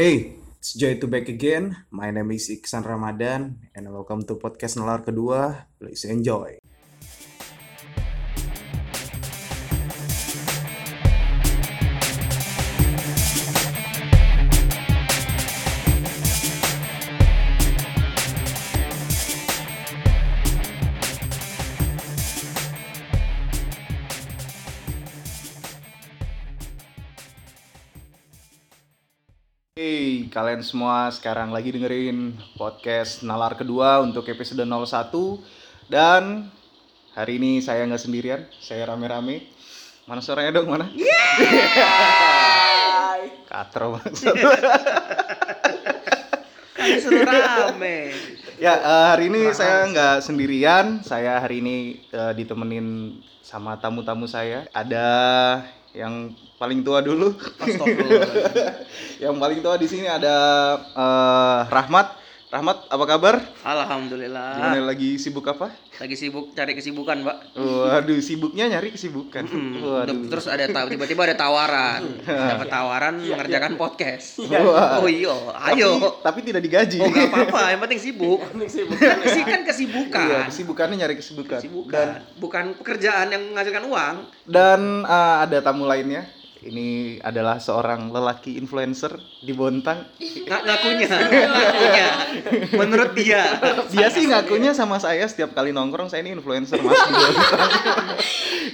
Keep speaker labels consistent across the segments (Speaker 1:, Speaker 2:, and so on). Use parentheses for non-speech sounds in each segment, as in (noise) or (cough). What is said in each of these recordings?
Speaker 1: Hey, it's joy to back again. My name is Iksan Ramadan and welcome to podcast Nelar kedua. Please enjoy. Hey, kalian semua sekarang lagi dengerin podcast Nalar kedua untuk episode 01 dan hari ini saya nggak sendirian, saya rame-rame. Mana suaranya dong, mana? Katro banget.
Speaker 2: Kan disuruh rame.
Speaker 1: Ya, eh, hari ini saya nggak sendirian. Saya hari ini eh, ditemenin sama tamu-tamu saya. Ada yang paling tua dulu.
Speaker 2: Astagfirullah.
Speaker 1: yang paling tua di sini ada eh, Rahmat. Rahmat, apa kabar?
Speaker 2: Alhamdulillah.
Speaker 1: Gimana lagi sibuk apa?
Speaker 2: Lagi sibuk cari kesibukan, Pak.
Speaker 1: Waduh, sibuknya nyari kesibukan. Waduh.
Speaker 2: Terus ada ta- tiba-tiba ada tawaran. Dapat tawaran mengerjakan podcast.
Speaker 1: Wah.
Speaker 2: Oh iya,
Speaker 1: Tapi-
Speaker 2: ayo.
Speaker 1: Tapi, tidak digaji. (laughs)
Speaker 2: Oh nggak apa-apa, yang penting sibuk. Kesi
Speaker 1: Iya,
Speaker 2: kan kesibukan.
Speaker 1: kesibukannya nyari kesibukan. Dan
Speaker 2: Kesibukan. bukan pekerjaan yang menghasilkan uang.
Speaker 1: Dan eh, ada tamu lainnya. Ini adalah seorang lelaki influencer di Bontang.
Speaker 2: Nggak
Speaker 3: Iya,
Speaker 2: ngakunya, ngakunya. Menurut dia.
Speaker 1: Dia sih ngakunya sama saya setiap kali nongkrong saya ini influencer mas di
Speaker 2: (laughs)
Speaker 1: Bontang.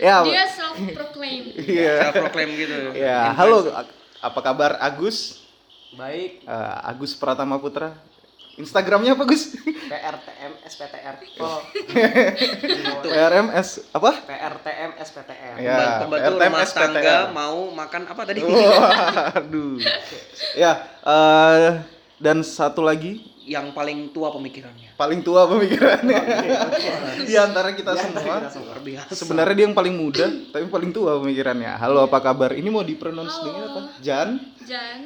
Speaker 1: ya,
Speaker 3: Dia self proclaim.
Speaker 1: iya.
Speaker 2: Self proclaim gitu.
Speaker 1: Ya, halo. a- Apa kabar Agus?
Speaker 4: Baik,
Speaker 1: Eh, Agus Pratama Putra. Instagramnya apa Gus?
Speaker 4: PRTM SPTR. Oh,
Speaker 1: RMS (laughs) apa?
Speaker 4: PRTM SPTR.
Speaker 1: Ya,
Speaker 2: Pembantu
Speaker 1: RTM,
Speaker 2: rumah tangga
Speaker 1: SPTR.
Speaker 2: mau makan apa tadi?
Speaker 1: Oh. Waduh. ya, eh, dan satu lagi
Speaker 2: Yang paling tua pemikirannya.
Speaker 1: paling tua pemikirannya di antara kita semua.
Speaker 2: luar biasa.
Speaker 1: Sebenarnya dia yang paling muda, tapi paling tua pemikirannya. Halo, apa kabar? Ini mau dipronounce
Speaker 3: Halo.
Speaker 1: dengan apa? Jan?
Speaker 3: Jan.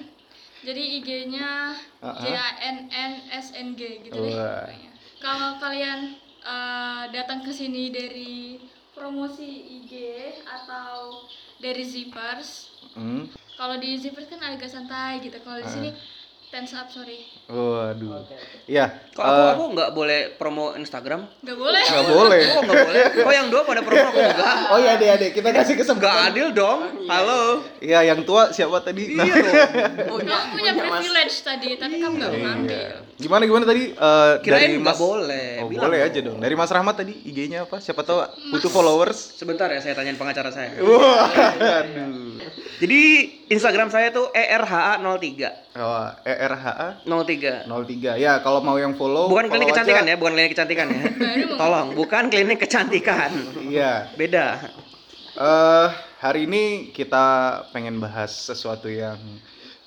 Speaker 3: Jadi IG-nya
Speaker 1: Uh-uh.
Speaker 3: J A N N S N G gitu deh.
Speaker 1: Wah.
Speaker 3: pokoknya. Kalau kalian eh, datang ke sini dari promosi IG atau dari Zippers,
Speaker 1: Hmm.
Speaker 3: kalau di Zippers kan agak santai gitu. Kalau di sini tense up sorry,
Speaker 1: Waduh.
Speaker 3: Oh,
Speaker 1: Ya.
Speaker 2: Kok aku, aku nggak boleh promo Instagram?
Speaker 3: nggak boleh.
Speaker 1: Gak boleh.
Speaker 2: Kok nggak boleh? Kok yang dua pada promo aku nggak?
Speaker 1: Oh iya, Adik-adik, kita kasih
Speaker 2: Nggak
Speaker 1: kesempatan.
Speaker 2: adil dong. Halo.
Speaker 1: Ya, yang tua siapa tadi? Nah,
Speaker 2: Iya dong. Oh,
Speaker 3: Kamu punya privilege tadi, tapi kamu
Speaker 1: Iya.
Speaker 3: nggak mengambil.
Speaker 1: Gimana gimana tadi eh,
Speaker 2: Kirain
Speaker 1: dari
Speaker 2: nggak
Speaker 1: Mas
Speaker 2: boleh.
Speaker 1: Oh,
Speaker 2: Eh, Bilang
Speaker 1: boleh
Speaker 2: dong.
Speaker 1: aja dong. Dari Mas Rahmat tadi IG-nya apa? Siapa tahu butuh followers.
Speaker 2: Sebentar ya saya tanyain pengacara saya.
Speaker 1: (laughs) Wah, aduh.
Speaker 2: Jadi Instagram saya tuh E ERHA03.
Speaker 1: Oh, ERHA
Speaker 2: 03.
Speaker 1: 03. Ya, kalau mau yang follow
Speaker 2: Bukan klinik
Speaker 1: follow aja.
Speaker 2: kecantikan ya, bukan klinik kecantikan ya. Tolong, bukan klinik kecantikan.
Speaker 1: Iya.
Speaker 2: Beda.
Speaker 1: Eh, hari ini kita pengen bahas sesuatu yang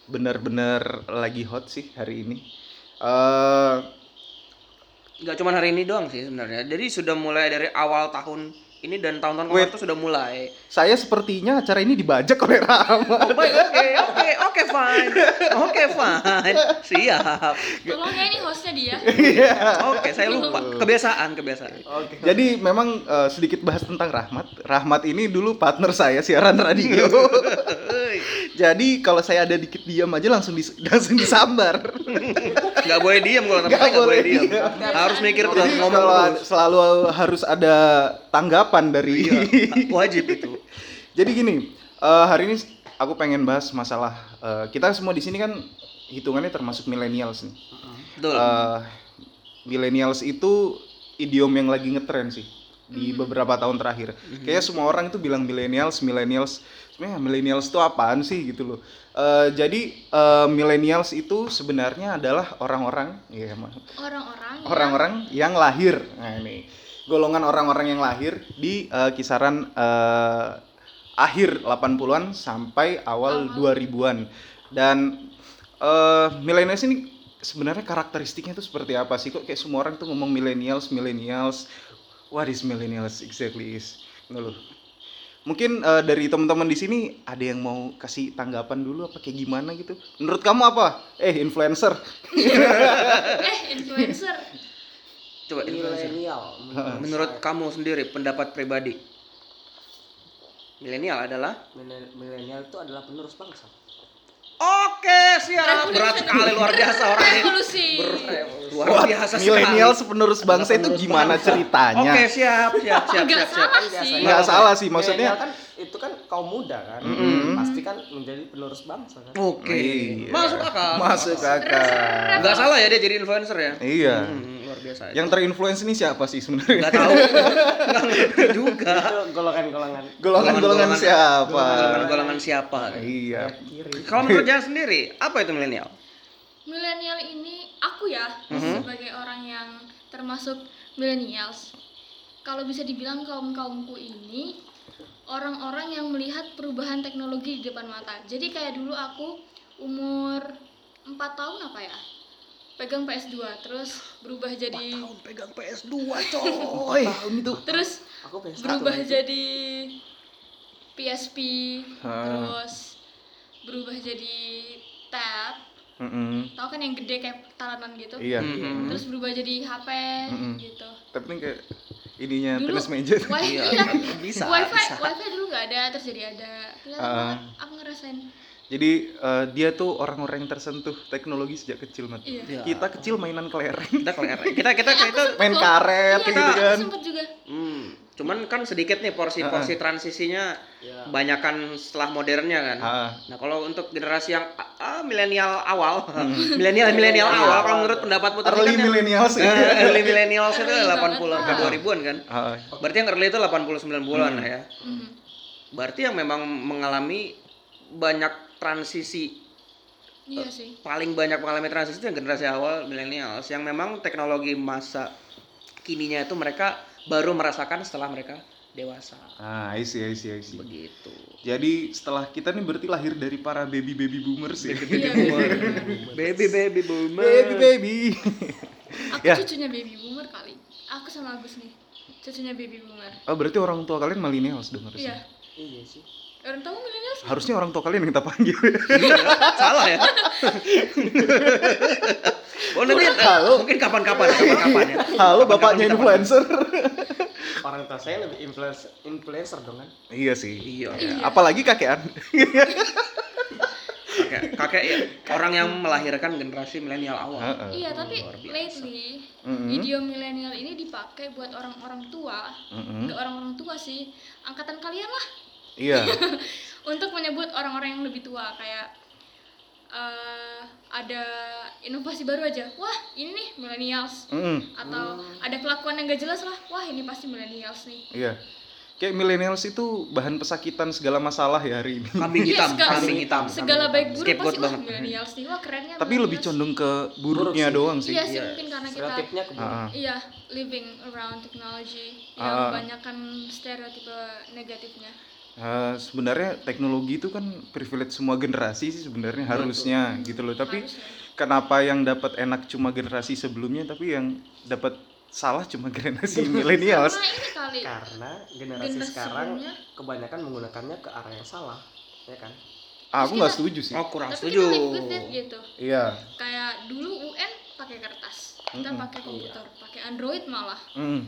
Speaker 1: benar-benar lagi hot sih hari ini. Eh,
Speaker 2: Gak cuma hari ini doang sih sebenarnya. Jadi sudah mulai dari awal tahun ini dan tahun-tahun kemarin
Speaker 1: Wait.
Speaker 2: tuh sudah mulai.
Speaker 1: saya sepertinya acara ini dibajak oleh Rahmat.
Speaker 2: Oh, baik, oke, oke, oke, fine. Oke, fine. Siap.
Speaker 3: Tolong ya ini hostnya dia.
Speaker 2: Iya.
Speaker 1: Iya.
Speaker 2: Oke, saya lupa. Kebiasaan, kebiasaan.
Speaker 4: Oke.
Speaker 1: Jadi memang eh, sedikit bahas tentang Rahmat. Rahmat ini dulu partner saya siaran radio.
Speaker 2: (laughs)
Speaker 1: Jadi kalau saya ada dikit diam aja langsung dis- (laughs) langsung disambar.
Speaker 2: Nggak boleh diam kalau
Speaker 1: Nggak
Speaker 2: namanya nggak boleh
Speaker 1: boleh
Speaker 2: diam.
Speaker 1: diam.
Speaker 2: Harus mikir tuh, harus
Speaker 1: Jadi
Speaker 2: ngomong
Speaker 1: kalau
Speaker 2: terus.
Speaker 1: ad- selalu harus ada tanggapan dari.
Speaker 2: Iya, wajib itu.
Speaker 1: (laughs) Jadi gini, eh, hari ini aku pengen bahas masalah eh, kita semua di sini kan hitungannya termasuk millennials nih.
Speaker 2: Betul.
Speaker 1: Eh, millennials itu idiom yang lagi ngetren sih di
Speaker 2: Hmm.
Speaker 1: beberapa tahun terakhir. Kayaknya semua orang itu bilang millennials, millennials. Sebenarnya millennials itu apaan sih gitu loh. Eh, jadi eh, millennials itu sebenarnya adalah orang-orang, ya
Speaker 3: Orang-orang. yang-
Speaker 1: orang-orang yang lahir. Nah ini golongan orang-orang yang lahir di eh, kisaran eh, akhir 80-an sampai awal 2000-an. Dan eh millennials ini sebenarnya karakteristiknya itu seperti apa sih? Kok kayak semua orang tuh ngomong millennials, millennials. What is millennials exactly is? Ngeluh. Mungkin eh, dari teman-teman di sini ada yang mau kasih tanggapan dulu apa kayak gimana gitu? Menurut kamu apa? Eh influencer.
Speaker 3: Eh influencer.
Speaker 2: Coba influencer.
Speaker 4: Milenial.
Speaker 2: Menurut kamu sendiri pendapat pribadi milenial adalah
Speaker 4: Milenial itu adalah penerus bangsa.
Speaker 2: Oke, siap. Berat sekali luar biasa orangnya.
Speaker 3: Revolusi.
Speaker 2: Luar
Speaker 1: Buat
Speaker 2: biasa sekali.
Speaker 1: milenial penerus bangsa itu
Speaker 2: Penerus
Speaker 1: gimana
Speaker 2: bangsa.
Speaker 1: ceritanya?
Speaker 2: Oke, siap, siap, siap, siap,
Speaker 3: Nggak
Speaker 2: siap.
Speaker 4: biasa
Speaker 3: salah Kan sih.
Speaker 4: ya.
Speaker 1: Nggak salah sih, maksudnya-
Speaker 4: Milenial kan itu kan kaum muda kan
Speaker 1: Mm-mm.
Speaker 4: pasti kan menjadi penerus bangsa kan
Speaker 2: Oke.
Speaker 1: Iya.
Speaker 2: Masuk akal.
Speaker 1: Masuk akal.
Speaker 2: Enggak salah ya dia jadi influencer ya?
Speaker 1: Iya.
Speaker 2: Hmm, luar biasa.
Speaker 1: Yang terinfluence ini siapa sih sebenarnya?
Speaker 2: Enggak tahu. Enggak ngerti juga.
Speaker 4: itu golongan-golongan
Speaker 1: Golongan-golongan siapa?
Speaker 2: Golongan-golongan siapa?
Speaker 1: Iya.
Speaker 4: kiri
Speaker 2: Kalau menurut Jan sendiri, apa itu milenial?
Speaker 3: Milenial ini aku ya
Speaker 2: Mhm.
Speaker 3: sebagai orang yang termasuk millennials. Kalau bisa dibilang kaum kaumku ini orang-orang yang melihat perubahan teknologi di depan mata. Jadi kayak dulu aku umur 4 tahun apa ya? Pegang PS2 terus berubah jadi
Speaker 2: pegang PS2, coy.
Speaker 3: terus
Speaker 4: aku pengen
Speaker 3: berubah jadi PSP
Speaker 1: Ah.
Speaker 3: terus berubah jadi tab
Speaker 1: Mm-mm.
Speaker 3: tahu kan yang gede kayak taranan gitu
Speaker 1: Iya.
Speaker 2: Mhm.
Speaker 3: terus berubah jadi HP
Speaker 1: Mm-mm.
Speaker 3: gitu
Speaker 1: Tapi ini kayak ininya
Speaker 3: Dulu-
Speaker 1: tenis meja. (laughs)
Speaker 3: Wi-
Speaker 2: Iya,
Speaker 3: iya.
Speaker 2: bisa,
Speaker 3: wifi
Speaker 2: bisa.
Speaker 3: wifi dulu nggak ada terus jadi ada kelihatan
Speaker 1: Ah.
Speaker 3: banget aku ngerasain
Speaker 1: Jadi eh, dia tuh orang-orang yang tersentuh teknologi sejak kecil, Mat.
Speaker 3: iya
Speaker 2: Iya.
Speaker 1: Kita kecil mainan kelereng,
Speaker 2: Kita keler. Kita kita kita
Speaker 1: main karet
Speaker 3: iya,
Speaker 1: gitu kan.
Speaker 3: aku sempet juga
Speaker 2: Hmm, cuman kan sedikit nih porsi-porsi transisinya
Speaker 4: Iya.
Speaker 2: kebanyakan setelah modernnya kan.
Speaker 1: Ah.
Speaker 2: Nah, kalau untuk generasi yang ah, milenial awal, milenial milenial awal kalau menurut pendapatmu tadi
Speaker 1: Hmm. (laughs) Early
Speaker 2: kan yang-
Speaker 1: millennials ya.
Speaker 2: Eh, early millennials itu
Speaker 3: Early
Speaker 2: 80
Speaker 3: banget,
Speaker 2: ke
Speaker 3: Pak.
Speaker 2: 2000-an kan.
Speaker 1: Ah,
Speaker 2: Berarti yang early itu 80 90-an
Speaker 1: Hmm.
Speaker 2: ya.
Speaker 3: Mhm.
Speaker 2: Berarti yang memang mengalami banyak transisi
Speaker 3: iya sih
Speaker 2: paling banyak mengalami transisi itu yang generasi awal milenials yang memang teknologi masa kininya itu mereka baru merasakan setelah mereka dewasa
Speaker 1: (laughs) Ah, I see, I see, I see. (laughs)
Speaker 2: begitu
Speaker 1: Jadi setelah kita nih berarti lahir dari para baby-baby boomers ya.
Speaker 3: iya
Speaker 2: baby baby boomer
Speaker 1: Baby baby.
Speaker 3: aku
Speaker 1: Ya.
Speaker 3: cucunya baby boomer kali aku sama Agus nih cucunya baby boomer
Speaker 1: (laughs) Oh, berarti orang tua kalian millennials dong harusnya.
Speaker 3: iya
Speaker 4: iya sih
Speaker 3: orang tahu milenial
Speaker 1: Harusnya orang tua kalian yang kita panggil. (laughs)
Speaker 2: salah ya oh nanti
Speaker 1: Halo.
Speaker 2: mungkin kapan-kapan kapan-kapan ya
Speaker 1: (laughs) Halo bapaknya influencer.
Speaker 4: orang tua saya lebih influencer influencer dong kan
Speaker 1: iya sih.
Speaker 2: iya
Speaker 1: Ya, Apalagi kakean.
Speaker 2: kakek kakek ya, orang yang melahirkan generasi milenial awal
Speaker 1: Heeh.
Speaker 3: iya tapi
Speaker 2: luar biasa.
Speaker 3: lately
Speaker 1: Mhm.
Speaker 3: video milenial ini dipakai buat orang-orang tua
Speaker 1: Mm-mm.
Speaker 3: nggak orang-orang tua sih angkatan kalian lah (laughs)
Speaker 1: Iya.
Speaker 3: untuk menyebut orang-orang yang lebih tua kayak eh, ada inovasi baru aja wah ini nih millennials
Speaker 1: Mm-mm.
Speaker 3: atau ada kelakuan yang gak jelas lah wah ini pasti millennials nih
Speaker 1: Iya. Kayak millennials itu bahan pesakitan segala masalah ya hari ini.
Speaker 2: kambing
Speaker 3: Iya,
Speaker 2: hitam
Speaker 3: segala-
Speaker 2: kambing hitam
Speaker 3: segala baik buruk
Speaker 2: Scapegoat
Speaker 3: pasti wah
Speaker 2: banget.
Speaker 3: millennials nih wah kerennya
Speaker 1: Tapi lebih
Speaker 3: Iya, millennials.
Speaker 1: condong ke buruknya
Speaker 4: Buruk sih.
Speaker 1: doang sih.
Speaker 3: iya sih
Speaker 2: Iya.
Speaker 3: mungkin karena kita
Speaker 4: stereotipnya ke
Speaker 1: Ah, ah.
Speaker 3: iya living around technology
Speaker 1: Ah.
Speaker 3: yang banyakkan stereotipe negatifnya
Speaker 1: Eh, sebenarnya teknologi itu kan privilege semua generasi sih sebenarnya harusnya gitu loh. Tapi
Speaker 3: Harusnya.
Speaker 1: kenapa yang dapat enak cuma generasi sebelumnya tapi yang dapat salah cuma (laughs) generasi milenials?
Speaker 3: nah ini kali
Speaker 4: karena generasi
Speaker 3: Generasi
Speaker 4: sekarang
Speaker 3: sebelumnya.
Speaker 4: kebanyakan menggunakannya ke arah yang salah ya kan
Speaker 1: Ah, aku nggak setuju sih.
Speaker 2: oh kurang
Speaker 3: tapi
Speaker 2: setuju
Speaker 3: kita live with it gitu
Speaker 1: Iya.
Speaker 3: kayak dulu UN pakai kertas kita
Speaker 1: Mm-mm.
Speaker 2: Iya.
Speaker 3: pakai komputer pakai Android malah
Speaker 1: Mm.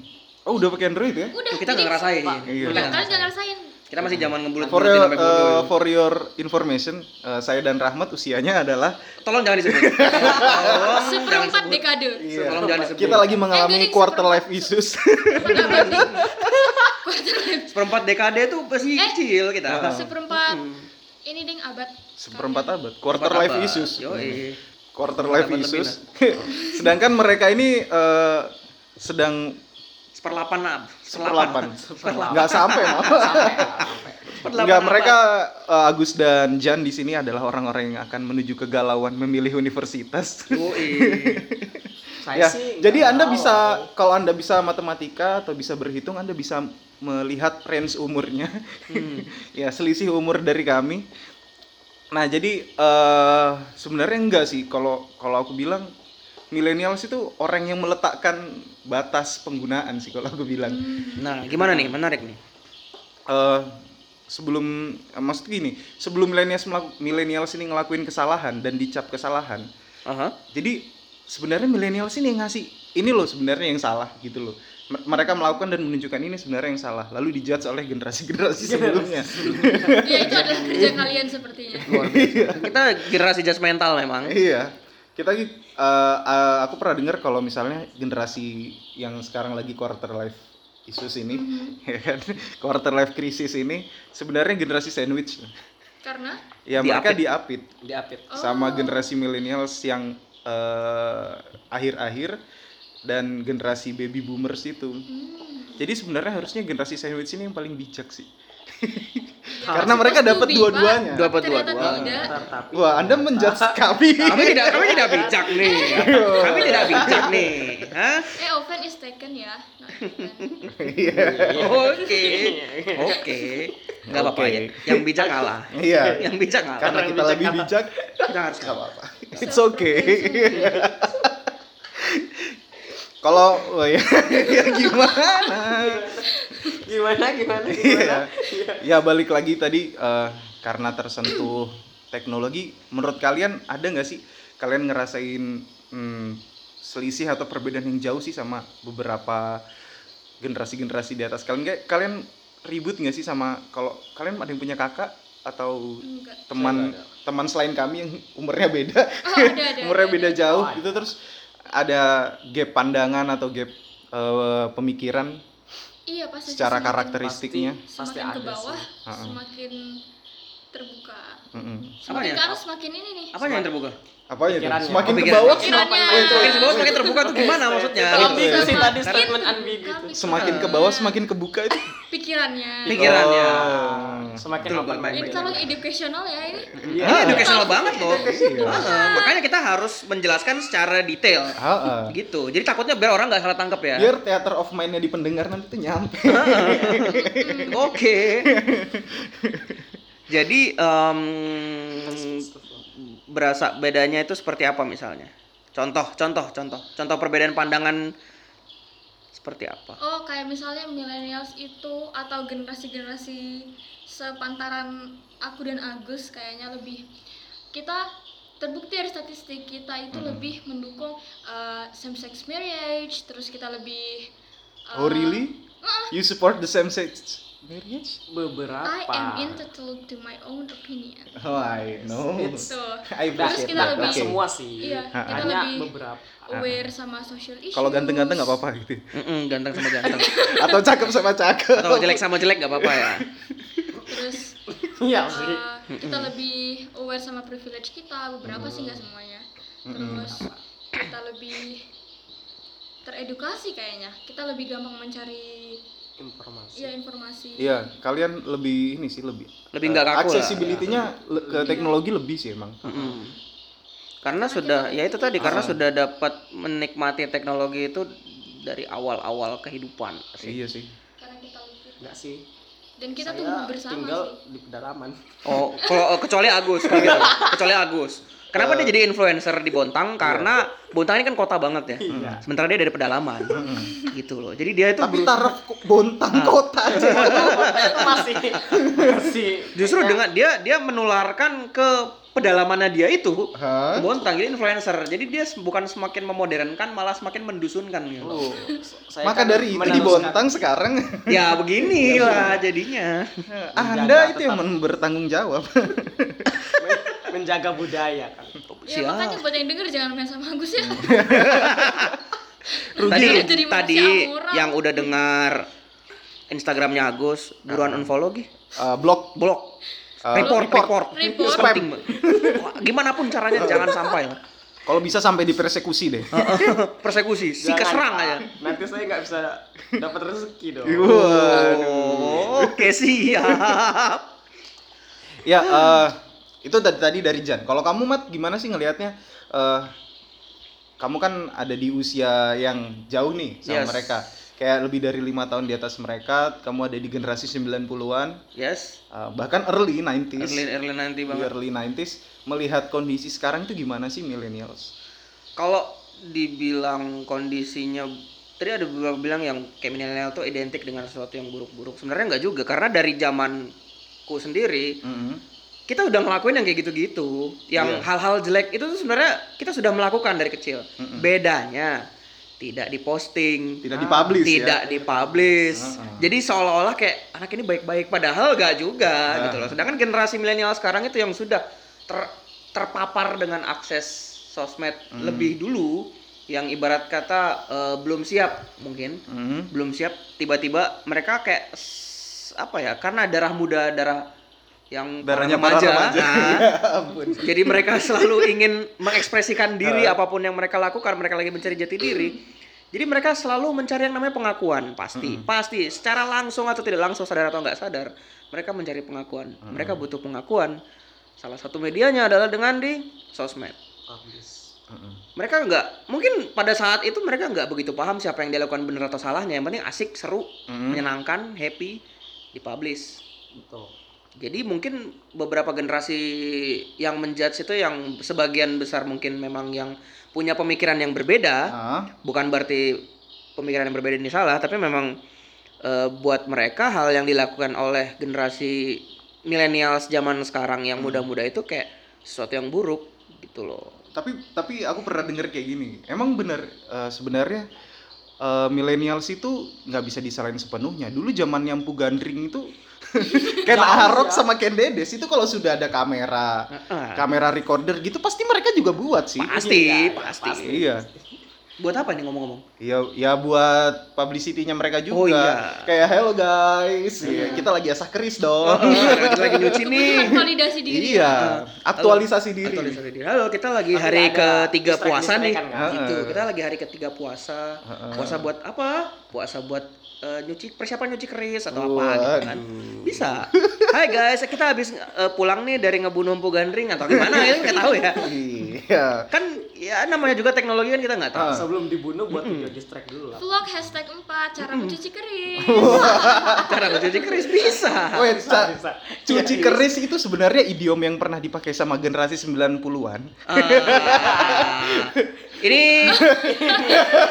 Speaker 1: Oh udah pakai Android ya?
Speaker 3: udah
Speaker 2: kita nggak
Speaker 3: jadi-
Speaker 2: ngerasain Oh,
Speaker 1: Iya.
Speaker 2: Kita nggak
Speaker 3: Nah, kalian jangan
Speaker 2: ngerasain.
Speaker 3: ngerasain
Speaker 2: kita masih zaman ngebulut
Speaker 1: For your,
Speaker 2: sampai bulut
Speaker 1: eh, for your information, eh, saya dan Rahmat usianya adalah
Speaker 2: tolong jangan
Speaker 1: (laughs)
Speaker 2: disebut tolong jangan Iya.
Speaker 3: seperempat
Speaker 2: disebut
Speaker 3: dekade
Speaker 2: Tolong jangan disebut.
Speaker 1: Iya. kita lagi mengalami
Speaker 3: Eh, jadi
Speaker 1: quarter
Speaker 3: super-
Speaker 1: life issues.
Speaker 3: seperempat abad nih. Quarter life.
Speaker 2: seperempat dekade tuh masih
Speaker 3: Eh.
Speaker 2: kecil kita
Speaker 1: Nah,
Speaker 3: seperempat ini ding abad
Speaker 1: (laughs) Seperempat abad, quarter life issues. Hmm.
Speaker 2: yo
Speaker 1: Quarter life
Speaker 2: Abad lebih
Speaker 1: issues. (laughs) Sedangkan mereka ini eh, sedang
Speaker 2: seperlapan ab
Speaker 1: seperlapan. Nggak sampai malah.
Speaker 2: Seperlapan
Speaker 1: Enggak,
Speaker 2: apa?
Speaker 1: mereka eh, Agus dan Jan di sini adalah orang-orang yang akan menuju kegalauan memilih universitas.
Speaker 2: yo
Speaker 1: (laughs)
Speaker 4: saya
Speaker 1: ya.
Speaker 4: sih
Speaker 1: Jadi
Speaker 4: nggak
Speaker 1: Anda
Speaker 4: tahu.
Speaker 1: bisa kalau Anda bisa matematika atau bisa berhitung Anda bisa melihat range umurnya.
Speaker 4: Hmm.
Speaker 1: (laughs) ya, selisih umur dari kami. Nah, jadi eh sebenarnya enggak sih kalau kalau aku bilang milenials itu orang yang meletakkan batas penggunaan sih kalau aku bilang.
Speaker 2: nah gimana nih menarik nih
Speaker 1: eh sebelum eh, maksud gini, sebelum milenials melaku- milenials ini ngelakuin kesalahan dan dicap kesalahan.
Speaker 2: Aha.
Speaker 1: Jadi sebenarnya milenial sini yang ngasih ini loh sebenarnya yang salah gitu loh Mer- mereka melakukan dan menunjukkan ini sebenarnya yang salah lalu dijudge oleh generasi-generasi Iya, sebelumnya
Speaker 3: ya itu
Speaker 2: Iya.
Speaker 3: adalah kerja kalian sepertinya
Speaker 2: Kita generasi judgmental memang.
Speaker 1: iya kita eh, eh, aku pernah dengar kalau misalnya generasi yang sekarang lagi quarter life issues ini (laughs) ya kan quarter life krisis ini sebenarnya generasi sandwich
Speaker 3: karena
Speaker 1: ya mereka diapit
Speaker 4: diapit
Speaker 1: sama
Speaker 3: Oh.
Speaker 1: generasi millennials yang eh, akhir-akhir dan generasi baby boomers itu
Speaker 3: hmm,
Speaker 1: jadi sebenarnya harusnya generasi sandwich ini yang paling bijak sih
Speaker 3: iya.
Speaker 1: karena mereka
Speaker 3: Supposed to
Speaker 1: dapat
Speaker 3: be,
Speaker 1: dua-duanya
Speaker 3: Pak.
Speaker 2: Dapat
Speaker 3: Ternyata
Speaker 2: dua-duanya.
Speaker 3: tidak.
Speaker 4: Ntar, tapi
Speaker 1: wah anda menjudge kami
Speaker 2: Kami tidak kami tidak bijak nih. Kami tidak bijak nih. Hah?
Speaker 3: eh offense is taken ya Not taken.
Speaker 2: Oke. Oke. Enggak apa-apa
Speaker 1: Oke.
Speaker 2: ya. Yang bijak kalah.
Speaker 1: iya
Speaker 2: Yang bijak kalah.
Speaker 1: karena kita lebih bijak
Speaker 2: kita harus
Speaker 1: Gak
Speaker 2: kalah.
Speaker 1: apa-apa. It's okay. (laughs) Kalau oh ya, (laughs) ya gimana?
Speaker 4: gimana gimana
Speaker 1: Iya.
Speaker 4: gimana
Speaker 1: ya balik lagi tadi eh, karena tersentuh teknologi, menurut kalian ada nggak sih kalian ngerasain hmm, selisih atau perbedaan yang jauh sih sama beberapa generasi-generasi di atas kalian? Kayak kalian ribut nggak sih sama kalau kalian ada yang punya kakak atau
Speaker 2: (laughs)
Speaker 3: Enggak.
Speaker 1: teman
Speaker 4: Saya nggak
Speaker 1: teman selain kami yang
Speaker 3: (laughs)
Speaker 1: umurnya beda
Speaker 3: Oh, ada, ada,
Speaker 1: umurnya
Speaker 3: ada,
Speaker 1: beda
Speaker 3: ada.
Speaker 1: jauh
Speaker 4: Oh,
Speaker 1: gitu terus ada gap pandangan atau gap eh, pemikiran
Speaker 3: iya pasti
Speaker 1: secara
Speaker 3: semakin-
Speaker 1: karakteristiknya
Speaker 4: pasti
Speaker 3: semakin ke
Speaker 4: ada
Speaker 3: bawah
Speaker 4: sih.
Speaker 1: Ha-ha.
Speaker 3: semakin terbuka
Speaker 1: Mm-mm.
Speaker 4: Oh, iya.
Speaker 3: semakin
Speaker 2: Apanya?
Speaker 3: ke atas semakin ini nih
Speaker 2: Apanya yang terbuka?
Speaker 1: apa ya
Speaker 4: Pikirannya.
Speaker 1: semakin ke
Speaker 2: Pikirannya.
Speaker 1: bawah
Speaker 3: Pikirannya.
Speaker 1: semakin- ya
Speaker 2: Semakin ke bawah semakin terbuka tuh gimana maksudnya?
Speaker 4: Itu
Speaker 2: Gitu.
Speaker 4: ambigu sih tadi
Speaker 3: Semakin
Speaker 4: statement ambigu
Speaker 3: terbuka
Speaker 4: itu.
Speaker 1: semakin ke bawah semakin kebuka itu
Speaker 3: pikirannya
Speaker 2: Pikirannya.
Speaker 1: Oh.
Speaker 4: semakin
Speaker 2: Betul,
Speaker 4: open
Speaker 2: betul,
Speaker 4: minded
Speaker 3: ini calon educational ya ini
Speaker 4: Eh, Iya.
Speaker 1: Ah.
Speaker 2: Ini educational banget loh.
Speaker 1: Iya.
Speaker 2: Ah, makanya kita harus menjelaskan secara detail.
Speaker 1: Ah, ah.
Speaker 2: Gitu. Jadi takutnya biar orang nggak salah tangkap ya.
Speaker 1: biar theater of mind-nya di pendengar nanti tuh (laughs) nyampe
Speaker 2: Oke. Jadi em, berasa bedanya itu seperti apa misalnya? Contoh, contoh, contoh, contoh perbedaan pandangan seperti apa?
Speaker 3: Oh, kayak misalnya millennials itu atau generasi-generasi sepantaran aku dan Agus kayaknya lebih kita terbukti dari statistik kita itu lebih mendukung same sex marriage, terus kita lebih eh,
Speaker 1: oh really you support the same sex marriage
Speaker 3: I
Speaker 4: beberapa
Speaker 3: am entitled to my own opinion.
Speaker 1: oh I know
Speaker 4: It's-
Speaker 3: So,
Speaker 1: I
Speaker 4: Nggak-
Speaker 1: appreciate
Speaker 3: kita
Speaker 1: that.
Speaker 4: nggak
Speaker 3: lebih-
Speaker 1: Oke.
Speaker 4: semua sih
Speaker 3: iya, kita
Speaker 4: hanya
Speaker 3: lebih
Speaker 4: beberapa
Speaker 3: aware sama social issues.
Speaker 1: kalau ganteng-ganteng nggak apa-apa gitu
Speaker 2: Mm-mm, ganteng sama ganteng,
Speaker 1: atau cakep sama cakep (laughs)
Speaker 2: atau jelek sama jelek nggak apa-apa ya?
Speaker 3: Terus
Speaker 4: iya sih
Speaker 3: Uh, kita lebih aware sama privilege kita beberapa sih nggak semuanya terus kita lebih teredukasi kayaknya kita lebih gampang mencari
Speaker 4: informasi
Speaker 3: ya informasi
Speaker 1: Iya, kalian lebih ini sih lebih.
Speaker 2: Lebih nggak kaku lah. Iya.
Speaker 1: Accessibility-nya le- ke teknologi lebih sih emang.
Speaker 2: Mm-mm. Karena sudah, ya itu tadi, karena sudah dapat menikmati teknologi itu dari awal-awal kehidupan. sih.
Speaker 1: Iya sih.
Speaker 3: karena kita lebih
Speaker 4: enggak sih
Speaker 3: dan kita
Speaker 4: Saya
Speaker 3: tumbuh bersama
Speaker 4: tinggal
Speaker 3: sih
Speaker 4: di pedalaman (laughs)
Speaker 2: Oh, kalau kecuali Agus kalau gitu. Kecuali Agus. Kenapa dia jadi influencer di Bontang? Karena Bontang ini kan kota banget ya.
Speaker 4: Iya.
Speaker 2: Sementara dia dari pedalaman. gitu loh. Jadi dia itu
Speaker 1: Tapi
Speaker 2: beru-
Speaker 1: taraf ko- bontang
Speaker 2: Ah.
Speaker 1: kota aja.
Speaker 2: (laughs)
Speaker 4: masih masih
Speaker 2: justru dengan dia dia menularkan ke pedalamannya dia itu
Speaker 1: Hah?
Speaker 2: ke Bontang jadi influencer. Jadi dia sem- bukan semakin memodernkan malah semakin mendusunkan gitu.
Speaker 4: Oh, saya
Speaker 1: Maka
Speaker 4: kan
Speaker 1: dari itu di
Speaker 4: meneruskan-
Speaker 1: Bontang sekarang Ah,
Speaker 2: Ya beginilah jadinya.
Speaker 1: Anda itu yang men- bertanggung jawab. (laughs)
Speaker 4: men- menjaga budaya kan
Speaker 3: ya makanya
Speaker 2: Siap.
Speaker 3: buat yang denger jangan main sama Agus
Speaker 1: (laughs)
Speaker 3: ya
Speaker 2: Tadi
Speaker 3: Jadi manusia
Speaker 2: tadi
Speaker 3: amoral.
Speaker 2: yang udah dengar Instagramnya Agus buruan unfollow gih.
Speaker 1: Eh, blog
Speaker 2: blok
Speaker 1: Eh,
Speaker 2: report, report,
Speaker 3: report.
Speaker 2: Itu
Speaker 3: Report.
Speaker 2: penting banget. (laughs) Gimana pun caranya jangan sampai ya. lah.
Speaker 1: kalau bisa sampai dipersekusi deh.
Speaker 2: Persekusi, si
Speaker 4: Jangan,
Speaker 2: keserang
Speaker 4: Pak.
Speaker 2: aja.
Speaker 4: nanti saya nggak bisa dapat rezeki dong
Speaker 2: Oh, oke siap.
Speaker 1: ya, eh, itu tadi tadi dari Jan. Kalau kamu Mat gimana sih ngelihatnya eh kamu kan ada di usia yang jauh nih sama
Speaker 2: Yes.
Speaker 1: mereka. Kayak lebih dari lima tahun di atas mereka, kamu ada di generasi 90-an.
Speaker 2: Yes,
Speaker 1: Uh, bahkan early 90s
Speaker 2: Erlin Erlin
Speaker 1: di
Speaker 2: nanti banget.
Speaker 1: early 90s melihat kondisi sekarang itu gimana sih millennials
Speaker 2: Kalau dibilang kondisinya tadi ada beberapa bilang yang kayak milenial tuh identik dengan sesuatu yang buruk-buruk. Sebenarnya nggak juga karena dari zamanku sendiri
Speaker 1: Mm-mm.
Speaker 2: kita udah ngelakuin yang kayak gitu-gitu, yang
Speaker 1: Iya.
Speaker 2: hal-hal jelek itu tuh sebenarnya kita sudah melakukan dari kecil. Bedanya tidak diposting,
Speaker 1: Tidak dipublish ya.
Speaker 2: tidak dipublish.
Speaker 1: Heeh.
Speaker 2: Jadi seolah-olah kayak anak ini baik-baik padahal gak juga
Speaker 1: Nah.
Speaker 2: gitu loh. Sedangkan generasi milenial sekarang itu yang sudah ter- terpapar dengan akses sosmed
Speaker 1: Mm.
Speaker 2: lebih dulu yang ibarat kata eh, belum siap mungkin
Speaker 1: Mhm.
Speaker 2: belum siap tiba-tiba mereka kayak s- apa ya karena darah muda darah yang para
Speaker 1: Darahnya para remaja.
Speaker 2: nah, (laughs)
Speaker 1: Ya (laughs) ampun.
Speaker 2: jadi mereka selalu ingin mengekspresikan diri
Speaker 1: Nah.
Speaker 2: apapun yang mereka lakukan mereka lagi mencari jati diri jadi mereka selalu mencari yang namanya pengakuan pasti pasti secara langsung atau tidak langsung sadar atau nggak sadar mereka mencari pengakuan mereka butuh pengakuan salah satu medianya adalah dengan di sosmed
Speaker 4: Publish.
Speaker 1: Mhm.
Speaker 2: mereka nggak mungkin pada saat itu mereka nggak begitu paham siapa yang dia lakukan benar atau salahnya yang penting asik seru
Speaker 1: Mhm.
Speaker 4: Hmm.
Speaker 2: menyenangkan happy dipublish
Speaker 4: Betul.
Speaker 2: jadi mungkin beberapa generasi yang menjudge itu yang sebagian besar mungkin memang yang punya pemikiran yang berbeda
Speaker 1: Ah,
Speaker 2: bukan berarti pemikiran yang berbeda ini salah tapi memang eh, buat mereka hal yang dilakukan oleh generasi milenial zaman sekarang yang
Speaker 4: Hmm.
Speaker 2: muda-muda itu kayak sesuatu yang buruk gitu loh
Speaker 1: tapi tapi aku pernah denger kayak gini emang bener eh, sebenarnya eh, millennials itu nggak bisa disalahin sepenuhnya dulu zaman yang gandring itu (laughs) Ken Arok sama Ken Dedes itu kalau sudah ada kamera
Speaker 2: Heeh.
Speaker 1: kamera recorder gitu pasti mereka juga buat sih
Speaker 2: pasti,
Speaker 4: Iya, iya,
Speaker 2: pasti
Speaker 4: pasti.
Speaker 1: iya
Speaker 2: buat apa nih ngomong-ngomong
Speaker 1: Ya, ya buat publicity-nya mereka juga.
Speaker 2: Oh, iya.
Speaker 1: Kayak hello guys, Iya, Oh, kita lagi asah keris
Speaker 4: Oh,
Speaker 1: dong.
Speaker 2: Heeh, kita lagi nyuci nih
Speaker 3: konsolidasi diri
Speaker 1: iya, aktualisasi diri.
Speaker 2: Aktualisasi diri. Halo, kita lagi
Speaker 4: Tapi
Speaker 2: hari
Speaker 4: ada
Speaker 2: ketiga
Speaker 4: distract-
Speaker 2: puasa nih.
Speaker 4: distract-an
Speaker 1: kan?
Speaker 2: Gitu.
Speaker 1: Heeh.
Speaker 2: Kita lagi hari ketiga puasa.
Speaker 1: Heeh.
Speaker 2: Puasa buat apa? Puasa buat eh, nyuci persiapan nyuci keris atau apa gitu kan.
Speaker 1: Waduh.
Speaker 2: Bisa. Hai guys, kita habis eh, pulang nih dari ngebunuh empu gandring atau gimana ya nggak tahu ya.
Speaker 1: Iya. (laughs)
Speaker 2: Kan ya namanya juga teknologi kan kita nggak tahu.
Speaker 1: Ah.
Speaker 4: Sebelum dibunuh buat video distract dulu lah.
Speaker 3: vlog hashtag 4 cara mencuci keris
Speaker 2: Cara mencuci keris bisa.
Speaker 1: Wait, Ca,
Speaker 4: bisa.
Speaker 1: cuci keris itu sebenarnya idiom yang pernah dipakai sama generasi 90-an.
Speaker 2: Ah, ini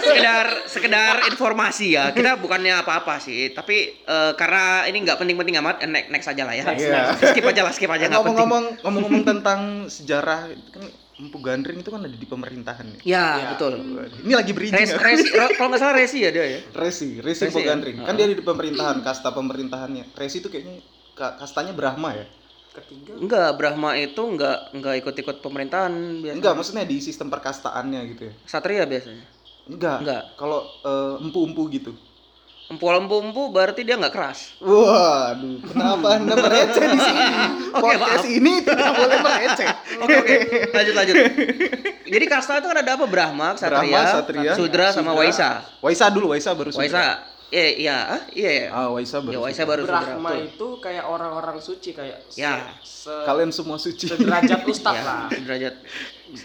Speaker 2: sekedar sekedar informasi ya. Kita bukannya apa-apa sih, tapi eh, karena ini nggak penting-penting amat, eh, next next aja lah ya.
Speaker 4: Next,
Speaker 1: Iya.
Speaker 2: Skip aja lah, skip aja nggak penting.
Speaker 1: Ngomong-ngomong (laughs) ngomong-ngomong tentang sejarah kan Empu Gandring itu kan ada di pemerintahan ya.
Speaker 2: Ya,
Speaker 4: Iya.
Speaker 2: betul.
Speaker 1: Ini lagi bridging.
Speaker 2: Res,
Speaker 1: ya.
Speaker 2: res, ro- kalau nggak salah resi ya dia ya.
Speaker 1: Resi, Resi
Speaker 2: Resi
Speaker 1: Empu
Speaker 2: ya?
Speaker 1: Gandring. Kan dia di pemerintahan, kasta pemerintahannya. Resi itu kayaknya ka- kastanya Brahma ya.
Speaker 4: Ketiga.
Speaker 2: Enggak, Brahma itu enggak enggak ikut-ikut pemerintahan biasa.
Speaker 1: Enggak, maksudnya di sistem perkastaannya gitu ya.
Speaker 2: Satria biasanya.
Speaker 1: Enggak.
Speaker 2: Enggak.
Speaker 1: Kalau eh, empu-empu gitu.
Speaker 2: Empu empu empu berarti dia nggak keras.
Speaker 1: Waduh, kenapa Anda mereceh di sini?
Speaker 2: (laughs) Oke,
Speaker 1: Podcast ini tidak boleh mereceh.
Speaker 2: Oke oke, lanjut lanjut. Jadi kasta itu kan ada apa? Brahma, Satria,
Speaker 1: Brahma, Satria,
Speaker 2: Sudra sama
Speaker 1: Sudra.
Speaker 2: Waisa.
Speaker 1: Waisa dulu, Waisa baru
Speaker 2: Waisa,
Speaker 1: Sudra.
Speaker 2: iya iya, ah, iya iya.
Speaker 1: Ah, Waisa baru.
Speaker 2: Ya Waisa
Speaker 1: Sudra.
Speaker 2: baru Sudra.
Speaker 4: Brahma
Speaker 2: betul.
Speaker 4: itu kayak orang-orang suci kayak se-
Speaker 2: Ya.
Speaker 4: se,
Speaker 1: Kalian semua suci.
Speaker 4: sederajat ustaz
Speaker 2: Ya,
Speaker 4: lah.
Speaker 2: derajat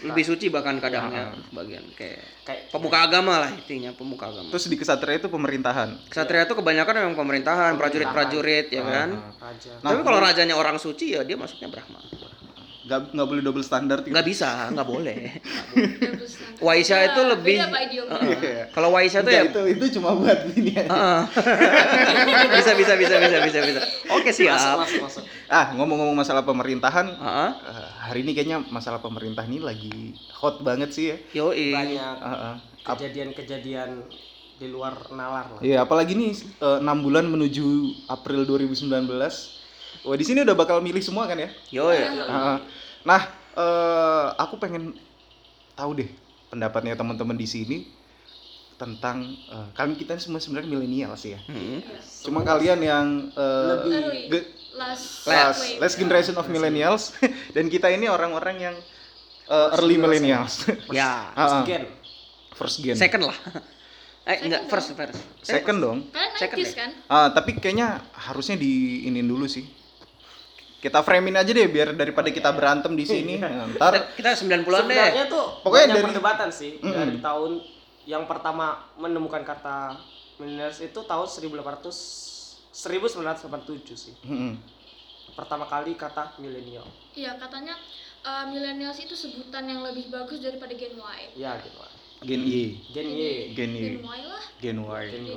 Speaker 2: lebih suci bahkan
Speaker 1: Ah.
Speaker 2: kadangnya bagian kayak
Speaker 4: Kayak
Speaker 2: pemuka agama lah intinya pemuka agama.
Speaker 1: (laughs) Terus iya. di kesatria itu pemerintahan.
Speaker 2: Kesatria itu kebanyakan memang pemerintahan, prajurit-prajurit
Speaker 1: Ah.
Speaker 2: ya kan.
Speaker 4: raja.
Speaker 1: Nah,
Speaker 2: Tapi kalau rajanya orang suci ya dia masuknya Brahma.
Speaker 1: Iya. Gak, nggak boleh double standar gitu.
Speaker 2: Nggak bisa, nggak boleh.
Speaker 3: Double standard.
Speaker 2: Waisa
Speaker 3: Beda-
Speaker 2: itu lebih-
Speaker 3: Iya, beda apa idiomnya?
Speaker 1: Iya.
Speaker 2: Kalau Waisa itu
Speaker 1: Enggak,
Speaker 2: ya
Speaker 1: itu itu cuma buat ini aja.
Speaker 2: Heeh. (laughs) bisa bisa bisa bisa bisa bisa.
Speaker 1: Ya.
Speaker 2: Oke
Speaker 4: Masuk,
Speaker 2: siap. Ah,
Speaker 4: masuk, masuk.
Speaker 1: Ah, ngomong-ngomong masalah pemerintahan,
Speaker 2: Heeh.
Speaker 1: eh, hari ini kayaknya masalah pemerintah ini lagi hot banget sih ya. Ah,
Speaker 2: Yoi.
Speaker 4: Banyak
Speaker 1: Heeh. Ap-
Speaker 4: kejadian-kejadian di luar nalar lah.
Speaker 1: Iya, apalagi nih eh, enam bulan menuju April 2019. Wah, di sini udah bakal milih semua kan ya?
Speaker 2: Yoi.
Speaker 1: Heeh. nah, eh, aku pengen tahu deh pendapatnya teman-teman di sini tentang eh, kami kita semua sebenarnya milenial sih ya.
Speaker 2: Hmm.
Speaker 3: Iya.
Speaker 1: Cuma kalian yang eh,
Speaker 4: Lebih
Speaker 3: Early.
Speaker 1: ge-
Speaker 3: ya. Last,
Speaker 1: last,
Speaker 3: wave.
Speaker 1: last generation of millennials (laughs) dan kita ini orang-orang yang eh, early millennials.
Speaker 2: Ya.
Speaker 1: Heeh.
Speaker 4: gen.
Speaker 1: (laughs) First gen.
Speaker 2: Second lah. Eh enggak first first. Eh,
Speaker 1: Second dong.
Speaker 3: Kalian
Speaker 2: Second
Speaker 3: 90s
Speaker 2: deh.
Speaker 3: kan?
Speaker 1: Ah, tapi kayaknya harusnya diinin dulu sih. Kita framein aja deh biar daripada kita berantem di (laughs) sini. Nah, Ntar
Speaker 2: Kita 90-an deh.
Speaker 4: Sebenarnya
Speaker 1: Pokoknya
Speaker 4: tuh pokoknya
Speaker 1: dari-
Speaker 4: dari perdebatan sih
Speaker 1: Mm-mm.
Speaker 4: dari tahun yang pertama menemukan kata millennials itu tahun 1800 1987 sih.
Speaker 1: Mm-mm.
Speaker 4: Pertama kali kata milenial.
Speaker 3: Iya, katanya uh, millennials itu sebutan yang lebih bagus daripada Gen Y.
Speaker 4: Ya gitu. lah.
Speaker 1: Gen Y,
Speaker 4: Gen Y.
Speaker 1: Gen Y,
Speaker 3: Gen Y lah.
Speaker 1: Gen Y.
Speaker 4: Gen Y.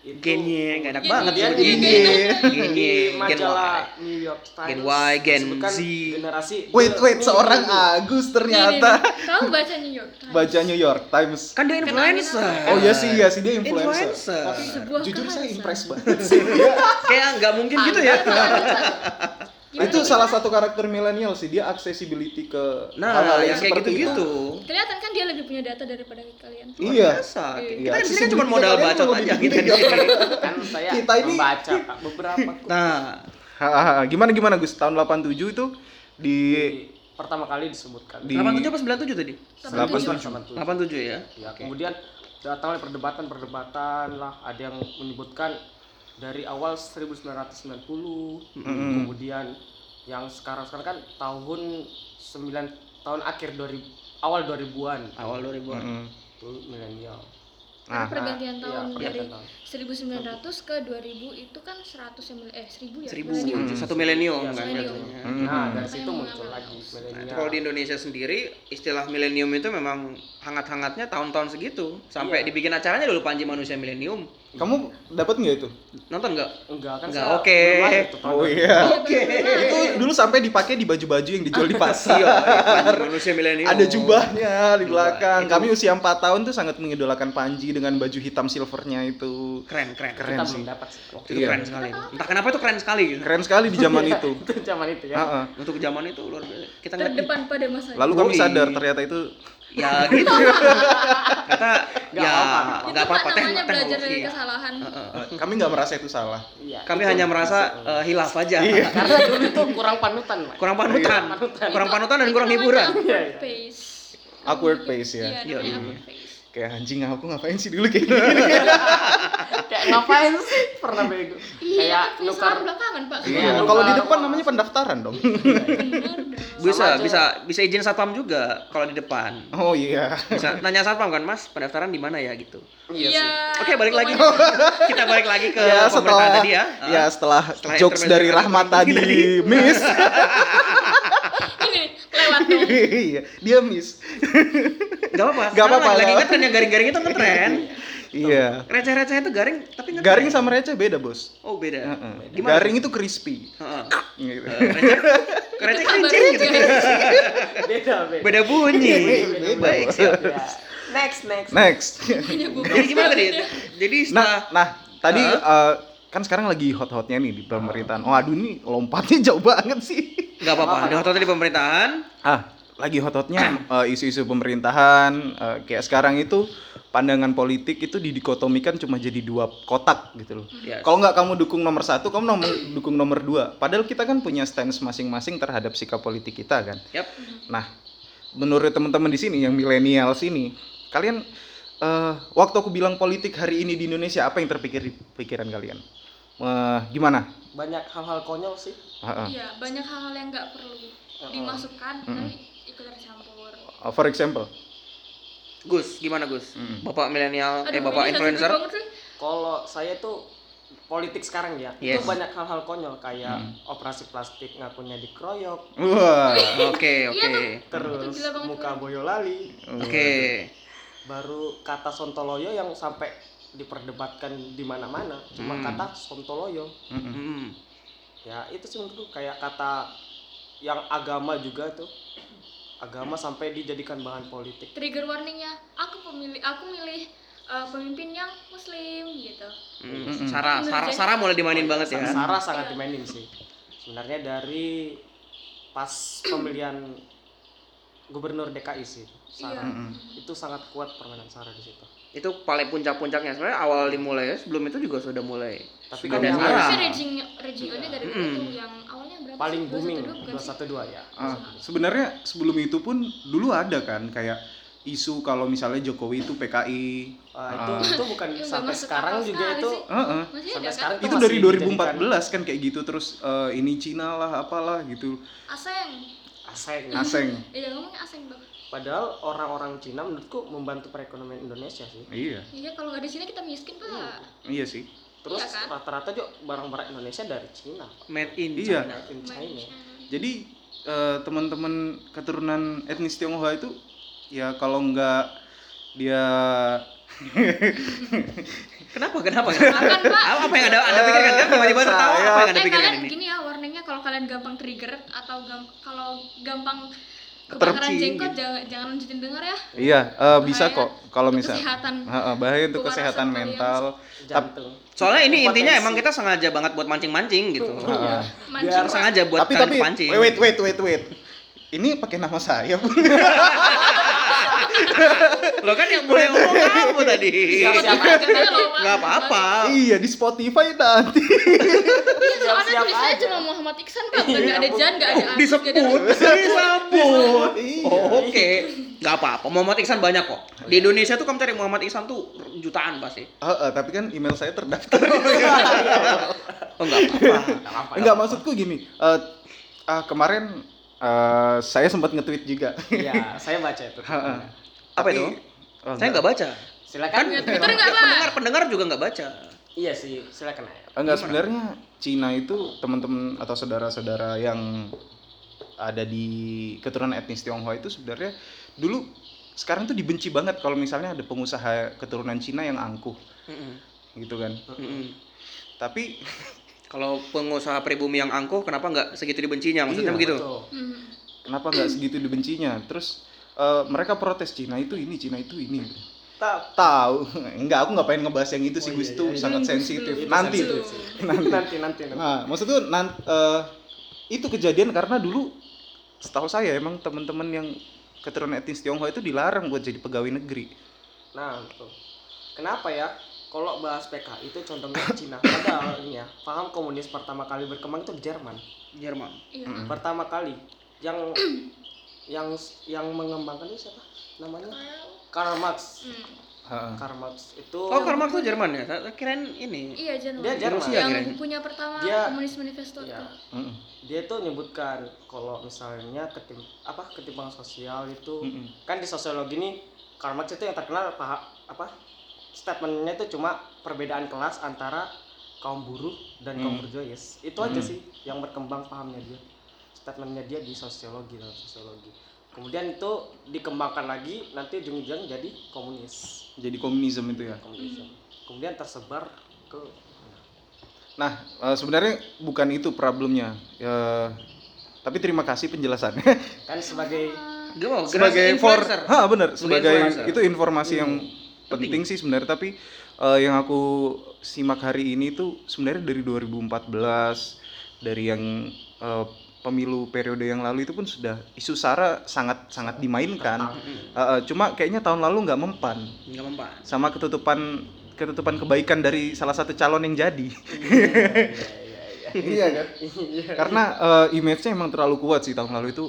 Speaker 4: Itu-
Speaker 2: Genye, nggak enak
Speaker 3: Gen-
Speaker 2: banget.
Speaker 4: Dia
Speaker 2: sebut
Speaker 4: di-
Speaker 2: genye. Genye,
Speaker 4: di
Speaker 2: gen Y.
Speaker 4: majalah New York Times
Speaker 2: Gen Y, Gen
Speaker 4: disebutkan
Speaker 2: Z.
Speaker 4: generasi
Speaker 1: Wait,
Speaker 4: the
Speaker 1: wait,
Speaker 4: new
Speaker 1: seorang
Speaker 4: millennial.
Speaker 1: Agus
Speaker 3: Ternyata.
Speaker 1: ternyata
Speaker 3: Kamu baca New York Times?
Speaker 1: baca New York Times.
Speaker 2: Kan dia influencer.
Speaker 1: Oh iya sih, iya sih dia influencer.
Speaker 2: Influencer.
Speaker 1: Tapi
Speaker 3: Sebuah
Speaker 1: jujur saya
Speaker 3: keharusan.
Speaker 1: impress (laughs) banget sih. Dia-
Speaker 2: (laughs) Kayak nggak mungkin gitu
Speaker 3: Iya,
Speaker 2: ya.
Speaker 3: Gimana,
Speaker 1: Nah, itu
Speaker 3: gimana?
Speaker 1: salah satu karakter milenial sih, dia accessibility ke
Speaker 2: Nah,
Speaker 1: yang
Speaker 2: yang kayak
Speaker 1: seperti itu.
Speaker 2: gitu-gitu.
Speaker 3: Kelihatan kan dia lebih punya data daripada kalian.
Speaker 1: Iya.
Speaker 2: Biasa. Kita kan di
Speaker 3: Iya.
Speaker 2: sini
Speaker 1: Accessibility
Speaker 2: cuma modal
Speaker 1: kalian
Speaker 2: bacot
Speaker 1: lebih
Speaker 2: aja gitu.
Speaker 1: gede.
Speaker 2: kita di sini.
Speaker 4: kan saya
Speaker 1: Kita ini-
Speaker 4: membaca Pak,
Speaker 2: (laughs)
Speaker 4: beberapa kok.
Speaker 2: Nah,
Speaker 1: Hahaha, gimana gimana Gus tahun 87 itu di
Speaker 4: Di- pertama kali disebutkan
Speaker 1: Di-
Speaker 2: 87 apa 97 tadi?
Speaker 1: Delapan
Speaker 3: Tapi
Speaker 1: tujuh.
Speaker 4: 87.
Speaker 2: 87 ya.
Speaker 4: Ya, kemudian datanglah perdebatan-perdebatan lah, ada yang menyebutkan dari awal 1990, kemudian yang sekarang-sekarang kan tahun 9 tahun akhir 2000 awal 2000-an
Speaker 2: Awal 2000-an.
Speaker 1: Mm.
Speaker 4: itu milenial.
Speaker 3: Karena
Speaker 1: Nah,
Speaker 3: kan pergantian
Speaker 4: iya,
Speaker 3: tahun dari
Speaker 4: pergantian tahun.
Speaker 3: 1900 ke 2000 itu kan 100 yang mil- eh 1000 ya.
Speaker 2: 1000
Speaker 1: Hmm.
Speaker 2: satu milenium
Speaker 4: Iya,
Speaker 2: kan
Speaker 3: milenium.
Speaker 2: jatuhnya.
Speaker 1: Mm.
Speaker 4: Nah, dari
Speaker 3: Apa
Speaker 4: situ
Speaker 3: yang
Speaker 4: muncul
Speaker 3: mengenal?
Speaker 4: lagi
Speaker 2: Nah, itu
Speaker 4: milenial.
Speaker 2: kalau di Indonesia sendiri istilah milenium itu memang hangat-hangatnya tahun-tahun segitu sampai
Speaker 4: Iya.
Speaker 2: dibikin acaranya dulu Panji Manusia Milenium
Speaker 1: kamu dapat nggak itu?
Speaker 2: nonton nggak?
Speaker 4: Enggak kan
Speaker 2: Enggak,
Speaker 4: saya
Speaker 2: oke.
Speaker 4: belum lahir tuh tahun
Speaker 1: Oh
Speaker 4: itu.
Speaker 1: iya.
Speaker 3: Oke.
Speaker 1: Itu dulu sampai dipakai di baju-baju yang dijual di
Speaker 2: (laughs)
Speaker 1: pasar.
Speaker 2: Iya, Panji Manusia Milenium.
Speaker 1: Ada jubahnya di
Speaker 2: Jubah,
Speaker 1: belakang.
Speaker 2: itu.
Speaker 1: Kami usia 4 tahun tuh sangat mengidolakan Panji dengan baju hitam silvernya itu.
Speaker 2: Keren, keren, keren.
Speaker 4: Kita
Speaker 1: Keren
Speaker 4: belum
Speaker 1: sih.
Speaker 4: dapat sih.
Speaker 2: Waktu itu
Speaker 1: Iya.
Speaker 2: keren sekali. Entah kenapa itu keren sekali gitu.
Speaker 1: Keren sekali di zaman itu.
Speaker 4: Itu zaman itu
Speaker 2: Ah,
Speaker 4: ya.
Speaker 1: Heeh.
Speaker 2: Untuk zaman itu luar biasa. Kita nggak
Speaker 3: Terdepan pada masa
Speaker 1: Lalu kami
Speaker 2: Yoi.
Speaker 1: sadar ternyata itu
Speaker 3: (laughs)
Speaker 2: ya gitu. Kata
Speaker 4: Nggak
Speaker 2: ya
Speaker 4: apa-apa,
Speaker 3: itu
Speaker 2: nggak apa-apa
Speaker 3: kan namanya
Speaker 2: teknologi
Speaker 3: belajar dari
Speaker 2: ya.
Speaker 3: kesalahan.
Speaker 1: eh, kami nggak merasa itu salah.
Speaker 4: Iya.
Speaker 2: Kami
Speaker 4: itu
Speaker 2: hanya
Speaker 4: masuk
Speaker 2: merasa
Speaker 4: dulu.
Speaker 2: eh, hilaf aja.
Speaker 4: karena dulu itu kurang panutan, Pak.
Speaker 2: kurang panutan, kurang panutan dan kurang hiburan.
Speaker 4: Iya, iya.
Speaker 3: Pace.
Speaker 1: Awkward pace ya.
Speaker 3: Iya, namanya awkward pace.
Speaker 1: Kayak anjing aku ngapain sih dulu kayak
Speaker 2: Iya,
Speaker 1: gini.
Speaker 4: Kayak ngapain sih pernah bego?
Speaker 3: Iya,
Speaker 4: Kayak
Speaker 3: nukar
Speaker 4: nukar
Speaker 3: belakangan, Pak.
Speaker 1: Iya, kalau di depan namanya pendaftaran (laughs) dong.
Speaker 3: Benar dong.
Speaker 2: Bisa,
Speaker 4: aja.
Speaker 2: bisa, bisa izin satpam juga kalau di depan.
Speaker 1: Oh iya.
Speaker 2: Bisa nanya satpam kan, Mas, pendaftaran di mana ya gitu.
Speaker 4: Iya sih.
Speaker 2: Oke, balik lagi.
Speaker 3: Iya pokoknya
Speaker 2: (laughs) Kita balik lagi ke
Speaker 1: ya setelah
Speaker 2: pemberitaan tadi ya.
Speaker 1: ya setelah,
Speaker 2: Setelah
Speaker 1: jokes
Speaker 2: intermezzo
Speaker 1: dari
Speaker 2: tadi,
Speaker 1: Rahmat tadi
Speaker 2: (laughs) tadi.
Speaker 1: miss (laughs)
Speaker 3: Ini lewat dong.
Speaker 1: Iya, dia miss
Speaker 2: Gak
Speaker 1: Gak
Speaker 2: apa-apa. sekarang
Speaker 1: apa-apa, ya.
Speaker 2: Lagi, lagi
Speaker 1: gak
Speaker 2: ingat kan yang garing-garing itu
Speaker 1: (laughs)
Speaker 2: ngetren.
Speaker 1: iya
Speaker 2: Receh-receh itu garing, tapi ngetren.
Speaker 1: garing sama receh beda bos
Speaker 2: Oh, beda.
Speaker 1: Heeh.
Speaker 2: Gimana?
Speaker 1: garing itu crispy
Speaker 2: Heeh.
Speaker 1: gitu.
Speaker 2: Receh
Speaker 3: Kabar
Speaker 2: kencing gitu.
Speaker 3: aja.
Speaker 4: Beda, beda.
Speaker 2: Beda
Speaker 1: Iya,
Speaker 2: bunyi.
Speaker 1: Beda.
Speaker 2: Baik, siap.
Speaker 4: Iya. Next, next.
Speaker 1: next
Speaker 3: Hanya bukan.
Speaker 2: Jadi gimana tadi? Jadi setelah
Speaker 1: nah nah tadi
Speaker 2: Heeh.
Speaker 1: eh, kan sekarang lagi hot-hotnya nih di pemerintahan oh aduh nih lompatnya jauh banget sih
Speaker 2: nggak apa-apa, ada hotel di pemerintahan.
Speaker 1: ah lagi hot-hotnya (clears throat) eh, isu-isu pemerintahan eh, kayak sekarang itu pandangan politik itu didikotomikan cuma jadi dua kotak gitu loh
Speaker 2: Hmm. Yes.
Speaker 1: Kalau nggak kamu dukung nomor satu, kamu nomor, dukung nomor dua. Padahal kita kan punya stance masing-masing terhadap sikap politik kita kan.
Speaker 2: Yap.
Speaker 1: Nah, menurut teman-teman di sini yang milenial sini, kalian eh, waktu aku bilang politik hari ini di Indonesia apa yang terpikir di pikiran kalian? Eh, gimana? Ah,
Speaker 4: Banyak hal-hal konyol sih.
Speaker 1: Heeh.
Speaker 2: Ah.
Speaker 3: Iya, banyak hal-hal yang nggak perlu
Speaker 4: Oh.
Speaker 3: dimasukkan tapi ikut tercampur.
Speaker 1: Eh, for example,
Speaker 2: Gus, gimana Gus?
Speaker 1: Mm.
Speaker 2: Bapak milenial, eh
Speaker 3: Aduh,
Speaker 2: bapak
Speaker 3: ini
Speaker 2: influencer.
Speaker 3: sensitif banget sih.
Speaker 4: Kalau saya tuh politik sekarang ya,
Speaker 2: Yes. Hmm.
Speaker 4: itu banyak hal-hal konyol kayak operasi plastik ngakunya dikeroyok,
Speaker 1: wah,
Speaker 2: Oke,
Speaker 3: Iya,
Speaker 2: oke.
Speaker 4: terus
Speaker 3: gila banget
Speaker 4: muka Boyolali,
Speaker 2: Oke.
Speaker 1: Iya,
Speaker 4: baru kata sontoloyo yang sampai diperdebatkan di mana-mana. Cuma
Speaker 2: Hmm.
Speaker 4: kata sontoloyo.
Speaker 2: Mm.
Speaker 4: ya itu sih menurutku kayak kata yang agama juga tuh agama sampai dijadikan bahan politik
Speaker 3: Trigger warningnya, aku pemilih aku milih eh, pemimpin yang muslim gitu.
Speaker 2: Mm. Sarah, Sarah, Sarah mulai dimainin banget ya.
Speaker 4: Sarah sangat dimainin sih sebenarnya dari pas pemilihan gubernur DKI sih Sarah
Speaker 3: Iya.
Speaker 4: itu sangat kuat permainan Sarah di situ
Speaker 2: itu paling puncak-puncaknya sebenarnya awal dimulai ya sebelum itu juga sudah mulai
Speaker 4: tapi
Speaker 2: Sudah
Speaker 4: kan
Speaker 2: ada
Speaker 4: yang
Speaker 2: Sarah.
Speaker 3: Tapi raging ragingnya dari itu yang awalnya berapa? sih?
Speaker 4: paling
Speaker 3: 212
Speaker 4: booming
Speaker 3: bukan sih?
Speaker 4: 212 ya
Speaker 1: Ah, sebenarnya sebelum itu pun dulu ada kan kayak isu kalau misalnya Jokowi itu PKI.
Speaker 4: Ah, itu itu bukan
Speaker 3: Iya, nggak
Speaker 4: sampai
Speaker 3: masuk
Speaker 4: sekarang
Speaker 3: akal
Speaker 4: juga
Speaker 3: sekali
Speaker 4: itu
Speaker 3: sih.
Speaker 1: Heeh.
Speaker 3: Masih
Speaker 4: sampai
Speaker 3: ada kan?
Speaker 4: sekarang
Speaker 1: itu
Speaker 4: masih
Speaker 1: dari
Speaker 4: dijadikan
Speaker 1: 2014 kan kayak gitu terus eh, ini Cina lah apalah gitu
Speaker 3: Aseng.
Speaker 4: aseng
Speaker 1: aseng
Speaker 3: Iya, ngomongnya aseng dong.
Speaker 4: padahal orang-orang Cina menurutku membantu perekonomian Indonesia sih
Speaker 1: iya
Speaker 3: Iya, kalau nggak di sini kita miskin, Pak.
Speaker 1: iya sih
Speaker 4: Terus
Speaker 3: Iya kan?
Speaker 4: rata-rata juga barang-barang Indonesia dari Cina, Pak.
Speaker 2: made in
Speaker 1: Iya.
Speaker 2: China.
Speaker 4: in China.
Speaker 1: jadi eh, teman-teman keturunan etnis Tionghoa itu ya kalau nggak dia
Speaker 2: Kenapa? Kenapa?
Speaker 3: Makan, Pak.
Speaker 2: apa apa yang ada Anda pikirkan kan tiba-tiba tertawa
Speaker 1: Saya-
Speaker 2: apa yang Anda
Speaker 3: eh
Speaker 2: pikirkan
Speaker 3: kalian
Speaker 2: ini?
Speaker 3: gini ya warningnya kalau kalian gampang trigger atau gam- kalau gampang kebakaran
Speaker 2: Tercing,
Speaker 3: jenggot
Speaker 2: gitu.
Speaker 3: jangan, jangan lanjutin denger ya.
Speaker 1: iya eh, bisa
Speaker 3: Bahaya
Speaker 1: kok kalau
Speaker 3: untuk
Speaker 1: misal
Speaker 3: kesehatan.
Speaker 1: Heeh, bahaya untuk
Speaker 3: Kewarasan
Speaker 1: kesehatan
Speaker 3: kalian.
Speaker 1: mental Tap-
Speaker 4: jantung
Speaker 2: Soalnya ini intinya
Speaker 4: Potensi.
Speaker 2: emang kita sengaja banget buat mancing-mancing gitu.
Speaker 1: Heeh.
Speaker 3: Mancing
Speaker 4: Biar
Speaker 3: Pak.
Speaker 2: Sengaja buat
Speaker 1: Iya. tapi
Speaker 2: kalian
Speaker 1: tapi
Speaker 2: kepancing.
Speaker 1: wait wait wait wait ini pakai nama saya (laughs)
Speaker 2: Lo kan yang boleh
Speaker 1: (laughs)
Speaker 2: ngomong kamu tadi.
Speaker 4: Siapa-siapa
Speaker 3: Siapa aja loh,
Speaker 2: Gak
Speaker 3: Pak.
Speaker 2: Iya. apa-apa.
Speaker 1: iya di Spotify nanti
Speaker 3: Iya, soalnya
Speaker 4: Siap-siap
Speaker 3: tulisannya
Speaker 4: aja.
Speaker 3: cuma Muhammad Iksan Pak, bukan
Speaker 4: Iya,
Speaker 3: nggak ada Jan, nggak ada
Speaker 2: Oh,
Speaker 3: Arif, nggak ada-
Speaker 2: Disebut, disebut.
Speaker 1: Iya.
Speaker 2: Oh, Oke, nggak apa-apa. Muhammad Iksan banyak kok.
Speaker 1: Oh,
Speaker 2: Di Indonesia tuh kamu cari Muhammad Iksan tuh jutaan pasti.
Speaker 1: Heeh, tapi kan email saya
Speaker 2: (laughs)
Speaker 1: terdaftar
Speaker 2: Oh nggak apa-apa.
Speaker 1: Enggak maksudku gini. eh, ah, kemarin eh, saya sempat nge-tweet juga.
Speaker 4: iya saya baca itu
Speaker 2: (laughs) Apa
Speaker 1: Tapi-
Speaker 2: itu?
Speaker 1: Oh,
Speaker 2: Saya nggak baca.
Speaker 4: silakan
Speaker 3: Ya, Twitter nggak Pak?
Speaker 2: Pendengar, pendengar juga nggak baca.
Speaker 4: iya sih silakan aja
Speaker 1: Enggak sebenarnya Cina itu teman-teman atau saudara-saudara yang ada di keturunan etnis Tionghoa itu sebenarnya dulu sekarang tuh dibenci banget kalau misalnya ada pengusaha keturunan Cina yang angkuh
Speaker 2: Mm-mm.
Speaker 1: gitu kan.
Speaker 2: Mm-mm.
Speaker 1: Tapi
Speaker 2: Kalau pengusaha pribumi yang angkuh, kenapa nggak segitu dibencinya? Maksudnya
Speaker 1: Iya,
Speaker 2: begitu.
Speaker 4: Tuh.
Speaker 3: Hmm.
Speaker 1: kenapa (clears throat) nggak segitu dibencinya? Terus eh, mereka protes Cina itu ini, Cina itu ini.
Speaker 4: Tap.
Speaker 1: Tahu. (laughs) Enggak, aku nggak pengen ngebahas yang itu sih,
Speaker 4: Oh,
Speaker 1: Gus
Speaker 4: iya,
Speaker 1: itu
Speaker 4: iya, iya.
Speaker 1: sangat
Speaker 3: Gus
Speaker 1: sensitif.
Speaker 3: dulu.
Speaker 1: Nanti
Speaker 3: Gus dulu.
Speaker 1: Nanti.
Speaker 4: nanti nanti nanti
Speaker 1: Nah, maksud tuh nan- eh, itu kejadian karena dulu setahu saya emang teman-teman yang keturunan etnis Tionghoa itu dilarang buat jadi pegawai negeri.
Speaker 4: Nah, tuh. Kenapa ya? Kalau bahas PK itu contohnya Cina. Padahal ini ya, paham komunis pertama kali berkembang itu di Jerman.
Speaker 2: Jerman.
Speaker 3: Iya.
Speaker 1: Mm.
Speaker 4: Pertama kali yang yang yang mengembangkan itu siapa? Namanya Karl Marx.
Speaker 3: Hmm.
Speaker 1: Heeh.
Speaker 4: Karl Marx itu
Speaker 2: Oh, Karl Marx tuh Jerman ya? Saya saya kirain ini.
Speaker 3: Iya, Jan.
Speaker 4: Dia Jerman.
Speaker 2: Rusia
Speaker 3: yang
Speaker 2: kirain.
Speaker 3: bukunya pertama
Speaker 4: Dia-
Speaker 3: Komunis Manifesto
Speaker 4: Iya.
Speaker 3: itu.
Speaker 1: Mm-mm.
Speaker 4: dia itu menyebutkan kalau misalnya ketim apa ketimpangan sosial itu
Speaker 1: Mm-mm.
Speaker 4: kan di sosiologi nih Karl Marx itu yang terkenal paha- apa statementnya itu cuma perbedaan kelas antara kaum buruh dan kaum
Speaker 1: Hmm.
Speaker 4: bourgeois itu aja
Speaker 1: Hmm.
Speaker 4: sih yang berkembang pahamnya dia statementnya dia di sosiologi dalam sosiologi kemudian itu dikembangkan lagi nanti ujung-ujungnya jadi komunis
Speaker 1: Jadi komunisme itu ya.
Speaker 4: komunisme kemudian tersebar ke
Speaker 1: Nah, eh, sebenarnya bukan itu problemnya. Eh, tapi terima kasih penjelasannya.
Speaker 4: kan sebagai
Speaker 2: Gimana?
Speaker 1: sebagai for,
Speaker 2: influencer.
Speaker 1: ha benar, sebagai
Speaker 2: influencer.
Speaker 1: itu informasi yang penting sih sebenarnya tapi eh, yang aku simak hari ini tuh sebenarnya dari 2014 dari yang eh, pemilu periode yang lalu itu pun sudah isu sara sangat sangat dimainkan. Eh, eh, cuma kayaknya tahun lalu nggak mempan
Speaker 2: Nggak mempan.
Speaker 1: sama ketutupan ketutupan kebaikan dari salah satu calon yang jadi. Iya kan? (laughs) Karena eh, image-nya emang terlalu kuat sih tahun lalu itu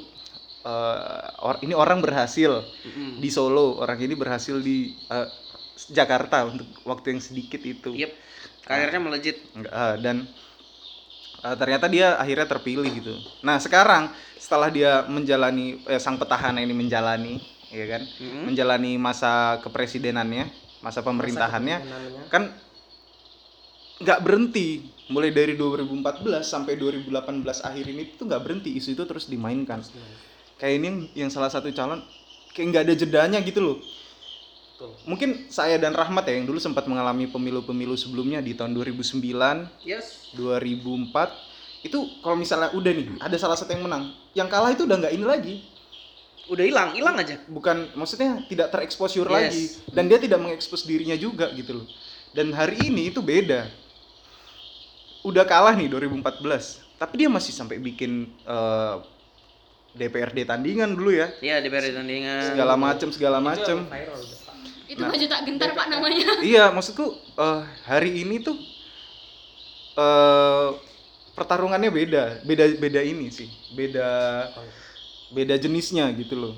Speaker 1: eh, or- ini orang berhasil
Speaker 2: Mm-mm.
Speaker 1: di Solo orang ini berhasil di eh, Jakarta untuk waktu yang sedikit itu
Speaker 2: Yep. Karirnya melejit.
Speaker 1: Nggak, eh, dan eh, ternyata dia akhirnya terpilih gitu nah sekarang setelah dia menjalani eh, sang petahana ini menjalani ya kan
Speaker 2: Mm-mm.
Speaker 1: menjalani masa kepresidenannya masa pemerintahannya
Speaker 4: namanya
Speaker 1: kan nggak berhenti mulai dari 2014 sampai 2018 akhir ini tuh nggak berhenti isu itu terus dimainkan kayak ini yang, yang salah satu calon kayak nggak ada jedanya gitu loh
Speaker 4: Betul.
Speaker 1: mungkin saya dan Rahmat ya yang dulu sempat mengalami pemilu-pemilu sebelumnya di tahun 2009
Speaker 2: Yes.
Speaker 1: 2004 itu kalau misalnya udah nih ada salah satu yang menang yang kalah itu udah nggak ini lagi
Speaker 2: Udah hilang, hilang aja.
Speaker 1: bukan maksudnya tidak tereksposur
Speaker 2: Yes.
Speaker 1: lagi dan dia tidak mengekspos dirinya juga gitu loh dan hari ini itu beda udah kalah nih 2014 tapi dia masih sampai bikin eh, DPRD tandingan dulu ya
Speaker 2: Iya, DPR tandingan.
Speaker 1: segala macem segala macem
Speaker 4: Itu viral udah, Pak.
Speaker 3: Itu maju tak gentar Pak
Speaker 4: (laughs)
Speaker 3: namanya.
Speaker 1: iya maksudku eh, hari ini tuh eh pertarungannya beda beda beda ini sih beda Oh, iya. beda jenisnya gitu loh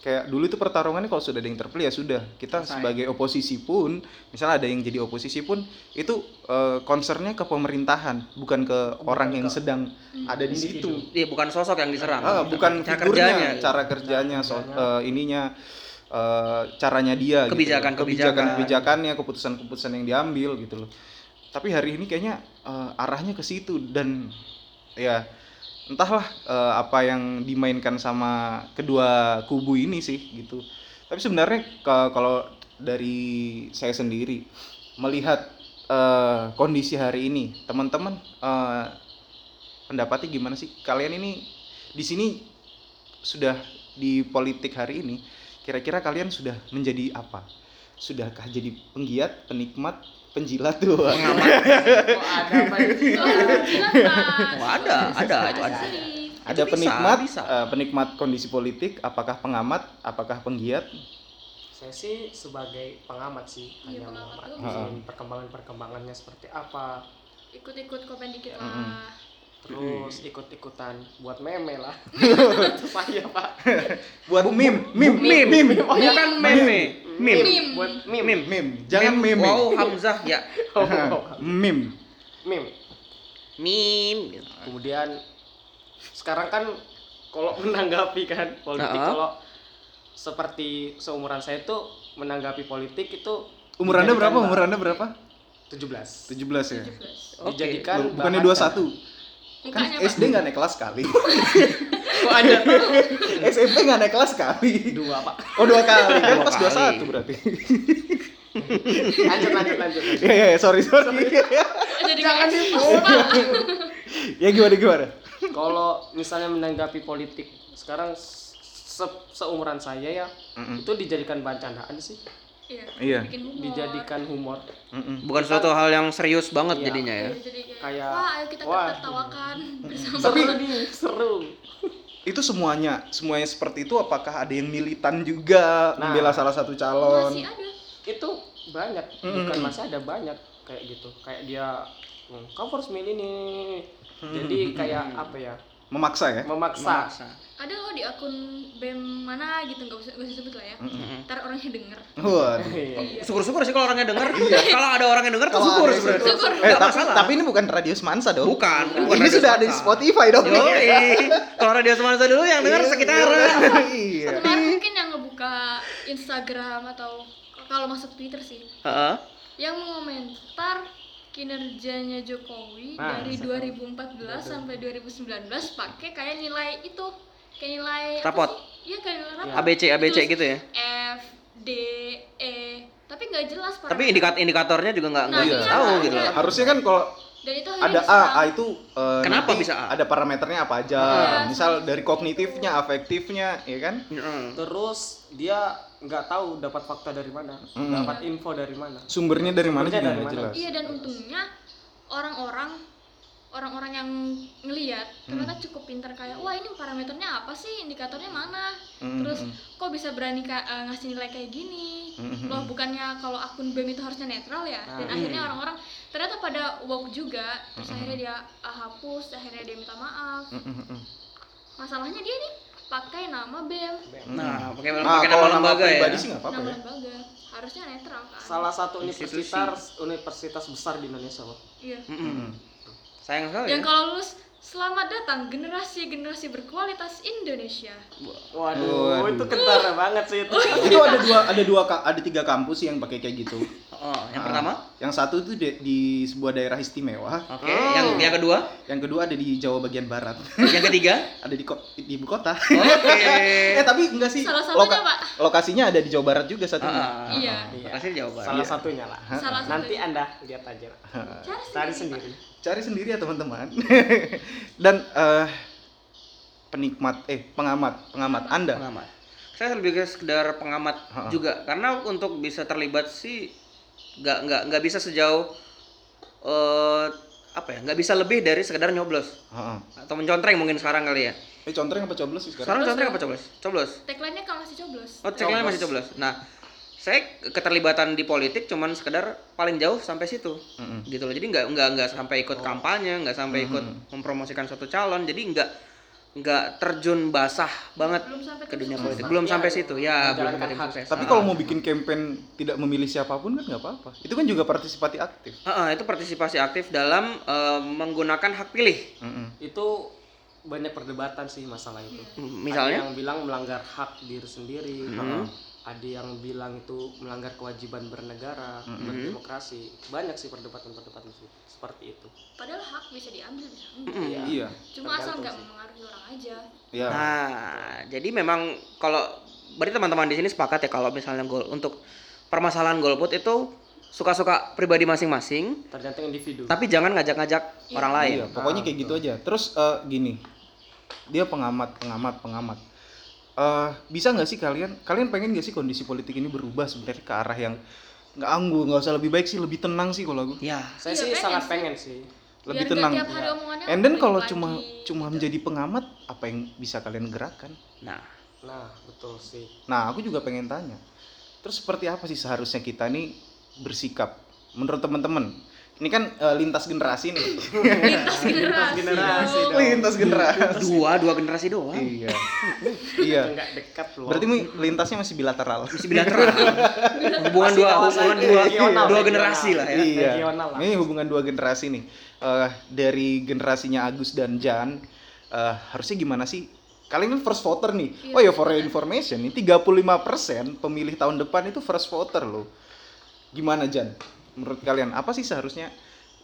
Speaker 1: kayak dulu itu pertarungannya kalau sudah ada yang terpilih ya sudah kita
Speaker 2: Selesai.
Speaker 1: sebagai oposisi pun misalnya ada yang jadi oposisi pun itu eh, concernnya ke pemerintahan Oh, bukan ke orang yang sedang ada di situ
Speaker 4: individu.
Speaker 2: Iya, bukan sosok yang diserang.
Speaker 1: Ah, bukan
Speaker 2: Cara
Speaker 1: figurnya,
Speaker 2: kerjanya.
Speaker 1: cara kerjanya, so- eh, ininya, eh, caranya dia, gitu.
Speaker 2: Kebijakan-kebijakan.
Speaker 1: kebijakan-kebijakannya, keputusan-keputusan yang diambil gitu loh. Tapi hari ini kayaknya eh, arahnya ke situ dan ya entahlah eh, apa yang dimainkan sama kedua kubu ini sih gitu. Tapi sebenarnya ke- kalau dari saya sendiri melihat eh, kondisi hari ini teman-teman eh, pendapatnya gimana sih kalian ini di sini sudah di politik hari ini kira-kira kalian sudah menjadi apa sudahkah jadi penggiat penikmat penjilat (laughs) tuh
Speaker 4: Kok ada
Speaker 3: Oh, gila, Pak.
Speaker 2: Wah, ada, ada, itu ada.
Speaker 3: Asli.
Speaker 1: ada
Speaker 2: Itu bisa,
Speaker 1: penikmat
Speaker 2: bisa.
Speaker 1: eh, penikmat kondisi politik apakah pengamat apakah penggiat
Speaker 4: Saya sih sebagai pengamat sih, hanya
Speaker 3: Iya, pengamat
Speaker 4: mengamati
Speaker 3: tuh.
Speaker 1: Heeh.
Speaker 4: perkembangan-perkembangannya seperti apa,
Speaker 3: Ikut-ikut komen dikit lah.
Speaker 1: Mm-mm.
Speaker 4: terus
Speaker 1: Hmm.
Speaker 4: ikut-ikutan buat meme
Speaker 1: (laughs)
Speaker 4: lah. Supaya Pak.
Speaker 1: buat meme meme
Speaker 2: Meme.
Speaker 1: meme
Speaker 2: Oh, ya kan meme. Meme.
Speaker 3: Meme.
Speaker 4: Buat meme. (laughs)
Speaker 2: Meme.
Speaker 4: Oh,
Speaker 1: meme jangan meme
Speaker 2: Wow, Hamzah ya.
Speaker 1: (laughs) meme
Speaker 4: meme.
Speaker 2: Meme.
Speaker 4: Kemudian sekarang kan kalau menanggapi kan politik
Speaker 2: Heeh.
Speaker 4: kalau seperti seumuran saya itu menanggapi politik itu
Speaker 1: umur anda
Speaker 4: dijadikan
Speaker 1: berapa
Speaker 4: bah-
Speaker 1: umur anda berapa
Speaker 4: 17.
Speaker 1: 17 ya
Speaker 3: 17.
Speaker 2: Oke.
Speaker 4: Dijadikan
Speaker 1: Loh, bukannya
Speaker 4: bahan-
Speaker 1: 21 kan
Speaker 3: Mukanya, Pak.
Speaker 1: SD nggak naik kelas (laughs) kali
Speaker 4: Kok ada
Speaker 1: SMP nggak naik kelas kali
Speaker 4: dua Pak.
Speaker 1: oh dua kali kan
Speaker 2: Dua
Speaker 1: pas
Speaker 2: kali.
Speaker 1: 21 berarti
Speaker 4: (laughs)
Speaker 1: (laughs)
Speaker 4: Lanjut lanjut lanjut.
Speaker 1: ya ya ya, sorry sorry
Speaker 3: Jadi Jangan dibuat, Pak.
Speaker 1: (laughs) ya gimana gimana
Speaker 4: kalau misalnya menanggapi politik sekarang se- seumuran saya ya
Speaker 1: Mm-mm.
Speaker 4: itu dijadikan bahan candaan sih
Speaker 3: Iya.
Speaker 1: Iya.
Speaker 3: Bikin humor.
Speaker 4: dijadikan humor
Speaker 1: Mm-mm.
Speaker 2: Bukan suatu hal yang serius banget
Speaker 4: Iya.
Speaker 2: jadinya ya.
Speaker 3: Iya, jadi kayak,
Speaker 4: Kayak,
Speaker 3: wah, ayo kita
Speaker 4: wah. gitu.
Speaker 3: tertawakan bersama.
Speaker 4: seru nih seru
Speaker 1: itu semuanya semuanya seperti itu apakah ada yang militan juga
Speaker 4: Nah.
Speaker 1: membela salah satu
Speaker 3: Masih
Speaker 1: calon
Speaker 3: ada.
Speaker 4: itu banyak bukan
Speaker 1: Mm-mm.
Speaker 4: masih ada banyak kayak gitu kayak dia "Hmm, kamu harus milih nih jadi kayak apa ya
Speaker 1: memaksa ya
Speaker 4: memaksa
Speaker 3: Ada loh di akun BEM mana gitu, nggak usah, nggak usah sebut lah ya. Ntar orangnya denger.
Speaker 1: Waduh.
Speaker 4: (laughs) Iya.
Speaker 2: Syukur-syukur sih kalau orangnya
Speaker 1: (laughs)
Speaker 2: denger. Kalau ada orang yang denger tuh
Speaker 1: Iya. ada
Speaker 2: syukur
Speaker 1: yang
Speaker 2: sebenarnya.
Speaker 1: syukur.
Speaker 2: Nggak
Speaker 1: Eh, tapi,
Speaker 2: masalah.
Speaker 1: tapi ini bukan Radio Semansa dong.
Speaker 2: bukan, bukan
Speaker 1: ini
Speaker 2: Radio
Speaker 1: sudah ada di
Speaker 2: Sumatera.
Speaker 1: Spotify dong. (laughs)
Speaker 2: Yoi. Kalau Radio Semansa dulu yang denger
Speaker 1: Iya,
Speaker 2: sekitaran.
Speaker 1: (laughs) Iya.
Speaker 3: Kemarin mungkin yang ngebuka Instagram atau kalau masuk Twitter sih.
Speaker 2: Heeh.
Speaker 3: yang mengomentar kinerjanya Jokowi
Speaker 4: Nah,
Speaker 3: dari
Speaker 4: saya
Speaker 3: 2014 sampai 2019 pakai kayak nilai itu kayak nilai apa
Speaker 2: Rapot.
Speaker 3: sih? iya kayak nilai rapot
Speaker 2: ABC ABC gitu ya.
Speaker 3: F D E tapi nggak jelas Pak.
Speaker 2: Tapi indikat indikatornya juga nggak nggak
Speaker 3: Nah,
Speaker 1: iya.
Speaker 2: tahu gitu.
Speaker 3: Iya.
Speaker 1: Harusnya kan kalau
Speaker 3: dan itu hanya
Speaker 1: ada
Speaker 3: bisa
Speaker 1: A, A itu eh,
Speaker 2: Kenapa
Speaker 1: nanti
Speaker 2: bisa A?
Speaker 1: Ada parameternya apa aja?
Speaker 3: Iya.
Speaker 1: Misal dari kognitifnya, afektifnya, ya kan?
Speaker 2: Heeh.
Speaker 4: terus dia nggak tahu dapat fakta dari mana
Speaker 1: Mm.
Speaker 4: dapat info dari mana
Speaker 1: Sumbernya dari mana
Speaker 4: Sumbernya
Speaker 1: juga
Speaker 4: dari
Speaker 1: nggak
Speaker 4: mana?
Speaker 1: jelas.
Speaker 3: iya dan untungnya orang-orang orang-orang yang ngeliat
Speaker 2: Hmm.
Speaker 3: ternyata cukup pintar kayak wah ini parameternya apa sih indikatornya mana
Speaker 1: Mm,
Speaker 3: terus
Speaker 1: mm.
Speaker 3: kok bisa berani ka- eh, ngasih nilai kayak gini
Speaker 1: Mm, mm,
Speaker 3: loh bukannya kalau akun BEM itu harusnya netral ya dan
Speaker 4: Nah.
Speaker 3: akhirnya orang-orang ternyata pada woke juga terus akhirnya dia ah, hapus akhirnya dia minta maaf
Speaker 1: Mm, mm, mm.
Speaker 3: masalahnya dia nih pakai nama BEM
Speaker 2: Nah, pakai
Speaker 1: Nah,
Speaker 2: pakai
Speaker 1: kalau
Speaker 2: nama
Speaker 1: nama
Speaker 2: lembaga ya.
Speaker 1: pribadi sih nggak apa-apa
Speaker 3: nama
Speaker 1: ya.
Speaker 3: lembaga harusnya netral kan
Speaker 4: salah satu
Speaker 2: Institusi.
Speaker 4: universitas universitas besar di Indonesia Pak.
Speaker 3: iya
Speaker 1: Hmm.
Speaker 2: Mm-mm. Sayang sekali. ya.
Speaker 3: yang kalau lulus selamat datang generasi generasi berkualitas Indonesia
Speaker 4: Waduh,
Speaker 1: Waduh.
Speaker 4: itu kentara banget sih itu.
Speaker 1: itu ada dua ada dua ka- ada tiga kampus yang pakai kayak gitu.
Speaker 2: Oh, yang
Speaker 1: Ah.
Speaker 2: pertama?
Speaker 1: Yang satu itu di, di sebuah daerah istimewa,
Speaker 2: Oke, yang yang kedua?
Speaker 1: yang kedua ada di Jawa bagian barat,
Speaker 2: Yang
Speaker 1: (laughs)
Speaker 2: ketiga?
Speaker 1: ada di ko- di ibu kota.
Speaker 2: Oke.
Speaker 1: eh tapi enggak sih.
Speaker 3: Salah satunya, Pak.
Speaker 1: Lokasinya ada di Jawa Barat juga satunya.
Speaker 2: Ah,
Speaker 3: Iya.
Speaker 2: Makasih jawabannya.
Speaker 4: Salah satunya lah.
Speaker 3: Salah
Speaker 4: Nanti
Speaker 3: satunya.
Speaker 4: Anda lihat aja. lah.
Speaker 3: cari
Speaker 4: Cari
Speaker 3: sendiri, Pak.
Speaker 4: sendiri.
Speaker 1: Cari sendiri ya teman-teman. (laughs) Dan eh, penikmat eh pengamat pengamat Anda.
Speaker 2: pengamat. Saya lebih ke sekedar pengamat
Speaker 1: Ha-ha.
Speaker 2: juga karena untuk bisa terlibat sih nggak nggak nggak bisa sejauh eh apa ya nggak bisa lebih dari sekedar nyoblos
Speaker 1: Heeh.
Speaker 2: atau mencontreng mungkin sekarang kali ya.
Speaker 1: Eh contohnya apa coblos sih sekarang?
Speaker 2: Sekarang contreng apa coblos? Coblos.
Speaker 3: tagline-nya kalau masih coblos
Speaker 2: Oh, coblos masih coblos. Nah, saya keterlibatan di politik cuman sekedar paling jauh sampai situ
Speaker 1: Mm-mm.
Speaker 2: gitu loh jadi nggak nggak nggak sampai ikut kampanye nggak sampai ikut mempromosikan satu calon jadi nggak nggak terjun basah banget
Speaker 3: belum sampai Iya,
Speaker 2: ke dunia
Speaker 3: terus-
Speaker 2: politik belum sampai situ ya belum
Speaker 4: menjalankan
Speaker 2: sampai
Speaker 4: hak.
Speaker 2: sukses.
Speaker 1: Tapi
Speaker 2: Ah.
Speaker 1: kalau mau bikin campaign tidak memilih siapapun kan nggak apa-apa. Itu kan juga partisipatif aktif.
Speaker 2: Ah, ah, itu partisipasi aktif dalam eh, menggunakan hak pilih
Speaker 1: Mm-mm.
Speaker 4: Itu banyak perdebatan sih masalah itu.
Speaker 2: M- misalnya
Speaker 4: ada yang bilang melanggar hak diri sendiri, ada yang bilang itu melanggar kewajiban bernegara, berdemokrasi. Banyak sih perdebatan-perdebatan sih seperti itu.
Speaker 3: padahal hak bisa diambil bisa enggak.
Speaker 4: Iya.
Speaker 1: Iya.
Speaker 3: cuma
Speaker 4: Tergantung
Speaker 3: asal nggak
Speaker 4: sih.
Speaker 3: mempengaruhi orang aja
Speaker 1: Iya.
Speaker 2: nah jadi memang kalau berarti teman-teman di sini sepakat ya kalau misalnya gol untuk permasalahan golput itu suka-suka pribadi masing-masing,
Speaker 4: tergantung individu
Speaker 2: tapi jangan ngajak-ngajak orang lain.
Speaker 1: Iya, pokoknya kayak gitu aja. Terus eh, gini, dia pengamat, pengamat, pengamat. Eh, bisa nggak sih kalian, kalian pengen nggak sih kondisi politik ini berubah sebenarnya ke arah yang nggak anggu, nggak usah lebih baik sih, lebih tenang sih kalau aku.
Speaker 2: Ya,
Speaker 4: saya
Speaker 3: Iya,
Speaker 4: sih
Speaker 3: pengen
Speaker 4: sangat
Speaker 3: sih.
Speaker 4: pengen sih
Speaker 1: Lebih
Speaker 3: Biar nggak
Speaker 1: tenang.
Speaker 3: tiap hari omongannya gitu.
Speaker 1: And then
Speaker 3: balik
Speaker 1: kalau
Speaker 3: lagi.
Speaker 1: cuma cuma menjadi pengamat, apa yang bisa kalian gerakkan?
Speaker 2: nah
Speaker 4: nah betul sih
Speaker 1: Nah, aku juga pengen tanya. Terus seperti apa sih seharusnya kita nih bersikap menurut teman-teman? Ini kan eh, lintas generasi nih.
Speaker 3: lintas generasi, Oh.
Speaker 4: generasi
Speaker 3: dong.
Speaker 1: (laughs) lintas generasi.
Speaker 2: dua dua generasi doang.
Speaker 1: iya. iya.
Speaker 4: nggak dekat loh
Speaker 1: Berarti Mi, lintasnya masih bilateral.
Speaker 2: Masih bilateral. hubungan
Speaker 4: Masih
Speaker 2: dua
Speaker 4: kawasan
Speaker 2: hubungan dua
Speaker 4: regional,
Speaker 2: dua
Speaker 4: regional.
Speaker 2: generasi lah ya.
Speaker 1: iya.
Speaker 4: regional lah.
Speaker 1: Ini hubungan dua generasi nih. Eh, dari generasinya Agus dan Jan, eh, harusnya gimana sih? Kalian kan first voter nih.
Speaker 3: Iya.
Speaker 1: Oh ya for your information, nih 35% pemilih tahun depan itu first voter loh. Gimana Jan? Menurut kalian apa sih seharusnya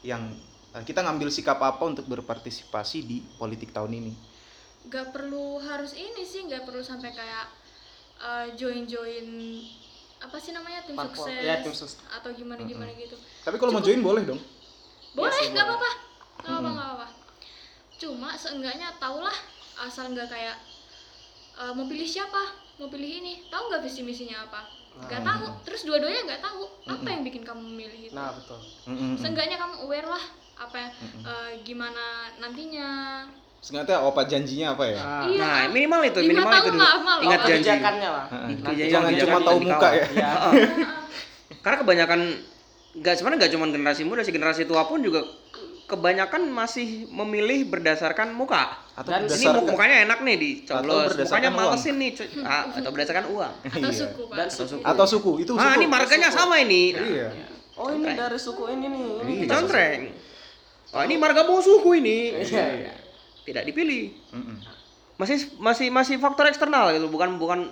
Speaker 1: yang eh, kita ngambil sikap apa untuk berpartisipasi di politik tahun ini?
Speaker 3: nggak perlu harus ini sih nggak perlu sampai kayak join join apa sih namanya tim
Speaker 4: Parpol.
Speaker 3: sukses
Speaker 4: Ya, tim sukses. Iya
Speaker 3: atau gimana gimana gitu
Speaker 1: Tapi kalau mau join boleh dong.
Speaker 3: boleh
Speaker 4: sih,
Speaker 3: nggak
Speaker 4: boleh.
Speaker 3: apa-apa nggak apa-apa nggak apa-apa cuma seenggaknya tahulah asal nggak kayak eh, mau pilih siapa mau pilih ini tahu nggak visi misinya apa
Speaker 4: Nah.
Speaker 3: nggak tahu terus dua-duanya nggak tahu apa yang bikin kamu milih itu
Speaker 4: nah betul
Speaker 1: Mm-mm.
Speaker 3: seenggaknya kamu aware lah apa yang- eh, gimana nantinya
Speaker 1: Sengaja opa janjinya apa ya?
Speaker 4: nah,
Speaker 3: Iya.
Speaker 2: Nah, minimal itu,
Speaker 3: Lima
Speaker 2: minimal itu
Speaker 3: tahun
Speaker 2: dulu.
Speaker 3: nggak amal loh.
Speaker 2: Ingat
Speaker 4: ya,
Speaker 2: janji.
Speaker 4: kebijakannya lah
Speaker 1: Heeh.
Speaker 2: Itu jadi
Speaker 1: Jangan
Speaker 2: yang
Speaker 1: cuma
Speaker 2: jadi
Speaker 1: tahu
Speaker 2: yang
Speaker 1: muka
Speaker 2: dikawal.
Speaker 1: ya.
Speaker 4: Iya.
Speaker 2: Heeh. Karena kebanyakan nggak sebenarnya nggak cuma generasi muda, sih generasi tua pun juga kebanyakan masih memilih berdasarkan muka.
Speaker 1: Atau Iya.
Speaker 4: Dan ini
Speaker 2: Ini
Speaker 1: berdasarkan-
Speaker 2: mu- mukanya enak nih
Speaker 1: Atau
Speaker 2: dicoblos,
Speaker 1: berdasarkan
Speaker 2: mukanya
Speaker 1: uang.
Speaker 2: malesin nih, cu- Ah, atau berdasarkan uang.
Speaker 3: atau
Speaker 1: Iya.
Speaker 3: suku
Speaker 4: dan
Speaker 3: pak
Speaker 4: suku
Speaker 1: atau suku itu
Speaker 2: Nah,
Speaker 1: suku.
Speaker 2: ini marganya sama ini. Nah,
Speaker 1: iya
Speaker 4: (laughs) oh ini dari suku ini nih ini
Speaker 1: Iya.
Speaker 2: Contreng. Oh, ini marga musuhku ini.
Speaker 4: Iya.
Speaker 2: Tidak dipilih.
Speaker 1: Mm-mm.
Speaker 2: Masih masih masih faktor eksternal gitu, bukan bukan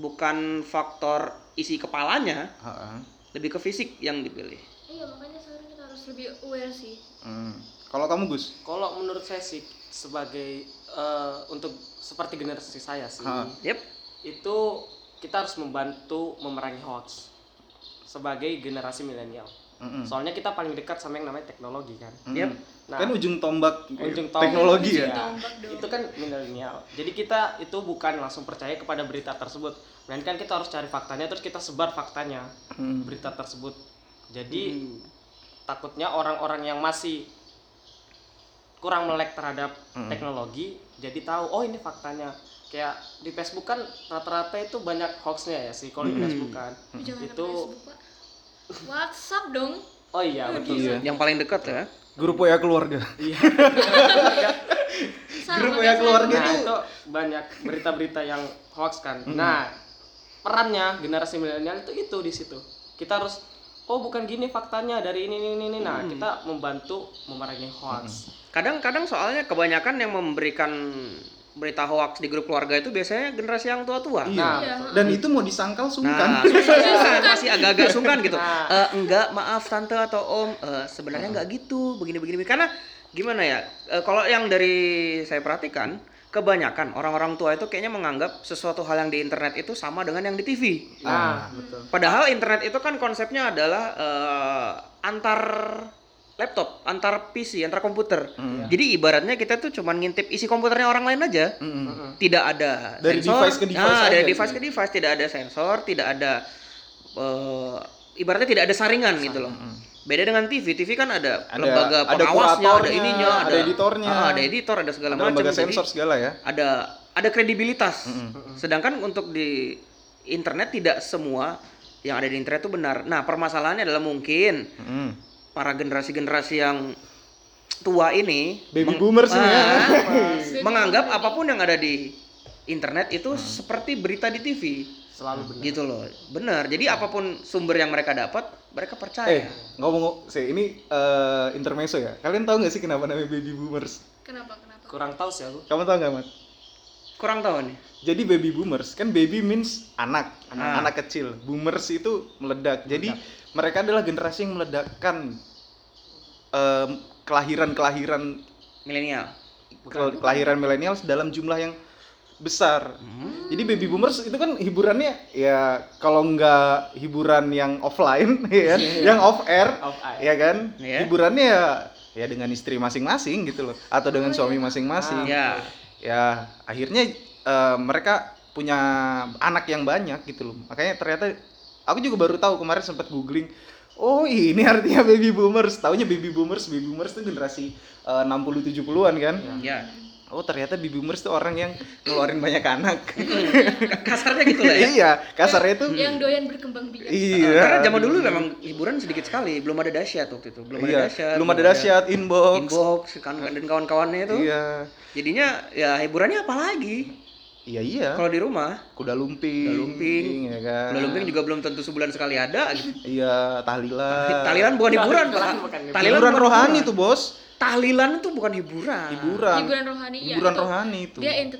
Speaker 2: bukan faktor isi kepalanya,
Speaker 1: Ha-ha.
Speaker 2: lebih ke fisik yang dipilih.
Speaker 3: iya makanya sekarang kita harus lebih aware sih
Speaker 1: Mm. kalau kamu Gus
Speaker 4: kalau menurut saya sih sebagai eh, untuk seperti generasi saya sih
Speaker 1: Ha.
Speaker 2: Yep.
Speaker 4: itu kita harus membantu memerangi hoax sebagai generasi milenial
Speaker 1: Mm-mm.
Speaker 4: soalnya kita paling dekat sama yang namanya teknologi kan
Speaker 1: Mm-mm.
Speaker 2: Yep.
Speaker 4: nah
Speaker 1: Hmm. kan ujung tombak
Speaker 4: Ujung tombak.
Speaker 1: teknologi ya
Speaker 4: Iya.
Speaker 3: tombak dong
Speaker 4: itu kan milenial jadi kita itu bukan langsung percaya kepada berita tersebut melainkan kita harus cari faktanya terus kita sebar faktanya
Speaker 1: Mm.
Speaker 4: berita tersebut jadi
Speaker 2: Hmm.
Speaker 4: takutnya orang-orang yang masih kurang melek terhadap
Speaker 1: Mm.
Speaker 4: teknologi jadi tahu oh ini faktanya kayak di Facebook kan rata-rata itu banyak hoaxnya ya sih kalau di
Speaker 2: Mm.
Speaker 4: Facebook kan
Speaker 3: Jangan
Speaker 4: itu
Speaker 3: Facebook, Pak. WhatsApp dong.
Speaker 4: oh iya betul
Speaker 1: Iya.
Speaker 2: Yang paling dekat ya.
Speaker 1: grup WA keluarga
Speaker 3: Sama
Speaker 1: Grup
Speaker 3: kayak
Speaker 1: ya,
Speaker 3: saya.
Speaker 1: keluarga.
Speaker 4: nah
Speaker 1: Itu-
Speaker 4: itu banyak berita-berita yang hoax kan
Speaker 2: Hmm.
Speaker 4: nah perannya generasi milenial itu itu di situ kita harus oh bukan gini faktanya dari ini ini ini, ini nah
Speaker 2: Hmm.
Speaker 4: kita membantu memerangi hoax
Speaker 2: Kadang-kadang soalnya kebanyakan yang memberikan berita hoax di grup keluarga itu biasanya generasi yang tua-tua.
Speaker 1: iya
Speaker 4: nah
Speaker 3: Iya.
Speaker 1: dan itu mau disangkal kan? Iya.
Speaker 2: Nah,
Speaker 1: (laughs) sungkan
Speaker 2: sungkan, masih agak-agak sungkan gitu.
Speaker 4: Nah.
Speaker 2: Eh, enggak, maaf tante atau om, eh, sebenarnya enggak gitu, begini-begini. Karena gimana ya? eh, kalau yang dari saya perhatikan, kebanyakan orang-orang tua itu kayaknya menganggap sesuatu hal yang di internet itu sama dengan yang di TV.
Speaker 4: nah
Speaker 1: Ah.
Speaker 4: betul
Speaker 2: Padahal internet itu kan konsepnya adalah eh, antar laptop, antar PC, antar komputer.
Speaker 1: Mm.
Speaker 2: Jadi ibaratnya kita tuh cuman ngintip isi komputernya orang lain aja
Speaker 1: Mm-mm.
Speaker 4: Mm-mm.
Speaker 2: tidak ada
Speaker 1: Dari
Speaker 2: sensor.
Speaker 1: device ke device
Speaker 2: Nah,
Speaker 1: aja
Speaker 2: dari
Speaker 1: gitu.
Speaker 2: device ke device tidak ada sensor, tidak ada eh, ibaratnya tidak ada saringan gitu loh. Beda dengan TV, TV kan ada,
Speaker 1: mm. Ada-
Speaker 2: lembaga
Speaker 1: ada
Speaker 2: pengawasnya, ada,
Speaker 1: kuratornya,
Speaker 2: ininya,
Speaker 1: ada editornya.
Speaker 2: ah, ada editor, ada segala
Speaker 1: ada
Speaker 2: macam.
Speaker 1: lembaga
Speaker 2: Jadi
Speaker 1: sensor segala ya
Speaker 2: Ada ada kredibilitas.
Speaker 1: Mm-mm.
Speaker 2: Sedangkan untuk di internet tidak semua yang ada di internet itu benar. Nah, permasalahannya adalah mungkin
Speaker 1: Mm.
Speaker 2: para generasi-generasi yang tua ini
Speaker 1: baby
Speaker 2: meng-
Speaker 1: boomers ini ya
Speaker 2: Ah, menganggap apapun yang ada di internet itu seperti berita di TV
Speaker 4: selalu benar
Speaker 2: gitu loh bener jadi apapun sumber yang mereka dapat mereka
Speaker 1: eh
Speaker 2: percaya
Speaker 1: ngomong sih ini eh, intermezzo ya kalian tahu nggak sih kenapa namanya baby boomers
Speaker 3: Kenapa? Kenapa?
Speaker 4: kurang tahu sih aku
Speaker 1: kamu tahu nggak mat
Speaker 2: kurang tahu nih
Speaker 1: Jadi baby boomers kan baby means anak, anak,
Speaker 2: Ah.
Speaker 1: anak kecil. Boomers itu meledak. Jadi mereka adalah generasi yang meledakkan em, kelahiran-kelahiran
Speaker 2: milenial
Speaker 1: kel- kelahiran milenial dalam jumlah yang besar.
Speaker 2: Hmm,
Speaker 1: Jadi baby boomers itu kan hiburannya ya kalau nggak hiburan yang offline, (laughs) ya, kan? yang off air,
Speaker 4: Off air.
Speaker 1: ya kan?
Speaker 2: Iya.
Speaker 1: Hiburannya ya ya dengan istri masing-masing gitu loh, atau dengan suami
Speaker 4: Ah,
Speaker 1: masing-masing.
Speaker 2: Ya.
Speaker 1: Ya akhirnya eh, mereka punya anak yang banyak gitu loh. Makanya ternyata aku juga baru tahu kemarin sempat googling. Oh ini artinya baby boomers. Taunya baby boomers, baby boomers itu generasi eh, 60-70-an kan?
Speaker 2: Ya.
Speaker 1: Oh ternyata baby boomers tuh orang yang ngeluarin banyak anak.
Speaker 2: (laughs) Kasarnya gitu lah ya.
Speaker 1: iya, kasarnya itu.
Speaker 3: yang doyan berkembang biak
Speaker 1: Iya.
Speaker 2: Karena zaman dulu memang hiburan sedikit sekali, belum ada dahsyat waktu itu, belum
Speaker 1: Iya,
Speaker 2: ada dahsyat.
Speaker 1: Belum ada dahsyat inbox.
Speaker 2: Inbox kan dan kawan-kawannya itu.
Speaker 1: Iya.
Speaker 2: Jadinya ya hiburannya apa lagi?
Speaker 1: Iya iya.
Speaker 2: Kalau di rumah,
Speaker 1: Kuda lumping.
Speaker 2: Kuda lumping.
Speaker 1: ya kan.
Speaker 2: Kuda lumping juga belum tentu sebulan sekali ada gitu.
Speaker 1: Iya, tahlilan.
Speaker 2: Tahlilan bukan hiburan, Pak.
Speaker 4: Tahlilan bukan hiburan.
Speaker 2: Tahlilan
Speaker 1: Hiburan
Speaker 2: bukan
Speaker 1: rohani
Speaker 2: hiburan.
Speaker 1: tuh, Bos.
Speaker 2: Tahlilan itu bukan hiburan.
Speaker 1: Hiburan.
Speaker 3: hiburan rohani ya
Speaker 1: Iya. Hiburan
Speaker 3: itu.
Speaker 1: rohani itu.
Speaker 3: dia into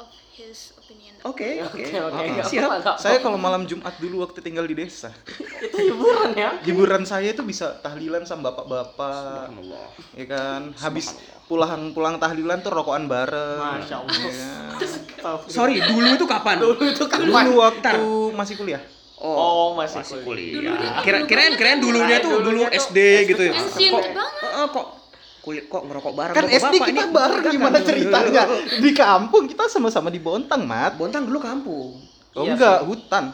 Speaker 3: of his opinion
Speaker 2: Oke, oke.
Speaker 4: Oke, oke.
Speaker 1: Ah.
Speaker 2: Siap.
Speaker 1: Saya kalau malam Jumat dulu waktu tinggal di desa,
Speaker 4: Itu hiburan ya.
Speaker 1: hiburan saya itu bisa tahlilan sama bapak-bapak,
Speaker 2: Subhanallah.
Speaker 1: ya kan. Habis pulang-pulang tahlilan tuh rokokan bareng. Iya.
Speaker 4: Masya Allah.
Speaker 2: Iya.
Speaker 4: Astagfirullah.
Speaker 2: Sorry, dulu itu kapan? Dulu itu
Speaker 1: Dulu
Speaker 2: Ntar.
Speaker 1: waktu masih kuliah.
Speaker 2: Oh,
Speaker 4: Oh, masih,
Speaker 2: masih
Speaker 4: kuliah.
Speaker 2: kuliah. Kira kirain kirain dulunya
Speaker 4: Kirain
Speaker 2: tuh dulu
Speaker 4: dulunya tuh
Speaker 2: SD gitu ya.
Speaker 3: Ancient
Speaker 2: Kok-
Speaker 3: banget.
Speaker 2: Heeh, kok kulit kok ngerokok bareng
Speaker 1: kan
Speaker 2: Bapak-
Speaker 1: SD
Speaker 2: bapak
Speaker 1: kita
Speaker 2: ini
Speaker 1: bareng
Speaker 2: kan
Speaker 1: gimana
Speaker 2: dulu.
Speaker 1: ceritanya (laughs) Iya di kampung kita sama-sama di Bontang mat
Speaker 2: Bontang dulu kampung.
Speaker 1: oh
Speaker 4: Iya
Speaker 1: enggak hutan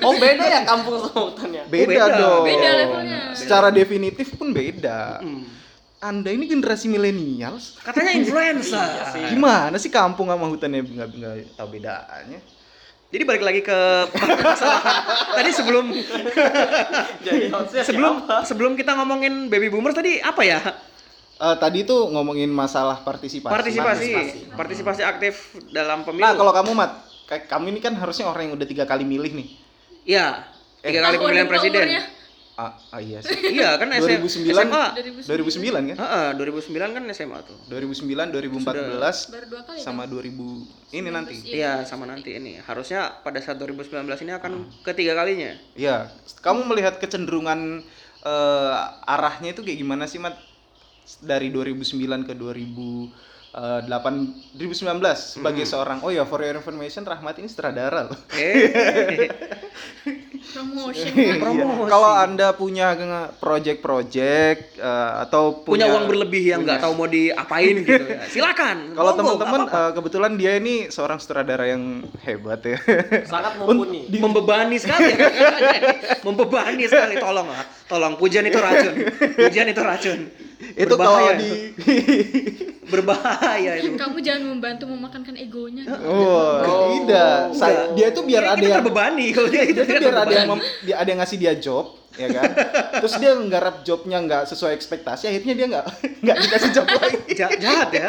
Speaker 4: Oh beda ya kampung sama hutan ya.
Speaker 1: beda,
Speaker 2: beda.
Speaker 1: dong
Speaker 3: Beda levelnya.
Speaker 1: secara definitif pun beda
Speaker 2: Mm.
Speaker 1: anda ini generasi milenials
Speaker 2: Katanya influencer.
Speaker 1: gimana sih kampung sama hutannya nggak nggak tahu bedaannya
Speaker 2: Jadi balik lagi ke permasalahan. Tadi sebelum
Speaker 4: Jadi ya? maksudnya
Speaker 2: sebelum
Speaker 4: siapa?
Speaker 2: sebelum kita ngomongin baby boomers tadi apa ya?
Speaker 1: Eh, tadi tuh ngomongin masalah partisipasi
Speaker 2: Partisipasi, partisipasi, aktif dalam pemilu.
Speaker 1: nah kalau kamu mat kayak kamu ini kan harusnya orang yang udah tiga kali milih nih
Speaker 2: Iya, tiga kali
Speaker 3: Aku
Speaker 2: pemilihan
Speaker 3: Eh, ada
Speaker 2: presiden.
Speaker 3: umurnya.
Speaker 1: ah, ah, iya
Speaker 2: (laughs)
Speaker 1: sih
Speaker 2: Iya kan SM,
Speaker 1: 2009
Speaker 2: SMA.
Speaker 1: 2009 kan
Speaker 2: Heeh, 2009 kan SMA tuh.
Speaker 1: 2009 2014
Speaker 3: baru dua kali kan?
Speaker 1: sama 2000 ini nanti
Speaker 2: Iya, sama nanti ini. Harusnya pada saat 2019 ini akan ketiga kalinya.
Speaker 1: Ya, kamu melihat kecenderungan eh, arahnya itu kayak gimana sih, Mat? Dari 2009 ke eh, 2008 2019 sebagai seorang oh ya for your information Rahmat ini sutradara loh.
Speaker 2: Eh.
Speaker 3: promotion
Speaker 1: (laughs) Iya.
Speaker 2: Promosi.
Speaker 1: Kalau Anda punya nge- project-project eh, atau (laughs)
Speaker 2: punya
Speaker 1: punya,
Speaker 2: uang berlebih yang nggak tahu mau diapain gitu ya. Silakan.
Speaker 1: Kalau
Speaker 2: monggo,
Speaker 1: teman-teman
Speaker 2: nggak apa-apa.
Speaker 1: eh, kebetulan dia ini seorang sutradara yang hebat ya.
Speaker 4: Sangat
Speaker 1: eh,
Speaker 4: mumpuni.
Speaker 2: (laughs) membebani
Speaker 1: (laughs)
Speaker 2: sekali ya. membebani sekali tolong lah. Tolong pujian itu racun. Pujian itu racun.
Speaker 1: itu kalau
Speaker 2: Berbahaya itu.
Speaker 1: di
Speaker 2: berbahaya itu.
Speaker 3: kamu jangan membantu memakankan egonya
Speaker 1: (laughs) Oh, tidak. Saya, dia tuh biar ada
Speaker 2: Kayaknya kita
Speaker 1: yang (laughs)
Speaker 2: terbebani kalau dia itu
Speaker 1: Jadi
Speaker 2: kita
Speaker 1: biar ada yang
Speaker 2: terbebani.
Speaker 1: mem- dia- ada yang ngasih dia job, ya kan? Terus dia nggarap jobnya nggak sesuai ekspektasi, akhirnya dia nggak (laughs) nggak dikasih job lagi.
Speaker 2: Ja- jahat ya.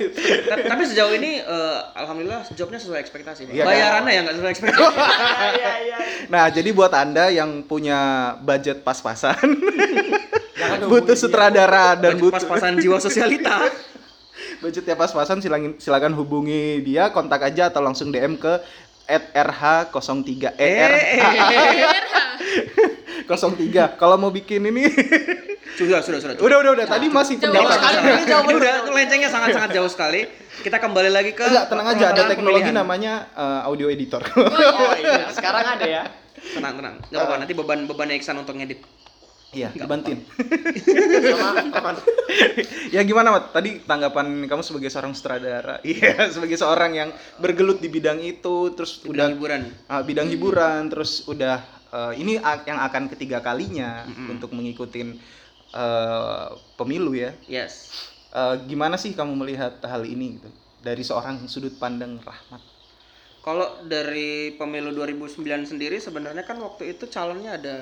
Speaker 1: Gitu.
Speaker 2: Ta- Tapi sejauh ini eh, alhamdulillah jobnya sesuai ekspektasi. Pak.
Speaker 1: Iya, kan?
Speaker 2: Bayarannya yang nggak sesuai ekspektasi.
Speaker 4: Iya iya.
Speaker 1: Nah, jadi buat anda yang punya budget pas-pasan,
Speaker 4: Jangan
Speaker 1: (laughs) butuh sutradara (laughs) dan
Speaker 2: Dan
Speaker 1: butuh
Speaker 2: pas-pasan jiwa sosialita.
Speaker 1: budgetnya ya, pas-pasan, silakan silakan hubungi dia, kontak aja atau langsung DM ke E
Speaker 2: Eh,
Speaker 1: @rh03er
Speaker 2: eh, eh.
Speaker 1: 03. Kalau mau bikin ini, (laughs)
Speaker 2: sudah sudah sudah.
Speaker 1: udah udah udah. Tadi
Speaker 2: Nah,
Speaker 1: masih
Speaker 3: Jauh
Speaker 2: Jauh
Speaker 1: pendapat.
Speaker 2: sekali,
Speaker 4: Jauh
Speaker 2: ini jauh udah lencengnya sangat-sangat jauh sekali. Kita kembali lagi ke
Speaker 1: Enggak, tenang aja ada
Speaker 2: permasalahan
Speaker 1: teknologi
Speaker 2: pemilihan.
Speaker 1: namanya eh, audio
Speaker 2: (laughs)
Speaker 1: editor.
Speaker 4: Oh iya. Sekarang ada ya.
Speaker 2: Tenang, tenang. Enggak apa-apa,
Speaker 1: Ah.
Speaker 2: nanti beban beban Iksan untuk ngedit.
Speaker 1: Iya, dibantin.
Speaker 4: Sama kapan?
Speaker 1: ya gimana Mat? Tadi tanggapan kamu sebagai seorang sutradara, (laughs) iya sebagai seorang yang bergelut di bidang itu, terus
Speaker 2: Udah
Speaker 1: udah
Speaker 2: hiburan.
Speaker 1: ah, bidang hiburan, terus udah eh, ini a- yang akan ketiga kalinya untuk mengikuti eh, pemilu ya.
Speaker 2: Yes.
Speaker 1: Eh, gimana sih kamu melihat hal ini gitu dari seorang sudut pandang Rahmat?
Speaker 2: Kalau dari pemilu 2009 sendiri sebenarnya kan waktu itu calonnya ada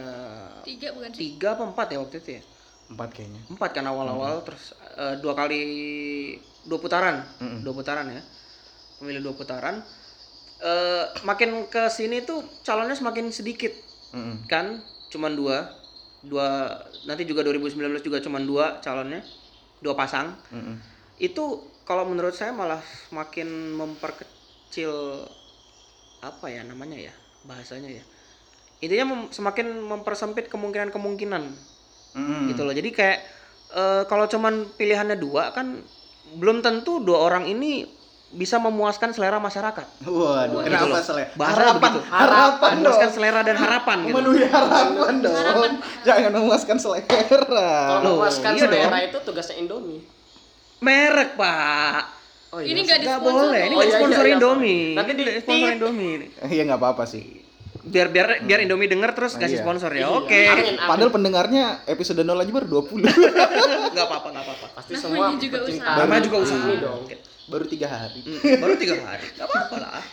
Speaker 3: tiga bukan sih
Speaker 2: tiga apa empat ya waktu itu ya?
Speaker 1: Empat kayaknya.
Speaker 2: Empat kan awal-awal terus eh, dua kali dua putaran,
Speaker 1: Mm-mm.
Speaker 2: dua putaran ya. Pemilu dua putaran. Eh, makin ke sini tuh calonnya semakin sedikit.
Speaker 1: Mm-mm.
Speaker 2: kan cuman dua dua nanti juga 2019 juga cuman dua calonnya dua pasang
Speaker 1: Mm-mm.
Speaker 2: itu kalau menurut saya malah makin memperkecil apa ya namanya ya bahasanya ya intinya mem- semakin mempersempit kemungkinan kemungkinan
Speaker 1: Mm-mm.
Speaker 2: gitu
Speaker 4: Hmm.
Speaker 2: loh jadi kayak eh, kalau cuman pilihannya dua kan belum tentu dua orang ini bisa memuaskan selera masyarakat.
Speaker 1: Waduh,
Speaker 2: Gitu
Speaker 1: kenapa
Speaker 2: loh.
Speaker 1: selera?
Speaker 2: Bahasa
Speaker 1: harapan,
Speaker 2: begitu.
Speaker 1: harapan dong.
Speaker 2: Memuaskan selera dan harapan gitu.
Speaker 1: Memenuhi harapan dong.
Speaker 3: Harapan.
Speaker 1: Jangan memuaskan selera.
Speaker 2: Loh,
Speaker 4: Kalau memuaskan
Speaker 2: iya
Speaker 4: selera itu tugasnya Indomie.
Speaker 2: Merek, Pak.
Speaker 4: Oh
Speaker 3: Ini nggak
Speaker 2: Nggak
Speaker 3: disponsor
Speaker 2: boleh, ini
Speaker 3: loh.
Speaker 4: Oh,
Speaker 2: nggak
Speaker 4: iya,
Speaker 2: sponsor
Speaker 4: iya, iya,
Speaker 2: Indomie.
Speaker 4: sorry. Nanti
Speaker 2: Ini
Speaker 4: di-
Speaker 2: nggak sponsor
Speaker 4: tit. Hmm.
Speaker 2: Indomie. ini.
Speaker 1: Iya nggak apa-apa sih.
Speaker 2: Biar biar biar Indomie denger terus
Speaker 1: Oh,
Speaker 2: kasih
Speaker 1: iya.
Speaker 2: sponsor ya.
Speaker 4: Iya,
Speaker 2: Oke.
Speaker 4: angin, angin.
Speaker 1: Padahal pendengarnya episode 0 aja baru (laughs) 20.
Speaker 2: (laughs) Nggak apa-apa, nggak apa-apa.
Speaker 4: pasti
Speaker 3: Namanya
Speaker 4: semua
Speaker 3: juga
Speaker 4: pecinta
Speaker 3: usaha.
Speaker 2: Namanya juga usaha.
Speaker 4: Indomie Iya. Hmm. dong.
Speaker 1: baru tiga hari.
Speaker 2: Mm, baru tiga hari. Gak apa-apa lah.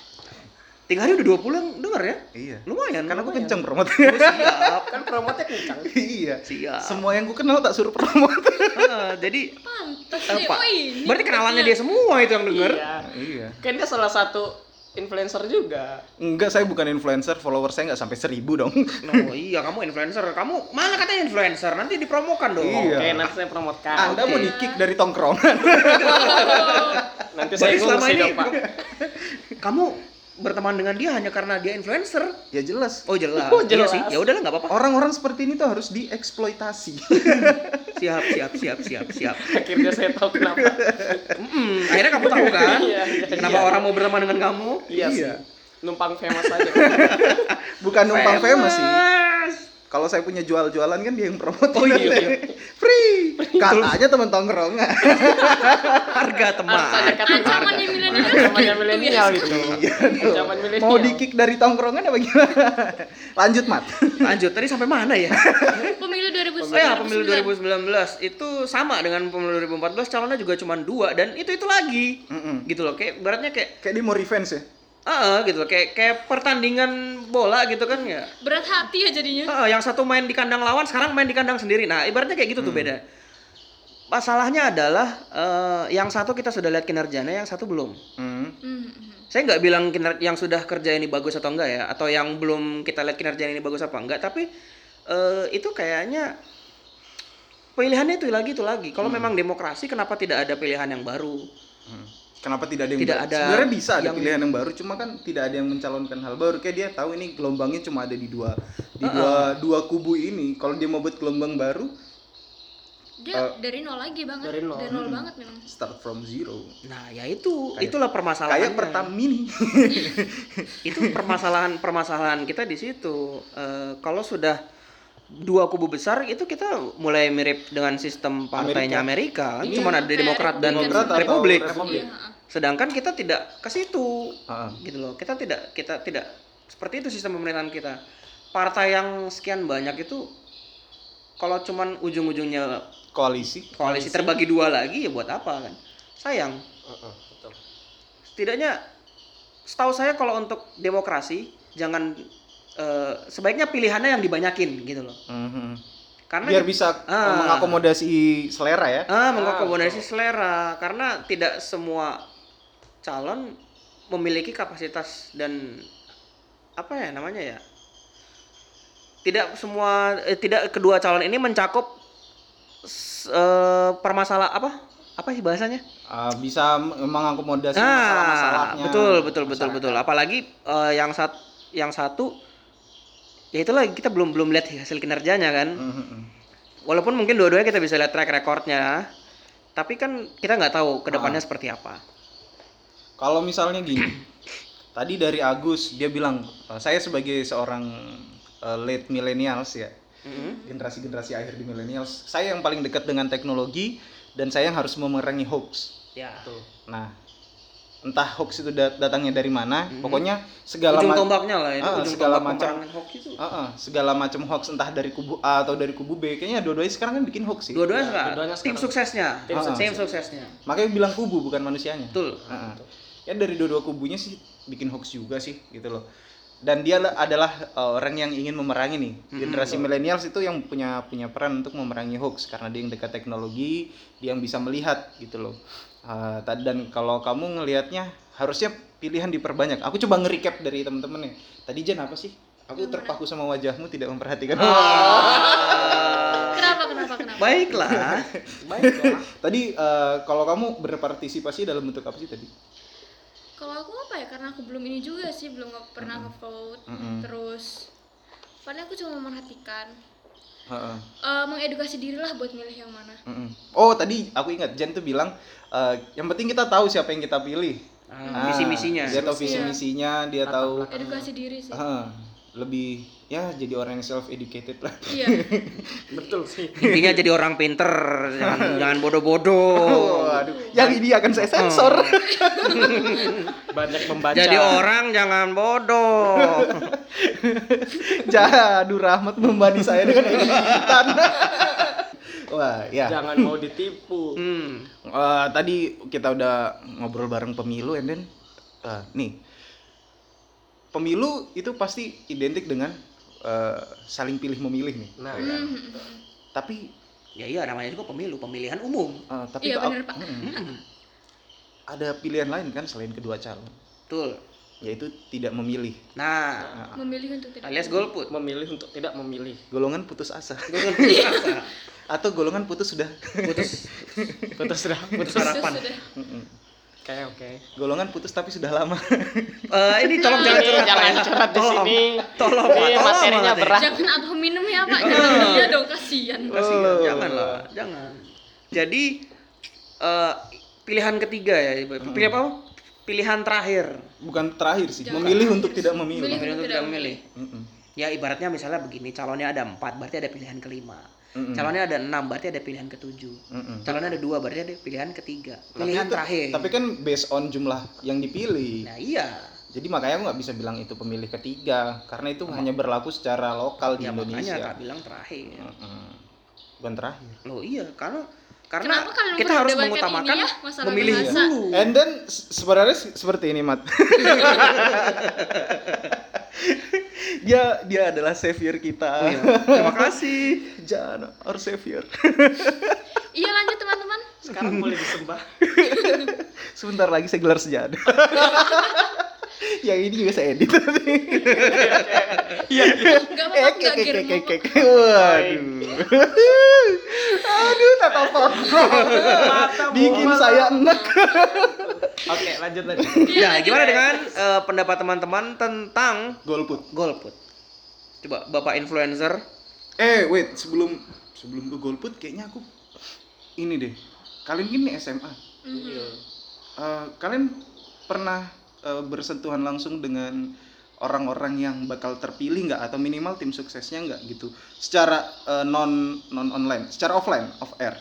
Speaker 2: Tiga hari udah 20 yang denger ya?
Speaker 1: Iya.
Speaker 2: Lumayan.
Speaker 1: Karena aku
Speaker 2: lumayan.
Speaker 1: kenceng promot.
Speaker 2: Oh, siap.
Speaker 4: Kan promotnya kencang.
Speaker 1: iya.
Speaker 2: Siap.
Speaker 1: Semua yang ku kenal tak suruh promot.
Speaker 2: (laughs) Heeh, jadi
Speaker 3: Pantes
Speaker 2: eh,
Speaker 3: deh,
Speaker 2: Pak,
Speaker 3: oh ini.
Speaker 2: berarti kenalannya dia semua itu yang denger.
Speaker 4: Iya.
Speaker 1: (laughs) iya.
Speaker 4: Kan dia salah satu influencer juga.
Speaker 1: Enggak, saya bukan influencer, follower saya nggak sampai seribu dong.
Speaker 2: Oh iya, kamu influencer. Kamu mana katanya influencer? Nanti dipromokan dong.
Speaker 1: Iya.
Speaker 4: Oke, nanti saya promotkan.
Speaker 1: Anda mau
Speaker 4: Oke.
Speaker 1: di kick dari tongkrongan.
Speaker 4: nanti saya
Speaker 2: Berarti selama
Speaker 4: ngurusin
Speaker 2: ini
Speaker 4: dong, Pak.
Speaker 2: kamu- kamu berteman dengan dia hanya karena dia influencer.
Speaker 1: ya jelas.
Speaker 2: Oh jelas.
Speaker 4: Oh,
Speaker 2: Iya
Speaker 4: jelas.
Speaker 2: sih. Ya udahlah nggak apa-apa.
Speaker 1: Orang-orang seperti ini tuh harus dieksploitasi. (laughs)
Speaker 2: Siap, siap, siap, siap, siap.
Speaker 4: Akhirnya saya tahu kenapa.
Speaker 2: Mm-mm, akhirnya kamu tahu kan?
Speaker 4: Iya, iya,
Speaker 2: Kenapa
Speaker 4: iya.
Speaker 2: orang mau berteman dengan kamu?
Speaker 4: Iya.
Speaker 1: Iya.
Speaker 4: sih. Numpang famous aja.
Speaker 1: Bukan numpang famous sih.
Speaker 2: Famous.
Speaker 1: Kalau saya punya jual-jualan kan dia yang promote.
Speaker 2: Oh, iya, iya.
Speaker 1: (laughs) Free. Katanya teman tongkrongan.
Speaker 2: Harga teman.
Speaker 4: Hartanya kata
Speaker 3: Ancamannya milenial ya.
Speaker 4: Ancamannya milenial gitu.
Speaker 1: Iya,
Speaker 4: Ancaman milenial.
Speaker 1: Mau di kick dari tongkrongan apa gimana? (laughs) Lanjut, Mat.
Speaker 2: Lanjut, tadi sampai mana
Speaker 4: (laughs)
Speaker 2: ya?
Speaker 3: pemilu 2019.
Speaker 2: Oh ya, pemilu 2019 itu sama dengan pemilu 2014 calonnya juga cuma dua dan itu itu lagi
Speaker 4: Hmm.
Speaker 1: Mm-mm.
Speaker 2: gitu loh kayak baratnya kayak
Speaker 1: Kayak dia mau revenge ya?
Speaker 2: eh gitu loh kayak kayak pertandingan bola gitu kan ya
Speaker 3: Berat hati ya jadinya.
Speaker 2: Heeh, yang satu main di kandang lawan, sekarang main di kandang sendiri. Nah, ibaratnya kayak gitu
Speaker 1: Hmm.
Speaker 2: tuh beda. Masalahnya adalah eh, yang satu kita sudah lihat kinerjanya, yang satu belum.
Speaker 1: Hmm.
Speaker 3: Hmm, hmm.
Speaker 2: Saya nggak bilang kiner- yang sudah kerja ini bagus atau enggak ya, atau yang belum kita lihat kinerjanya ini bagus apa enggak, tapi eh, itu kayaknya pilihannya itu lagi itu lagi. Kalau memang demokrasi, kenapa tidak ada pilihan yang baru?
Speaker 1: Hmm. Kenapa tidak ada yang
Speaker 2: Tidak
Speaker 1: baru?
Speaker 2: ada
Speaker 1: Sebenarnya bisa ada
Speaker 2: yang-
Speaker 1: pilihan yang baru, cuma kan tidak ada yang mencalonkan hal baru. Kayak dia tahu ini gelombangnya cuma ada di dua di dua dua kubu ini. Kalau dia mau buat gelombang baru,
Speaker 3: Dia
Speaker 2: Eh,
Speaker 3: dari nol lagi banget.
Speaker 4: dari nol.
Speaker 2: Hmm.
Speaker 3: banget memang.
Speaker 1: start from zero.
Speaker 2: Nah, ya itu,
Speaker 1: Kayak-
Speaker 2: itulah permasalahannya.
Speaker 1: Kayak Pertamini. (laughs)
Speaker 2: itu permasalahan permasalahan kita di situ Eh, kalau sudah dua kubu besar itu kita mulai mirip dengan sistem partainya Amerika,
Speaker 1: Iya.
Speaker 2: Cuman ada
Speaker 3: Kayak
Speaker 2: Demokrat dan
Speaker 3: Demokrat
Speaker 1: atau
Speaker 2: Republik
Speaker 1: Republik.
Speaker 3: Iya, heeh.
Speaker 2: sedangkan kita tidak ke situ
Speaker 1: Heeh.
Speaker 2: gitu loh kita tidak kita tidak seperti itu sistem pemerintahan kita partai yang sekian banyak itu kalau cuman ujung-ujungnya
Speaker 1: Koalisi.
Speaker 2: koalisi terbagi dua lagi ya buat apa kan sayang
Speaker 4: Heeh, Uh, betul.
Speaker 2: setidaknya setahu saya kalau untuk demokrasi jangan eh, sebaiknya pilihannya yang dibanyakin gitu loh
Speaker 1: Mhm.
Speaker 2: karena
Speaker 1: Biar bisa
Speaker 2: Ah.
Speaker 1: mengakomodasi selera ya.
Speaker 2: ah mengakomodasi selera karena tidak semua calon memiliki kapasitas dan apa ya namanya ya tidak semua eh, tidak kedua calon ini mencakup s- eh, permasalah apa apa sih bahasanya
Speaker 1: Ah, bisa m- mengakomodasi
Speaker 2: Ah,
Speaker 1: masalah-masalahnya.
Speaker 2: betul betul betul betul. Apalagi eh, yang sat yang satu ya itulah kita belum belum lihat hasil kinerjanya kan.
Speaker 1: Mhm.
Speaker 2: Walaupun mungkin dua-duanya kita bisa lihat track recordnya, tapi kan kita nggak tahu kedepannya seperti apa.
Speaker 1: Kalau misalnya gini, tadi dari Agus dia bilang "Eh, saya sebagai seorang eh, late millennials ya, generasi-generasi akhir di millennials, saya yang paling dekat dengan teknologi dan saya yang harus memerangi hoax.
Speaker 2: Ya.
Speaker 4: Betul.
Speaker 1: Nah, entah hoax itu dat- datangnya dari mana, pokoknya segala
Speaker 2: Mhm. ujung
Speaker 1: macam
Speaker 2: tombaknya lah itu
Speaker 1: Ah,
Speaker 2: ujung
Speaker 1: segala
Speaker 2: tombak
Speaker 1: macam.
Speaker 2: peperangan hoki itu.
Speaker 1: segala macam hoax entah dari kubu A atau dari kubu B, kayaknya dua-duanya sekarang kan bikin hoax sih.
Speaker 2: Dua-duanya
Speaker 4: Ya,
Speaker 2: sekarang,
Speaker 4: dua-duanya
Speaker 2: tim
Speaker 4: sekarang.
Speaker 2: suksesnya, tim,
Speaker 4: Tim
Speaker 1: Ah, sukses.
Speaker 2: suksesnya.
Speaker 1: Makanya bilang kubu bukan manusianya.
Speaker 2: Betul.
Speaker 1: Heeh. Ya dari dua-dua kubunya sih bikin hoax juga sih gitu loh. Dan dia le- adalah uh, orang yang ingin memerangi nih
Speaker 2: Hmm,
Speaker 1: generasi milenials itu yang punya punya peran untuk memerangi hoax karena dia yang dekat teknologi, dia yang bisa melihat gitu loh. Uh, ta- dan kalau kamu ngelihatnya harusnya pilihan diperbanyak. Aku coba nge-recap dari temen-temen ya. Tadi Jen apa sih? Aku terpaku sama wajahmu tidak memperhatikan.
Speaker 2: Ah,
Speaker 3: Kenapa kenapa kenapa?
Speaker 2: Baiklah.
Speaker 4: Baiklah.
Speaker 1: Tadi uh, kalau kamu berpartisipasi dalam bentuk apa sih tadi?
Speaker 3: Kalau aku apa ya? Karena aku belum ini juga sih, belum nge- pernah
Speaker 2: Hmm.
Speaker 3: nge-vote.
Speaker 1: Mm-mm.
Speaker 3: Terus paling aku cuma memerhatikan
Speaker 1: Heeh.
Speaker 3: Eh, mengedukasi dirilah buat milih yang mana.
Speaker 1: Mm-mm. Oh tadi aku ingat Jen tuh bilang eh, yang penting kita tahu siapa yang kita pilih.
Speaker 2: Ah, misi-misinya.
Speaker 1: Dia tahu
Speaker 3: Iya.
Speaker 1: visi misinya, dia
Speaker 4: Latar
Speaker 1: tahu
Speaker 4: belakang.
Speaker 3: edukasi diri sih
Speaker 2: Ah.
Speaker 1: eh, lebih ya jadi orang yang self educated (laughs) lah.
Speaker 2: (laughs)
Speaker 3: iya
Speaker 4: betul sih
Speaker 2: Intinya jadi orang pinter, jangan jangan
Speaker 1: (laughs)
Speaker 2: bodoh-bodoh.
Speaker 1: aduh, yang ini akan saya sensor. (laughs)
Speaker 4: banyak membaca
Speaker 2: Jadi orang jangan
Speaker 4: (laughs)
Speaker 2: bodoh.
Speaker 1: Jadu Rahmat membanding saya (laughs) dengan Edi Witan. Wah, ya.
Speaker 4: jangan mau ditipu
Speaker 2: Hmm.
Speaker 1: Eh, tadi kita udah ngobrol bareng pemilu, and then eh, nih pemilu itu pasti identik dengan eh, saling pilih memilih nih.
Speaker 4: nah
Speaker 3: Hmm.
Speaker 1: Tapi,
Speaker 2: Ya iya namanya juga pemilu, pemilihan umum.
Speaker 1: eh, tapi
Speaker 3: Iya,
Speaker 1: Pak,
Speaker 3: bener, Pak.
Speaker 1: mm,
Speaker 2: Hmm.
Speaker 1: ada pilihan lain kan selain kedua calon,
Speaker 2: Betul.
Speaker 1: yaitu tidak memilih.
Speaker 2: Nah,
Speaker 1: Nah,
Speaker 3: memilih untuk tidak
Speaker 2: alias golput.
Speaker 4: (laughs) memilih untuk tidak memilih
Speaker 1: golongan putus asa (laughs)
Speaker 2: Golput.
Speaker 1: atau golongan putus sudah.
Speaker 2: putus
Speaker 4: putus dah
Speaker 2: (laughs)
Speaker 4: putus
Speaker 3: Terus
Speaker 2: harapan.
Speaker 3: sudah.
Speaker 1: Mm-mm.
Speaker 4: oke oke
Speaker 1: golongan putus tapi sudah lama. (laughs)
Speaker 2: Eh, ini tolong jangan
Speaker 4: Ini
Speaker 2: curhat,
Speaker 4: Iya, jangan
Speaker 2: Pak, ya.
Speaker 4: curhat di
Speaker 2: Tolong.
Speaker 4: sini.
Speaker 2: Tolong,
Speaker 4: Ini
Speaker 2: Pak, tolong
Speaker 4: materinya
Speaker 2: banget, ya.
Speaker 4: berat.
Speaker 3: jangan atau minum ya pak jangan minum ya dong kasihan
Speaker 2: Kasihan, jangan lah, jangan. Jadi eh, pilihan ketiga ya,
Speaker 4: Hmm.
Speaker 2: pilihan apa? Pilihan terakhir.
Speaker 1: Bukan terakhir sih,
Speaker 3: Jangan
Speaker 1: memilih
Speaker 3: terakhir
Speaker 1: untuk
Speaker 3: sih.
Speaker 1: tidak memilih.
Speaker 3: Memilih.
Speaker 2: Pilihan untuk
Speaker 3: tidak
Speaker 2: tidak memilih.
Speaker 1: Mm-mm.
Speaker 2: Ya ibaratnya misalnya begini, calonnya ada empat, berarti ada pilihan kelima.
Speaker 4: Hmm.
Speaker 1: Mm-mm.
Speaker 2: Calonnya ada enam, berarti ada pilihan ketujuh.
Speaker 1: Mm-mm.
Speaker 2: Calonnya ada dua, berarti ada pilihan ketiga.
Speaker 1: Tapi
Speaker 2: Pilihan
Speaker 1: itu-
Speaker 2: terakhir.
Speaker 1: Tapi kan based on jumlah yang dipilih.
Speaker 2: Nah iya,
Speaker 1: Jadi makanya aku nggak bisa bilang itu pemilih ketiga karena itu hanya berlaku secara lokal di
Speaker 2: ya makanya
Speaker 1: Indonesia. Ah.
Speaker 2: tak bilang terakhir.
Speaker 1: Mm-mm. Bukan terakhir.
Speaker 2: Loh iya, karena karena
Speaker 3: Kenapa kalian
Speaker 2: kita harus
Speaker 3: memperdebatkan
Speaker 2: mengutamakan
Speaker 3: ini ya, masalah
Speaker 2: memilih
Speaker 3: bahasa?
Speaker 2: dulu.
Speaker 1: (laughs) And then se- sebenarnya se- seperti ini Mat. (laughs) dia dia adalah savior
Speaker 2: Oh, iya.
Speaker 1: kita.
Speaker 2: Terima
Speaker 1: (laughs)
Speaker 2: kasih.
Speaker 1: Jangan our savior.
Speaker 3: iya lanjut teman-teman
Speaker 4: sekarang boleh disembah
Speaker 1: Sebentar lagi saya gelar sejadah. (laughs) yang ini juga saya edit. (laughs) Eh,
Speaker 3: nggak
Speaker 2: Eh,
Speaker 3: apa-apa
Speaker 1: Ek, ek,
Speaker 3: nggak
Speaker 1: ek,
Speaker 3: gear
Speaker 1: ek,
Speaker 3: mau
Speaker 1: ek, ek. Waduh. Aduh, tatapan. Bikin saya enak.
Speaker 4: oke lanjut lanjut
Speaker 1: Iya,
Speaker 3: Iya,
Speaker 2: Nah, gimana dengan eh, pendapat teman-teman tentang
Speaker 1: Golput.
Speaker 2: golput? Coba Bapak influencer.
Speaker 1: Eh, wait, sebelum sebelum ke golput kayaknya aku ini deh. Kalian gini SMA.
Speaker 3: Mhm.
Speaker 4: Iya.
Speaker 1: Eh, kalian pernah eh, bersentuhan langsung dengan orang-orang yang bakal terpilih nggak atau minimal tim suksesnya nggak gitu secara eh, non non online secara offline off air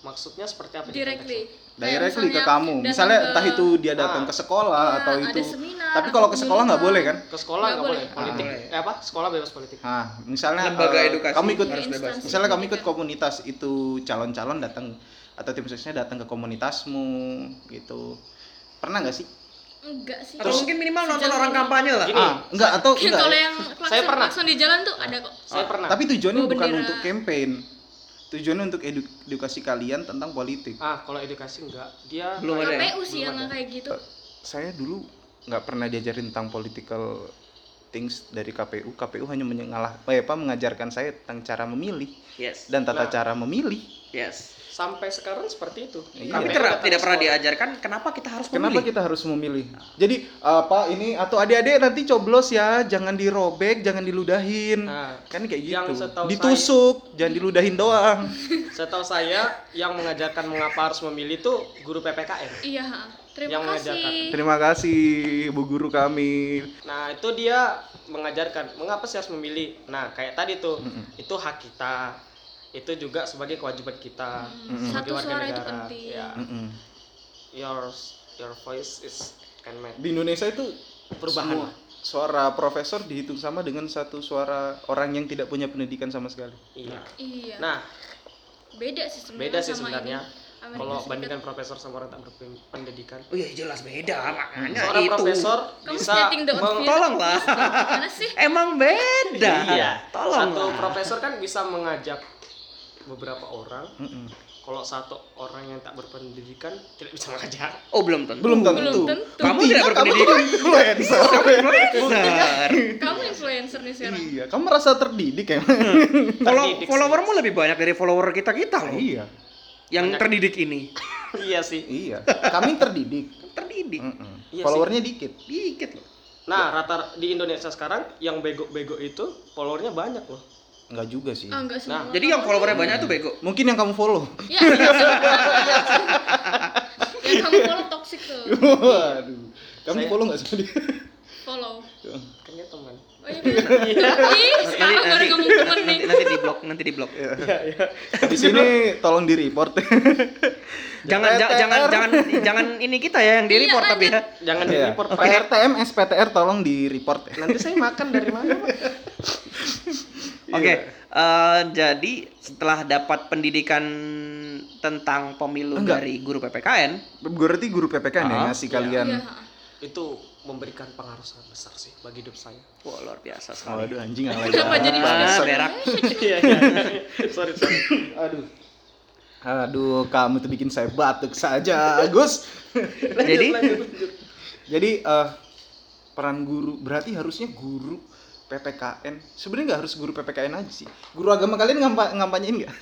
Speaker 4: maksudnya seperti apa nih
Speaker 3: directly Kayak
Speaker 1: directly ke
Speaker 3: Eh, misalnya
Speaker 1: kamu
Speaker 3: datang
Speaker 1: misalnya
Speaker 3: ke-
Speaker 1: entah itu dia datang
Speaker 4: Ah.
Speaker 1: ke sekolah
Speaker 3: Ah,
Speaker 1: atau
Speaker 3: ada
Speaker 1: itu
Speaker 3: seminar,
Speaker 1: tapi kalau
Speaker 3: atau
Speaker 1: ke sekolah nggak boleh kan
Speaker 4: ke sekolah
Speaker 3: Nggak
Speaker 4: nggak boleh
Speaker 3: boleh.
Speaker 4: politik
Speaker 2: Ah, boleh.
Speaker 4: eh apa sekolah bebas politik
Speaker 1: nah misalnya
Speaker 2: Lembaga
Speaker 1: eh,
Speaker 2: edukasi
Speaker 1: kamu ikut
Speaker 2: harus bebas.
Speaker 3: Instansi.
Speaker 1: misalnya kamu ikut komunitas itu calon-calon datang atau tim suksesnya datang ke komunitasmu gitu pernah nggak sih
Speaker 3: enggak sih
Speaker 2: Atau mungkin minimal nonton
Speaker 3: Sejauh
Speaker 2: orang
Speaker 3: ini.
Speaker 2: kampanye lah.
Speaker 4: Gini.
Speaker 1: ah nggak atau enggak
Speaker 3: kalau
Speaker 1: ya?
Speaker 3: yang
Speaker 4: Saya
Speaker 3: klakson
Speaker 4: pernah.
Speaker 3: klakson di jalan tuh ada kok
Speaker 4: saya pernah
Speaker 1: tapi tujuannya
Speaker 3: Bawa
Speaker 1: bukan
Speaker 3: bendera.
Speaker 1: untuk campaign tujuannya untuk edu- edukasi kalian tentang politik
Speaker 4: ah kalau edukasi enggak dia
Speaker 2: Belum ada ya?
Speaker 3: KPU sih yang
Speaker 4: Belum ada.
Speaker 3: kayak gitu
Speaker 1: saya dulu nggak pernah diajarin tentang political things dari KPU KPU hanya mengalah eh, apa mengajarkan saya tentang cara memilih
Speaker 2: Yes.
Speaker 1: dan tata
Speaker 4: Nah.
Speaker 1: cara memilih
Speaker 2: Yes.
Speaker 4: sampai sekarang seperti itu
Speaker 1: Iya. Tapi
Speaker 2: Tapi ter-
Speaker 4: datang
Speaker 2: tidak
Speaker 4: ke
Speaker 2: pernah
Speaker 4: sekolah.
Speaker 2: diajarkan kenapa kita harus
Speaker 1: Kenapa
Speaker 2: memilih.
Speaker 1: kita harus memilih? Jadi apa ini atau adik-adik nanti coblos ya, jangan dirobek, jangan diludahin.
Speaker 4: nah
Speaker 1: Kan kayak gitu.
Speaker 4: Yang setahu
Speaker 1: Ditusuk, jangan diludahin
Speaker 4: (laughs)
Speaker 1: doang.
Speaker 4: setahu saya yang mengajarkan mengapa harus memilih itu guru PPKN
Speaker 3: iya ha. terima
Speaker 4: Yang mengajarkan.
Speaker 3: kasih
Speaker 1: Terima kasih Bu guru kami.
Speaker 4: Nah, itu dia mengajarkan mengapa sih harus memilih. Nah, kayak tadi tuh, itu hak kita. Itu juga sebagai kewajiban kita.
Speaker 3: Mm.
Speaker 4: sebagai
Speaker 3: Satu
Speaker 4: warga
Speaker 3: suara itu
Speaker 4: negara.
Speaker 3: penting.
Speaker 4: Ya.
Speaker 1: Mm-mm.
Speaker 4: Your your voice is can matter.
Speaker 1: Di Indonesia itu
Speaker 4: Perubahan.
Speaker 1: semua suara profesor dihitung sama dengan satu suara orang yang tidak punya pendidikan sama sekali.
Speaker 4: Iya.
Speaker 3: iya
Speaker 4: Nah,
Speaker 3: beda sih sebenarnya
Speaker 4: beda sih
Speaker 3: sama
Speaker 4: sebenarnya
Speaker 3: ini. Amerika
Speaker 4: kalau
Speaker 3: Serikat.
Speaker 4: bandingkan profesor sama orang tak berpendidikan.
Speaker 2: Oh iya jelas beda makanya
Speaker 4: Seorang
Speaker 2: Nah, itu.
Speaker 4: profesor
Speaker 3: kamu
Speaker 4: bisa
Speaker 3: stating the
Speaker 4: meng-
Speaker 3: obvious.
Speaker 2: Tolonglah.
Speaker 3: iya. Gimana sih
Speaker 2: Emang beda.
Speaker 4: Iya.
Speaker 2: Tolong.
Speaker 4: Satu profesor kan bisa mengajak beberapa orang. Kalau satu orang yang tak berpendidikan tidak bisa mengajak. (laughs)
Speaker 2: Oh belum tentu.
Speaker 1: Belum
Speaker 3: (laughs)
Speaker 1: tentu.
Speaker 3: belum tentu
Speaker 2: Kamu
Speaker 1: Iya,
Speaker 2: tidak
Speaker 1: (laughs)
Speaker 2: berpendidikan.
Speaker 4: (laughs)
Speaker 1: influencer.
Speaker 2: Benar.
Speaker 3: kamu influencer nih sekarang
Speaker 1: iya, kamu merasa terdidik ya?
Speaker 4: Nah,
Speaker 2: Follow-
Speaker 4: Terdidik sih.
Speaker 2: followermu lebih banyak dari follower kita kita loh.
Speaker 1: iya.
Speaker 2: Yang terdidik ini.
Speaker 4: iya sih.
Speaker 1: Iya. Kami terdidik.
Speaker 2: Kan Terdidik.
Speaker 1: Mm-mm.
Speaker 4: Iya sih.
Speaker 1: Followernya dikit.
Speaker 2: Dikit loh.
Speaker 4: Nah, rata di Indonesia sekarang yang bego-bego itu followernya banyak loh.
Speaker 1: Enggak juga sih.
Speaker 3: ah enggak
Speaker 4: Nah.
Speaker 3: semua
Speaker 2: Jadi yang followernya
Speaker 1: (laughs)
Speaker 2: banyak tuh bego.
Speaker 1: Mungkin yang kamu follow.
Speaker 3: ya, ya, ya, kamu follow toxic tuh.
Speaker 1: Waduh. Kamu
Speaker 4: Saya-
Speaker 1: follow nggak sama dia?
Speaker 3: Follow.
Speaker 4: kayaknya Kan teman
Speaker 3: Oh iya. bener. Ih, sekarang baru
Speaker 2: nanti,
Speaker 3: kamu temen nih. Iya,
Speaker 2: nanti, nanti di blok nanti di blok
Speaker 1: (laughs) Iya, Di sini tolong di report.
Speaker 2: jangan ja- jangan jangan jangan ini kita ya yang di report tapi ya
Speaker 4: jangan di
Speaker 1: Iya.
Speaker 4: report
Speaker 1: (laughs)
Speaker 4: Pak.
Speaker 1: PRTM, SPTR tolong di report.
Speaker 4: nanti saya makan dari mana Pak?
Speaker 2: oke
Speaker 1: Iya.
Speaker 2: eh, jadi setelah dapat pendidikan tentang pemilu
Speaker 1: Enggak.
Speaker 2: dari guru PPKN
Speaker 1: Berarti guru PPK nih
Speaker 2: Ah.
Speaker 1: ngasih ya, kalian.
Speaker 3: Iya, ha.
Speaker 4: itu memberikan pengaruh sangat besar sih bagi hidup saya
Speaker 2: wah luar biasa sekali
Speaker 1: Waduh anjing alay.
Speaker 3: Kenapa jadi
Speaker 1: banget.
Speaker 2: ah, berak
Speaker 4: iya iya sorry sorry aduh
Speaker 1: Aduh, kamu tuh bikin saya batuk saja, Agus.
Speaker 2: jadi
Speaker 1: Jadi eh peran guru berarti harusnya guru PPKN. Sebenarnya nggak harus guru PPKN aja sih. Guru agama kalian ngampa ngampanyain nggak?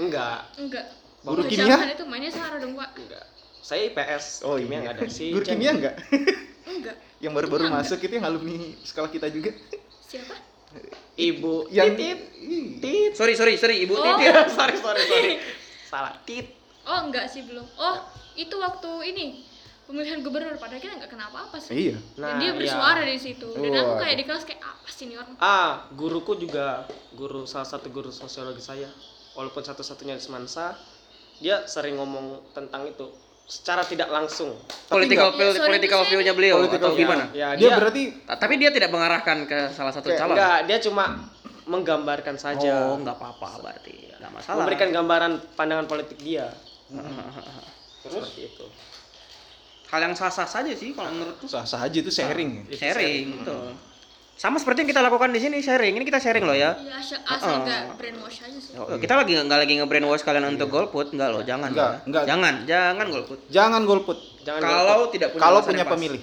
Speaker 4: enggak
Speaker 3: Enggak.
Speaker 1: Guru
Speaker 3: Waktu
Speaker 1: kimia?
Speaker 3: zaman itu mainnya Sarah dong, Pak.
Speaker 4: enggak saya IPS
Speaker 1: Oh iya.
Speaker 4: kimia nggak ada sih
Speaker 1: Guru kimia nggak?
Speaker 3: Enggak.
Speaker 1: Yang baru-baru
Speaker 3: Nggak.
Speaker 1: masuk itu yang alumni sekolah kita juga.
Speaker 3: Siapa?
Speaker 4: ibu
Speaker 1: Yang Iya.
Speaker 4: titit
Speaker 1: Ih,
Speaker 4: titit (laughs) Iya,
Speaker 2: sorry sorry sorry ibu
Speaker 3: Oh.
Speaker 2: titit
Speaker 4: sorry sorry
Speaker 1: (laughs)
Speaker 4: sorry salah tit
Speaker 3: Oh, enggak sih belum. Oh, itu waktu ini pemilihan gubernur padahal kita enggak kenapa apa sih.
Speaker 1: Iya.
Speaker 3: Dan
Speaker 4: iya.
Speaker 3: dia bersuara di situ. Dan aku
Speaker 1: Waduh.
Speaker 3: kayak di kelas kayak apa sih ini orang?
Speaker 4: ah guruku juga guru salah satu guru sosiologi saya walaupun satu-satunya di semansa dia sering ngomong tentang itu secara tidak langsung
Speaker 2: political
Speaker 3: nggak-
Speaker 2: view-
Speaker 3: Ya, sorry,
Speaker 2: political
Speaker 3: saya-
Speaker 2: view-nya beliau
Speaker 1: Political
Speaker 2: atau
Speaker 1: view.
Speaker 2: gimana
Speaker 4: ya
Speaker 1: dia,
Speaker 4: dia,
Speaker 1: berarti
Speaker 2: Ta- tapi dia tidak mengarahkan ke salah satu
Speaker 4: kayak-
Speaker 2: calon
Speaker 4: enggak dia cuma menggambarkan saja
Speaker 2: oh nggak apa-apa berarti nggak masalah
Speaker 4: memberikan gambaran pandangan politik dia terus seperti itu
Speaker 2: (laughs) hal yang sah-sah saja sih kalau menurutku
Speaker 1: sah-sah aja itu sharing.
Speaker 4: Itu
Speaker 2: sharing betul sama seperti yang kita lakukan di sini sharing ini kita sharing loh ya
Speaker 3: Ya asal asal enggak brainwash aja sih.
Speaker 2: Oh, kita lagi nggak lagi nge-brainwash kalian untuk golput nggak loh jangan
Speaker 1: Nggak,
Speaker 2: loh.
Speaker 1: nggak.
Speaker 2: jangan jangan golput
Speaker 1: Jangan golput.
Speaker 4: jangan
Speaker 2: kalau
Speaker 4: golput.
Speaker 2: tidak punya
Speaker 1: Kalau
Speaker 2: alasan
Speaker 1: punya
Speaker 2: yang pas.
Speaker 1: pemilih.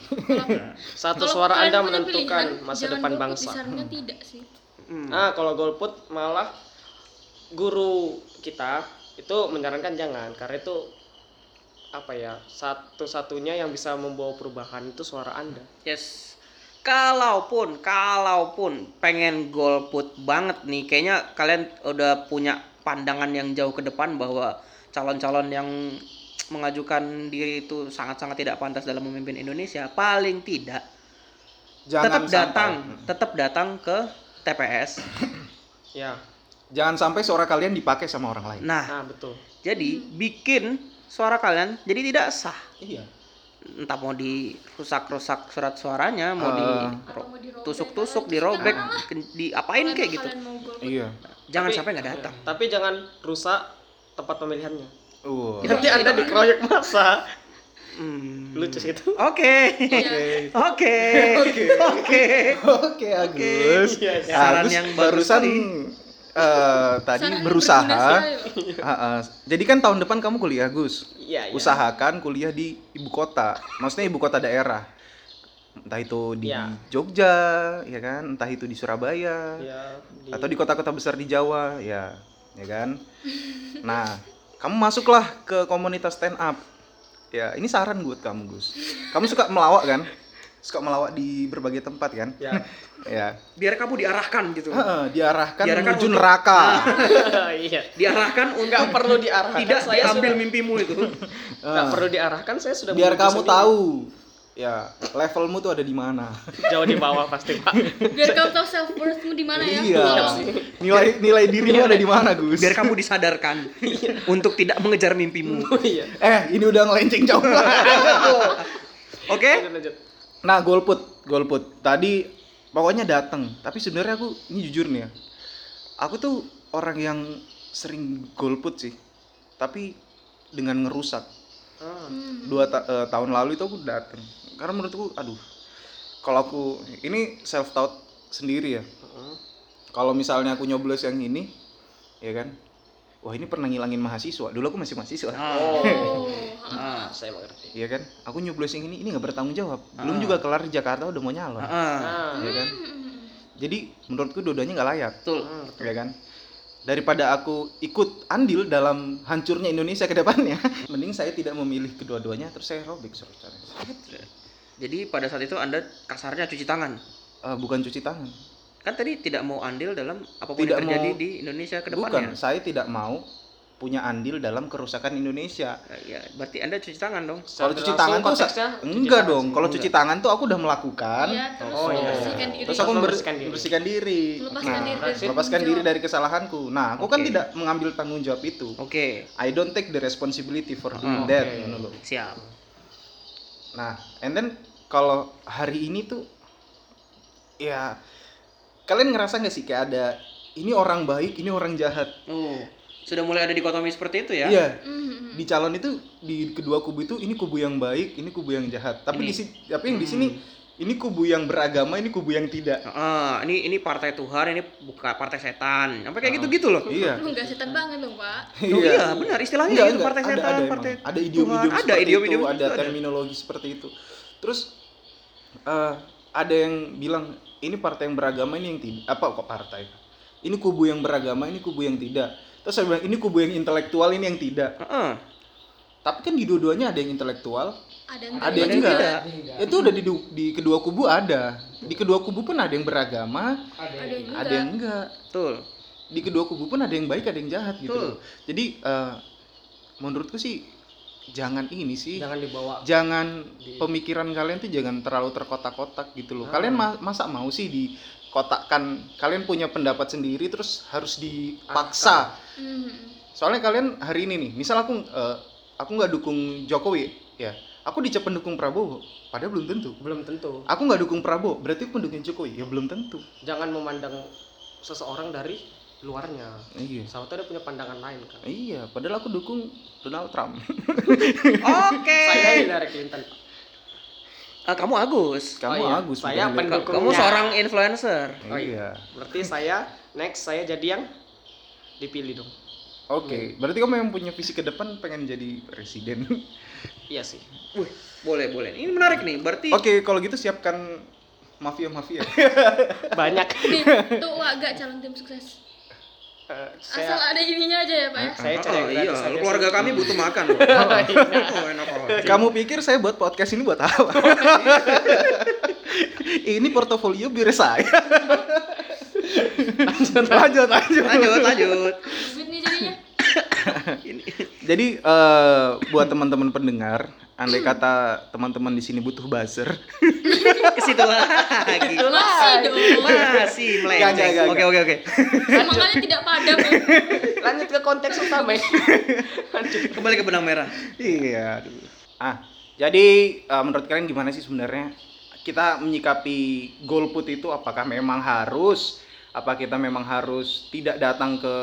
Speaker 4: satu
Speaker 3: Kalau
Speaker 4: suara
Speaker 3: kalian
Speaker 4: anda
Speaker 3: punya
Speaker 4: menentukan
Speaker 3: pilihan,
Speaker 4: masa
Speaker 3: jangan
Speaker 4: depan
Speaker 3: golput,
Speaker 4: bangsa
Speaker 3: disarankan tidak sih.
Speaker 2: Hmm.
Speaker 4: Nah, kalau golput malah guru kita itu menyarankan jangan karena itu apa ya satu-satunya yang bisa membawa perubahan itu suara anda.
Speaker 2: Yes. Kalaupun, kalaupun pengen golput banget nih, kayaknya kalian udah punya pandangan yang jauh ke depan bahwa calon-calon yang mengajukan diri itu sangat-sangat tidak pantas dalam memimpin Indonesia. Paling tidak tetap
Speaker 1: (laughs) Jangan
Speaker 2: datang,
Speaker 1: sampai- Hmm.
Speaker 2: tetap datang ke TPS.
Speaker 4: Ya,
Speaker 1: Jangan sampai suara kalian dipakai sama orang lain.
Speaker 2: Nah,
Speaker 4: nah betul.
Speaker 2: jadi bikin suara kalian jadi tidak sah.
Speaker 1: Iya.
Speaker 2: Entah mau dirusak-rusak surat suaranya, mau
Speaker 1: Eh.
Speaker 3: Atau mau dirobek,
Speaker 2: ditusuk-tusuk,
Speaker 3: atau
Speaker 2: dirobek,
Speaker 3: gimana lah.
Speaker 2: ke- diapain
Speaker 3: Kalau
Speaker 2: kayak
Speaker 3: emang
Speaker 2: gitu.
Speaker 3: Kalian mau golput.
Speaker 1: Iya.
Speaker 2: Jangan
Speaker 4: Tapi- ya? Hmm,
Speaker 2: sampai nggak datang.
Speaker 4: Tapi jangan rusak tempat pemilihannya.
Speaker 1: Uh.
Speaker 2: Kita-
Speaker 4: Nanti anda dikeroyok masa.
Speaker 2: Hmm.
Speaker 4: Lucu sih itu.
Speaker 2: Oke. (laughs)
Speaker 3: Iya.
Speaker 1: Oke.
Speaker 2: Oke.
Speaker 1: Oke.
Speaker 2: Oke.
Speaker 1: Oke Agus.
Speaker 4: Iya, iya.
Speaker 2: Saran
Speaker 1: Agus
Speaker 2: yang bagus
Speaker 1: barusan
Speaker 2: tadi.
Speaker 1: eh, tadi
Speaker 3: Saran
Speaker 1: berusaha.
Speaker 3: berguna sekali loh.
Speaker 1: Ah, ah. Jadi kan tahun depan kamu kuliah Gus.
Speaker 4: Iya. iya.
Speaker 1: Usahakan kuliah di ibu kota. Maksudnya ibu kota daerah. Entah itu di
Speaker 4: Iya.
Speaker 1: Jogja, ya kan? Entah itu di Surabaya.
Speaker 4: Iya, di-
Speaker 1: atau di kota-kota besar di Jawa ya ya kan nah kamu masuklah ke komunitas stand up ya ini saran buat kamu Gus kamu suka melawak kan suka melawak di berbagai tempat kan
Speaker 4: Ya.
Speaker 1: ya
Speaker 2: Biar kamu diarahkan gitu.
Speaker 1: Heeh, diarahkan,
Speaker 2: Diarahkan
Speaker 1: menuju
Speaker 2: untuk- Nah,
Speaker 1: neraka
Speaker 4: iya.
Speaker 2: Diarahkan untuk
Speaker 4: Nggak perlu diarahkan.
Speaker 2: tidak
Speaker 4: saya
Speaker 2: diambil
Speaker 4: sudah-
Speaker 2: mimpimu
Speaker 4: (laughs)
Speaker 2: itu.
Speaker 4: Nggak perlu diarahkan. Saya sudah.
Speaker 1: Ah. biar
Speaker 4: menuju
Speaker 1: kamu
Speaker 4: sendiri.
Speaker 1: tahu ya levelmu tuh ada di mana
Speaker 4: Jauh di bawah pasti pak.
Speaker 3: Biar kamu tahu self worthmu di mana ya.
Speaker 1: iya
Speaker 3: Tolong.
Speaker 1: nilai nilai dirimu ada di mana Gus
Speaker 2: Biar kamu disadarkan
Speaker 4: Iya.
Speaker 2: untuk tidak mengejar mimpimu.
Speaker 4: Oh, iya.
Speaker 1: eh ini udah ngelenceng jauh
Speaker 2: Oke?
Speaker 4: Lanjut, lanjut.
Speaker 1: Nah, golput, golput. Tadi pokoknya dateng, tapi sebenarnya aku ini jujur nih ya. Aku tuh orang yang sering golput sih. Tapi dengan ngerusak.
Speaker 4: Ah.
Speaker 3: Hmm.
Speaker 1: Dua ta- eh, tahun lalu itu aku dateng. Karena menurutku aduh. Kalau aku ini self taught sendiri ya.
Speaker 4: Heeh.
Speaker 1: Kalau misalnya aku nyoblos yang ini, ya kan? Wah, ini pernah ngilangin mahasiswa. Dulu aku masih mahasiswa.
Speaker 2: Ah.
Speaker 3: Oh. ha.
Speaker 2: Ah.
Speaker 4: saya mengerti.
Speaker 1: Iya kan? Aku nyoblos yang ini, ini nggak bertanggung jawab. Belum
Speaker 2: Ah.
Speaker 1: juga kelar di Jakarta udah mau nyalon.
Speaker 2: Ah.
Speaker 4: Nah,
Speaker 1: Iya kan?
Speaker 3: Hmm.
Speaker 1: Jadi menurutku dua-duanya nggak layak.
Speaker 2: Betul.
Speaker 1: ya kan daripada aku ikut andil dalam hancurnya Indonesia ke depannya (laughs) mending saya tidak memilih kedua-duanya terus saya robek surat suaranya.
Speaker 2: Jadi pada saat itu Anda kasarnya cuci tangan.
Speaker 1: Eh, bukan cuci tangan
Speaker 2: Kan tadi tidak mau andil dalam apapun
Speaker 1: Tidak
Speaker 2: yang terjadi
Speaker 1: mau-
Speaker 2: di Indonesia ke
Speaker 1: bukan
Speaker 2: depannya.
Speaker 1: saya tidak mau punya andil dalam kerusakan Indonesia.
Speaker 2: Eh, ya, berarti Anda cuci tangan dong.
Speaker 1: Kalau
Speaker 4: Secara
Speaker 1: cuci
Speaker 4: langsung
Speaker 1: tangan tuh sa-
Speaker 4: konteksnya cuci
Speaker 1: enggak
Speaker 4: tangan
Speaker 1: dong.
Speaker 4: sih.
Speaker 1: Kalau cuci tangan tuh aku udah melakukan.
Speaker 3: Iya, terus
Speaker 4: Oh, iya.
Speaker 3: membersihkan diri.
Speaker 1: Terus aku
Speaker 4: Terus
Speaker 1: membersihkan
Speaker 4: membersihkan
Speaker 1: diri.
Speaker 4: diri.
Speaker 3: Melepaskan diri
Speaker 1: nah,
Speaker 3: dari
Speaker 1: melepaskan
Speaker 3: tanggung
Speaker 1: diri
Speaker 3: jawab.
Speaker 1: dari kesalahanku. Nah, aku kan
Speaker 2: Oke.
Speaker 1: tidak mengambil tanggung jawab itu.
Speaker 2: Oke,
Speaker 1: I don't take the responsibility for doing
Speaker 4: Ah,
Speaker 1: that.
Speaker 4: oke.
Speaker 1: ngono loh.
Speaker 2: siap.
Speaker 1: Nah, and then kalau hari ini tuh ya kalian ngerasa nggak sih kayak ada ini orang baik, ini orang jahat.
Speaker 2: Oh, sudah mulai ada dikotomi seperti itu ya?
Speaker 1: Iya,
Speaker 3: Mhm.
Speaker 1: di calon itu di kedua kubu itu ini kubu yang baik, ini kubu yang jahat. Tapi
Speaker 2: Ini.
Speaker 1: di sini tapi yang di sini ini kubu yang beragama, ini kubu yang tidak.
Speaker 2: Ah, ini ini partai Tuhan, ini buka partai setan. Sampai kayak gitu-gitu loh.
Speaker 1: Iya.
Speaker 3: Lu nggak setan banget dong, Pak.
Speaker 2: Oh, iya, benar istilahnya
Speaker 1: Enggak,
Speaker 2: itu
Speaker 1: enggak.
Speaker 2: partai
Speaker 1: Ada-
Speaker 2: setan,
Speaker 1: ada, emang.
Speaker 2: partai
Speaker 1: ada idiom-idiom
Speaker 2: Tuhan.
Speaker 1: seperti
Speaker 2: ada idiom-idiom
Speaker 1: itu, ada
Speaker 2: gitu,
Speaker 1: terminologi seperti itu. Terus eh, ada yang bilang ini partai yang beragama ini yang tidak apa kok partai? Ini kubu yang beragama, ini kubu yang tidak. Terus saya bilang ini kubu yang intelektual, ini yang tidak.
Speaker 2: Heeh.
Speaker 1: Tapi kan di dua-duanya ada yang intelektual,
Speaker 3: Ada
Speaker 1: ada
Speaker 3: yang
Speaker 1: yang
Speaker 2: yang
Speaker 1: enggak.
Speaker 2: tidak.
Speaker 1: Itu udah di, du- di kedua kubu ada. Di kedua kubu pun ada yang beragama,
Speaker 3: ada yang
Speaker 1: ada
Speaker 3: enggak.
Speaker 1: yang enggak. (laughs)
Speaker 2: Betul.
Speaker 1: Di kedua kubu pun ada yang baik, ada yang jahat gitu.
Speaker 2: Betul.
Speaker 1: loh. Jadi eh, menurutku sih jangan ini sih.
Speaker 4: jangan dibawa
Speaker 1: jangan
Speaker 4: Di- Ah.
Speaker 1: pemikiran kalian tuh jangan terlalu terkotak-kotak gitu loh. Kalian ma- masa mau sih dikotakkan? Kalian punya pendapat sendiri terus harus
Speaker 4: Ah,
Speaker 1: dipaksa.
Speaker 3: Mhm.
Speaker 1: Soalnya kalian hari ini nih, misal aku eh, aku nggak dukung Jokowi ya. Aku dicap pendukung Prabowo, padahal belum tentu.
Speaker 4: belum tentu
Speaker 1: Aku nggak dukung Prabowo, berarti aku pendukung Jokowi. Ya belum tentu.
Speaker 4: jangan memandang seseorang dari luarnya
Speaker 1: Iya.
Speaker 4: sama tuh dia punya pandangan lain kan
Speaker 1: Iya, padahal aku dukung Donald Trump.
Speaker 4: Oh,
Speaker 2: Oke.
Speaker 4: saya Hillary Clinton
Speaker 2: Ah, kamu Agus.
Speaker 1: Kamu
Speaker 4: Oh iya,
Speaker 1: Agus
Speaker 4: saya
Speaker 1: bukan
Speaker 4: pendukung. Oh,
Speaker 1: Donald
Speaker 2: Ka- Kamu
Speaker 4: Dukungnya.
Speaker 2: seorang influencer.
Speaker 1: Trump. Iya.
Speaker 4: berarti saya next saya jadi yang dipilih dong
Speaker 1: Oke, berarti kamu yang punya visi ke depan pengen jadi presiden.
Speaker 4: iya sih
Speaker 2: Wih, boleh, boleh. Ini menarik nih. Berarti
Speaker 1: Oke, kalau gitu siapkan mafia-mafia.
Speaker 4: banyak
Speaker 3: Nih, tuh wak gak calon tim sukses.
Speaker 4: Eh,
Speaker 3: Asal
Speaker 4: saya
Speaker 3: ada ininya aja ya, Pak
Speaker 1: Nah,
Speaker 3: ya.
Speaker 4: saya cari
Speaker 2: Oh,
Speaker 4: yang
Speaker 2: iya,
Speaker 4: gratis aja sih.
Speaker 2: keluarga kami butuh
Speaker 1: (laughs)
Speaker 2: makan loh. Oh, enak aja.
Speaker 1: Iya. Kamu pikir saya buat podcast ini buat apa? ini portofolio biar saya. lanjut, lanjut,
Speaker 2: lanjut, lanjut.
Speaker 3: Duit nih
Speaker 1: (laughs)
Speaker 3: jadinya.
Speaker 1: Jadi eh, buat teman-teman pendengar, andai kata teman-teman di sini butuh buzzer,
Speaker 2: (laughs) Ke situ lagi.
Speaker 3: Masih dong.
Speaker 2: Masih
Speaker 1: Gak, gak, gak,
Speaker 2: melenceng. Oke,
Speaker 1: gak.
Speaker 2: oke, oke.
Speaker 3: Semangatnya tidak padam. ya.
Speaker 4: lanjut ke konteks utama ya.
Speaker 2: Kembali ke benang merah.
Speaker 1: Iya. aduh. Ah, jadi eh, menurut kalian gimana sih sebenarnya kita menyikapi golput itu apakah memang harus apa kita memang harus tidak datang ke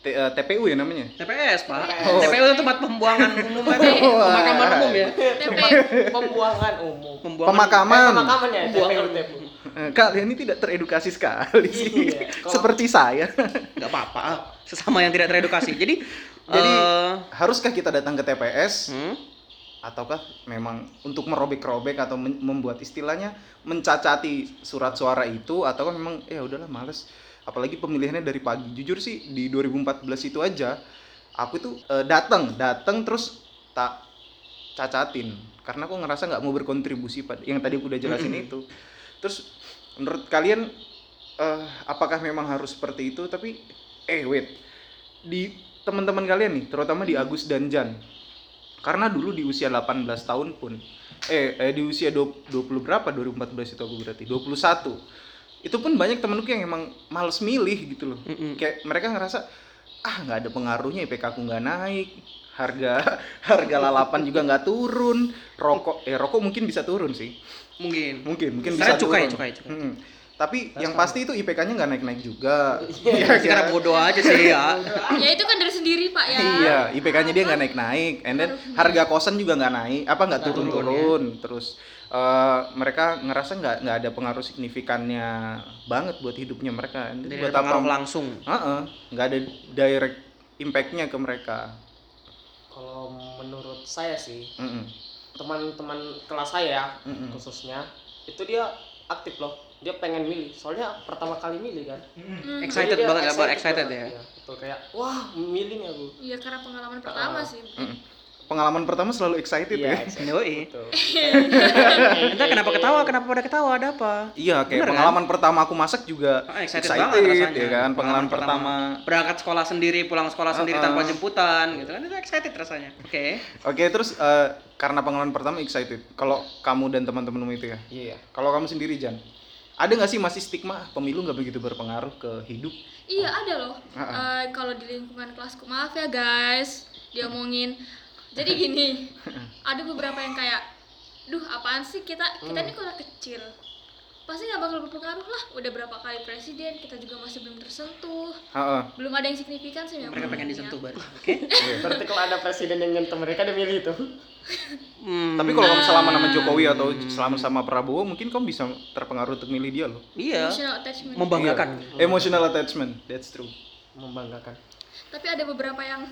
Speaker 1: T- eh, TPU ya namanya?
Speaker 2: TPS, Pak.
Speaker 1: Oh.
Speaker 2: TPU itu tempat
Speaker 1: (laughs)
Speaker 2: pembuangan umum aja.
Speaker 1: Oh.
Speaker 2: Pemakaman umum ya.
Speaker 3: TP.
Speaker 4: pembuangan umum
Speaker 2: Pembuangan
Speaker 4: Eh,
Speaker 1: Pemakaman.
Speaker 4: pemakaman ya
Speaker 2: Pembuangan.
Speaker 4: TPU.
Speaker 1: Eh, Kalian ini tidak teredukasi sekali sih.
Speaker 4: Iya, kalau-
Speaker 1: Seperti
Speaker 4: (laughs)
Speaker 1: saya.
Speaker 2: nggak apa-apa ah. sesama yang tidak teredukasi jadi
Speaker 1: Jadi,
Speaker 2: eh,
Speaker 1: Haruskah kita datang ke TPS
Speaker 2: hmm?
Speaker 1: ataukah memang untuk merobek-robek atau men- membuat istilahnya mencacati surat suara itu ataukah memang ya udahlah males apalagi pemilihannya dari pagi. Jujur sih di 2014 itu aja aku tuh eh, datang, datang terus tak cacatin karena aku ngerasa nggak mau berkontribusi pada yang tadi aku udah jelasin itu. Terus menurut kalian eh, apakah memang harus seperti itu? Tapi eh wait di teman-teman kalian nih, terutama di Agus dan Jan. Karena dulu di usia 18 tahun pun eh, eh, di usia 20, 20 berapa 2014 itu aku berarti 21. Itu pun banyak temenku yang emang males milih gitu loh.
Speaker 2: Mm-mm.
Speaker 1: Kayak mereka ngerasa ah nggak ada pengaruhnya IPK aku nggak naik harga (laughs) harga lalapan juga nggak turun rokok eh rokok mungkin bisa turun sih
Speaker 2: mungkin
Speaker 1: mungkin mungkin bisa
Speaker 2: Sekarang cukai,
Speaker 1: turun.
Speaker 2: cukai, cukai.
Speaker 1: Mm-mm. tapi yang pasti itu IPK-nya nggak naik naik
Speaker 2: (laughs)
Speaker 1: juga Iya kan?
Speaker 2: ya, kita karena bodoh aja sih ya
Speaker 1: (laughs)
Speaker 3: Ya itu kan dari sendiri, Pak ya.
Speaker 1: Iya, IPK-nya dia nggak naik-naik, and then harga kosan juga nggak naik, apa nggak turun-turun,
Speaker 2: ya.
Speaker 1: terus eh, mereka ngerasa nggak nggak ada pengaruh signifikannya banget buat hidupnya mereka, and then
Speaker 2: dari
Speaker 1: buat
Speaker 2: pengaruh
Speaker 1: apa?
Speaker 2: langsung
Speaker 1: Heeh, nggak ada direct impact-nya ke mereka.
Speaker 4: kalau menurut saya sih
Speaker 1: Mm-mm,
Speaker 4: teman-teman kelas saya ya,
Speaker 1: mm-mm.
Speaker 2: Hmm.
Speaker 4: khususnya itu dia aktif loh dia pengen milih soalnya pertama kali milih kan
Speaker 3: Mhm.
Speaker 2: excited
Speaker 4: Jadi dia
Speaker 2: banget ya Bang,
Speaker 4: banget.
Speaker 2: excited ya
Speaker 4: Iya, betul kayak wah milih nih aku
Speaker 1: Uh-uh.
Speaker 3: Iya karena pengalaman pertama sih.
Speaker 1: Mm-mm. pengalaman pertama selalu excited
Speaker 4: Iya,
Speaker 1: ya. (laughs)
Speaker 4: excited.
Speaker 2: Yoi.
Speaker 4: Betul.
Speaker 2: Entah kenapa ketawa, kenapa pada ketawa, ada apa?
Speaker 1: Iya, kayak
Speaker 2: Bener kan?
Speaker 1: pengalaman pertama aku masak juga
Speaker 2: Ah, excited
Speaker 1: excited,
Speaker 2: banget rasanya.
Speaker 1: ya kan? Pengalaman pertama.
Speaker 2: Berangkat sekolah sendiri, pulang sekolah sendiri
Speaker 1: Uh-uh.
Speaker 2: tanpa jemputan, gitu kan itu excited rasanya. Oke.
Speaker 1: Oke, terus eh, karena pengalaman pertama excited. Kalau kamu dan teman-temanmu itu ya.
Speaker 4: Iya.
Speaker 1: Kalau kamu sendiri Jan, ada nggak sih masih stigma pemilu nggak begitu berpengaruh ke hidup?
Speaker 3: Iya ada loh.
Speaker 1: Ah, ah.
Speaker 3: Eh, kalau di lingkungan kelasku maaf ya guys, diomongin. Jadi gini, ada beberapa yang kayak, duh apaan sih kita kita ini kota kecil, pasti nggak bakal berpengaruh lah. Udah berapa kali presiden, kita juga masih belum tersentuh,
Speaker 1: Heeh.
Speaker 3: belum ada yang signifikan sih.
Speaker 2: Mereka
Speaker 3: memang
Speaker 2: pengen
Speaker 3: ya.
Speaker 2: disentuh baru. Oke.
Speaker 4: Berarti kalau ada presiden yang nyentuh mereka dia milih itu.
Speaker 2: Hmm,
Speaker 1: Tapi kalau kamu selama sama Jokowi atau selama sama Prabowo, mungkin kamu bisa terpengaruh untuk milih dia loh.
Speaker 2: iya,
Speaker 3: Emotional attachment.
Speaker 2: membanggakan.
Speaker 1: Iya. Emotional attachment, that's true.
Speaker 4: Membanggakan.
Speaker 3: Tapi ada beberapa yang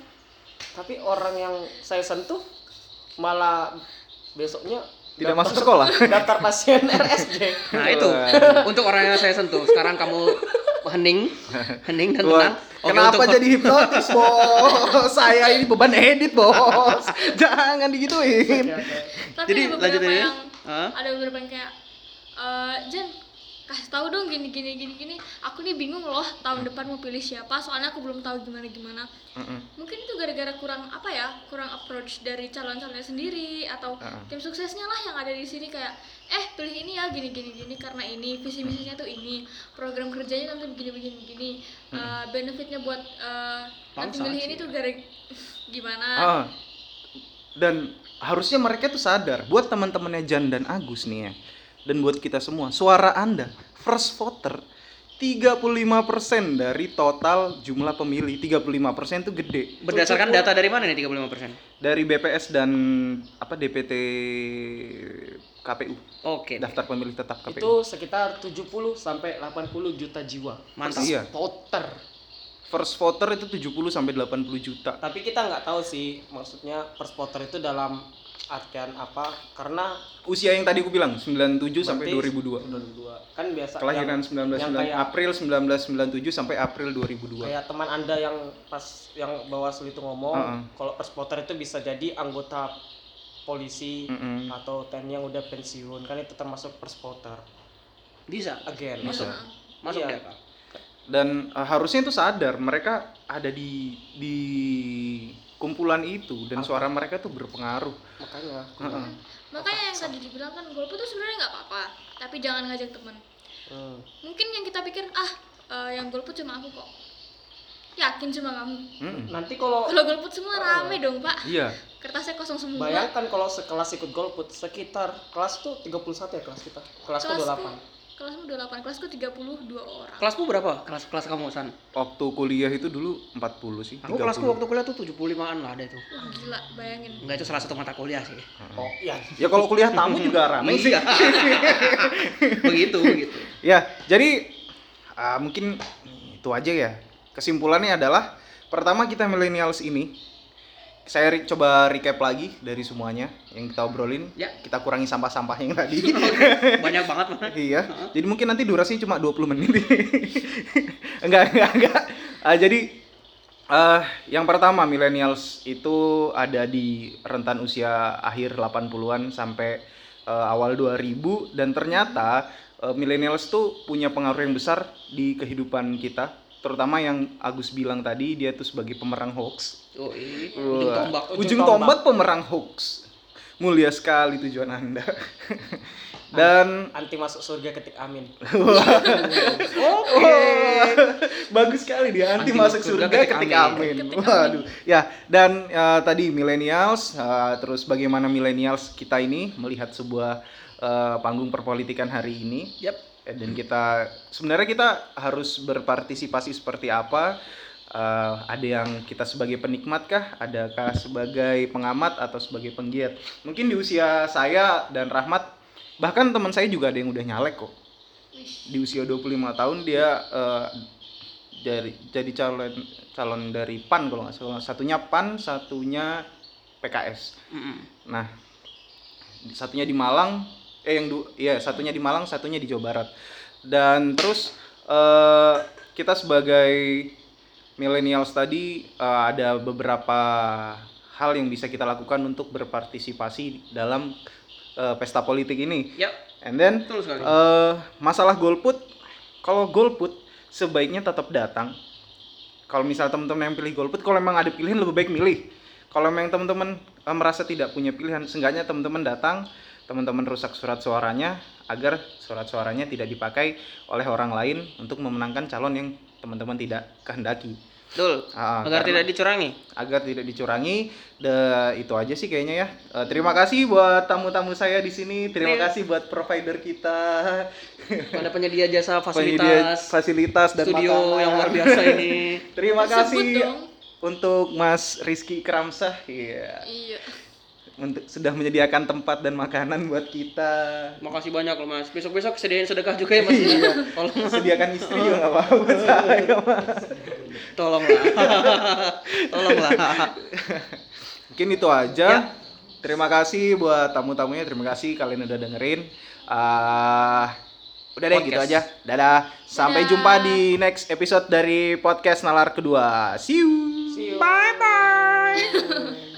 Speaker 4: Tapi orang yang saya sentuh malah besoknya
Speaker 1: Tidak masuk sekolah.
Speaker 4: daftar pasien (laughs) RSJ.
Speaker 2: Nah
Speaker 1: Iya.
Speaker 2: itu untuk orang yang saya sentuh. Sekarang kamu hening, hening dan
Speaker 1: Wah,
Speaker 2: (laughs) tenang. Oke,
Speaker 1: Kenapa
Speaker 2: (laughs) untuk-
Speaker 1: jadi hipnotis, Bos? Saya ini beban edit, Bos. (laughs) Jangan digituin.
Speaker 3: tapi
Speaker 2: Jadi
Speaker 3: ada
Speaker 2: lanjut
Speaker 3: beberapa
Speaker 2: aja.
Speaker 3: yang
Speaker 2: Hah?
Speaker 3: ada beberapa yang kayak "Eh, Jen kasih tahu dong gini gini gini gini aku nih bingung loh tahun depan mau pilih siapa soalnya aku belum tahu gimana gimana mungkin itu gara-gara kurang apa ya kurang approach dari calon-calonnya sendiri atau
Speaker 1: Heeh.
Speaker 3: tim suksesnya lah yang ada di sini kayak eh pilih ini ya gini gini gini karena ini visi misinya tuh ini program kerjanya nanti begini begini begini Eh, benefitnya buat eh, nanti
Speaker 2: Hmm. Bangsa
Speaker 3: pilih
Speaker 2: sih. Oh,
Speaker 3: ini tuh gara (laughs) gimana
Speaker 1: Ah, dan harusnya mereka tuh sadar buat teman-temannya Jan dan Agus nih ya dan buat kita semua suara anda first voter 35% dari total jumlah pemilih 35% tuh gede
Speaker 2: Berdasarkan data dari mana nih 35%?
Speaker 1: dari BPS dan apa DPT KPU
Speaker 2: Oke.
Speaker 1: daftar pemilih tetap KPU
Speaker 4: Itu sekitar 70 sampai 80 juta jiwa.
Speaker 2: Mantap.
Speaker 1: Iya.
Speaker 4: Voter.
Speaker 1: first voter itu 70 sampai 80 juta
Speaker 4: Tapi kita nggak tahu sih maksudnya first voter itu dalam artian apa karena
Speaker 1: usia yang tadi aku bilang 97 sampai
Speaker 4: berarti
Speaker 1: 2002
Speaker 4: 2002 kan biasa
Speaker 1: kelahiran 19
Speaker 4: yang kayak-
Speaker 1: April 1997 sampai April 2002
Speaker 4: kayak teman anda yang pas yang bawaslu itu ngomong
Speaker 1: Heeh.
Speaker 4: kalau first voter itu bisa jadi anggota polisi
Speaker 1: Mm-mm.
Speaker 4: atau TNI yang udah pensiun kan itu termasuk first voter
Speaker 2: Bisa.
Speaker 3: Gitu.
Speaker 4: again
Speaker 2: Masuk. Masuk
Speaker 4: Iya.
Speaker 2: dia, Pak.
Speaker 1: dan eh, harusnya itu sadar mereka ada di di kumpulan itu dan suara mereka tuh berpengaruh
Speaker 4: makanya
Speaker 1: Heeh.
Speaker 3: makanya yang tadi dibilang kan golput tuh sebenarnya nggak apa-apa tapi jangan ngajak temen
Speaker 4: Hmm.
Speaker 3: mungkin yang kita pikir ah eh, yang golput cuma aku kok yakin cuma kamu
Speaker 1: Mm-mm.
Speaker 4: nanti kalau
Speaker 3: kalau golput semua rame dong pak
Speaker 1: Hmm. Oh, iya
Speaker 3: kertasnya kosong
Speaker 4: Iya.
Speaker 3: semua
Speaker 4: bayangkan kalau sekelas ikut golput sekitar kelas tuh 31 ya kelas kita kelas tuh 28
Speaker 3: kelasmu 28 kelasku 32 orang
Speaker 2: Kelasmu berapa? Kelas kelas kamu San?
Speaker 1: waktu kuliah itu dulu 40 sih
Speaker 2: Aku
Speaker 1: 30.
Speaker 2: kelasku waktu kuliah tuh 75-an lah ada itu.
Speaker 3: Wah, gila bayangin
Speaker 2: Enggak itu salah satu mata kuliah sih.
Speaker 4: oh iya
Speaker 1: ya kalau kuliah tamu (laughs) juga ramai sih
Speaker 2: Iya. (laughs) begitu, (laughs) begitu.
Speaker 1: ya jadi ah, mungkin itu aja ya kesimpulannya adalah pertama kita millennials ini saya re- coba recap lagi dari semuanya yang kita obrolin
Speaker 2: Ya.
Speaker 1: kita kurangi sampah-sampah yang tadi (laughs)
Speaker 2: Banyak banget mah.
Speaker 1: Iya. Jadi mungkin nanti durasinya cuma 20 menit. (laughs) enggak, enggak, enggak. Ah, jadi eh yang pertama millennials itu ada di rentan usia akhir 80-an sampai eh, awal 2000 dan ternyata eh, millennials tuh punya pengaruh yang besar di kehidupan kita, terutama yang Agus bilang tadi dia tuh sebagai pemerang hoax.
Speaker 2: Oh, iya. Ujung tombak.
Speaker 1: Ujung,
Speaker 4: Ujung
Speaker 1: tombak pemerang hoax. Mulia sekali tujuan Anda. (laughs) dan
Speaker 4: anti masuk surga ketik amin
Speaker 2: Oke.
Speaker 1: Iya, bagus sekali dia anti
Speaker 2: Anti
Speaker 1: masuk
Speaker 2: masuk
Speaker 1: surga,
Speaker 2: surga ketik
Speaker 1: ketika amin.
Speaker 2: amin.
Speaker 1: Waduh. Ya, dan eh, tadi millennials eh, terus bagaimana millennials kita ini melihat sebuah eh, panggung perpolitikan hari ini
Speaker 2: Yap.
Speaker 1: Eh, dan kita sebenarnya kita harus berpartisipasi seperti apa? Eh, ada yang kita sebagai penikmat kah? Adakah sebagai pengamat atau sebagai penggiat? Mungkin di usia saya dan Rahmat bahkan teman saya juga ada yang udah nyalek kok
Speaker 3: Wih,
Speaker 1: di usia 25 tahun dia eh, dari jadi calon calon dari PAN kalau nggak salah satunya PAN satunya PKS
Speaker 2: Mm-mm.
Speaker 1: nah satunya di Malang eh yang du ya satunya di Malang satunya di Jawa Barat dan terus eh, kita sebagai milenials tadi eh, ada beberapa hal yang bisa kita lakukan untuk berpartisipasi dalam eh, pesta politik ini.
Speaker 2: Yap,
Speaker 1: And then
Speaker 2: betul sekali.
Speaker 1: eh masalah golput, kalau golput sebaiknya tetap datang. Kalau misal teman-teman yang pilih golput, kalau memang ada pilihan lebih baik milih. Kalau memang teman-teman eh, merasa tidak punya pilihan, seenggaknya teman-teman datang, teman-teman rusak surat suaranya agar surat suaranya tidak dipakai oleh orang lain untuk memenangkan calon yang teman-teman tidak kehendaki.
Speaker 2: betul.
Speaker 1: Ah,
Speaker 2: Agar
Speaker 1: karena-
Speaker 2: tidak (laughs) dicurangi.
Speaker 1: agar tidak dicurangi. Da- itu aja sih kayaknya ya. Eh, terima kasih buat tamu-tamu saya di sini. Terima
Speaker 2: Iya.
Speaker 1: kasih buat provider kita.
Speaker 2: Pada penyedia jasa
Speaker 1: Penyedia
Speaker 2: fasilitas,
Speaker 1: fasilitas dan
Speaker 2: studio
Speaker 1: makanan.
Speaker 2: yang luar biasa ini.
Speaker 1: Terima
Speaker 3: Sebut
Speaker 1: kasih
Speaker 3: dong.
Speaker 1: untuk Mas Rizky Kramsah iya
Speaker 3: Iya.
Speaker 1: untuk sudah menyediakan tempat dan makanan buat kita.
Speaker 2: Makasih banyak loh Mas. Besok-besok sediain sedekah juga ya Mas. (laughs) Tolong
Speaker 1: Sediakan istri juga nggak apa-apa saya, Mas.
Speaker 2: tolonglah. (laughs) tolonglah.
Speaker 1: (laughs) Mungkin itu aja. Terima kasih buat tamu-tamunya. Terima kasih kalian udah dengerin. Ah, udah deh gitu
Speaker 2: Podcast.
Speaker 1: aja. Dadah. Sampai
Speaker 3: Dadah.
Speaker 1: jumpa di next episode dari podcast Nalar kedua. See you.
Speaker 4: Bye bye.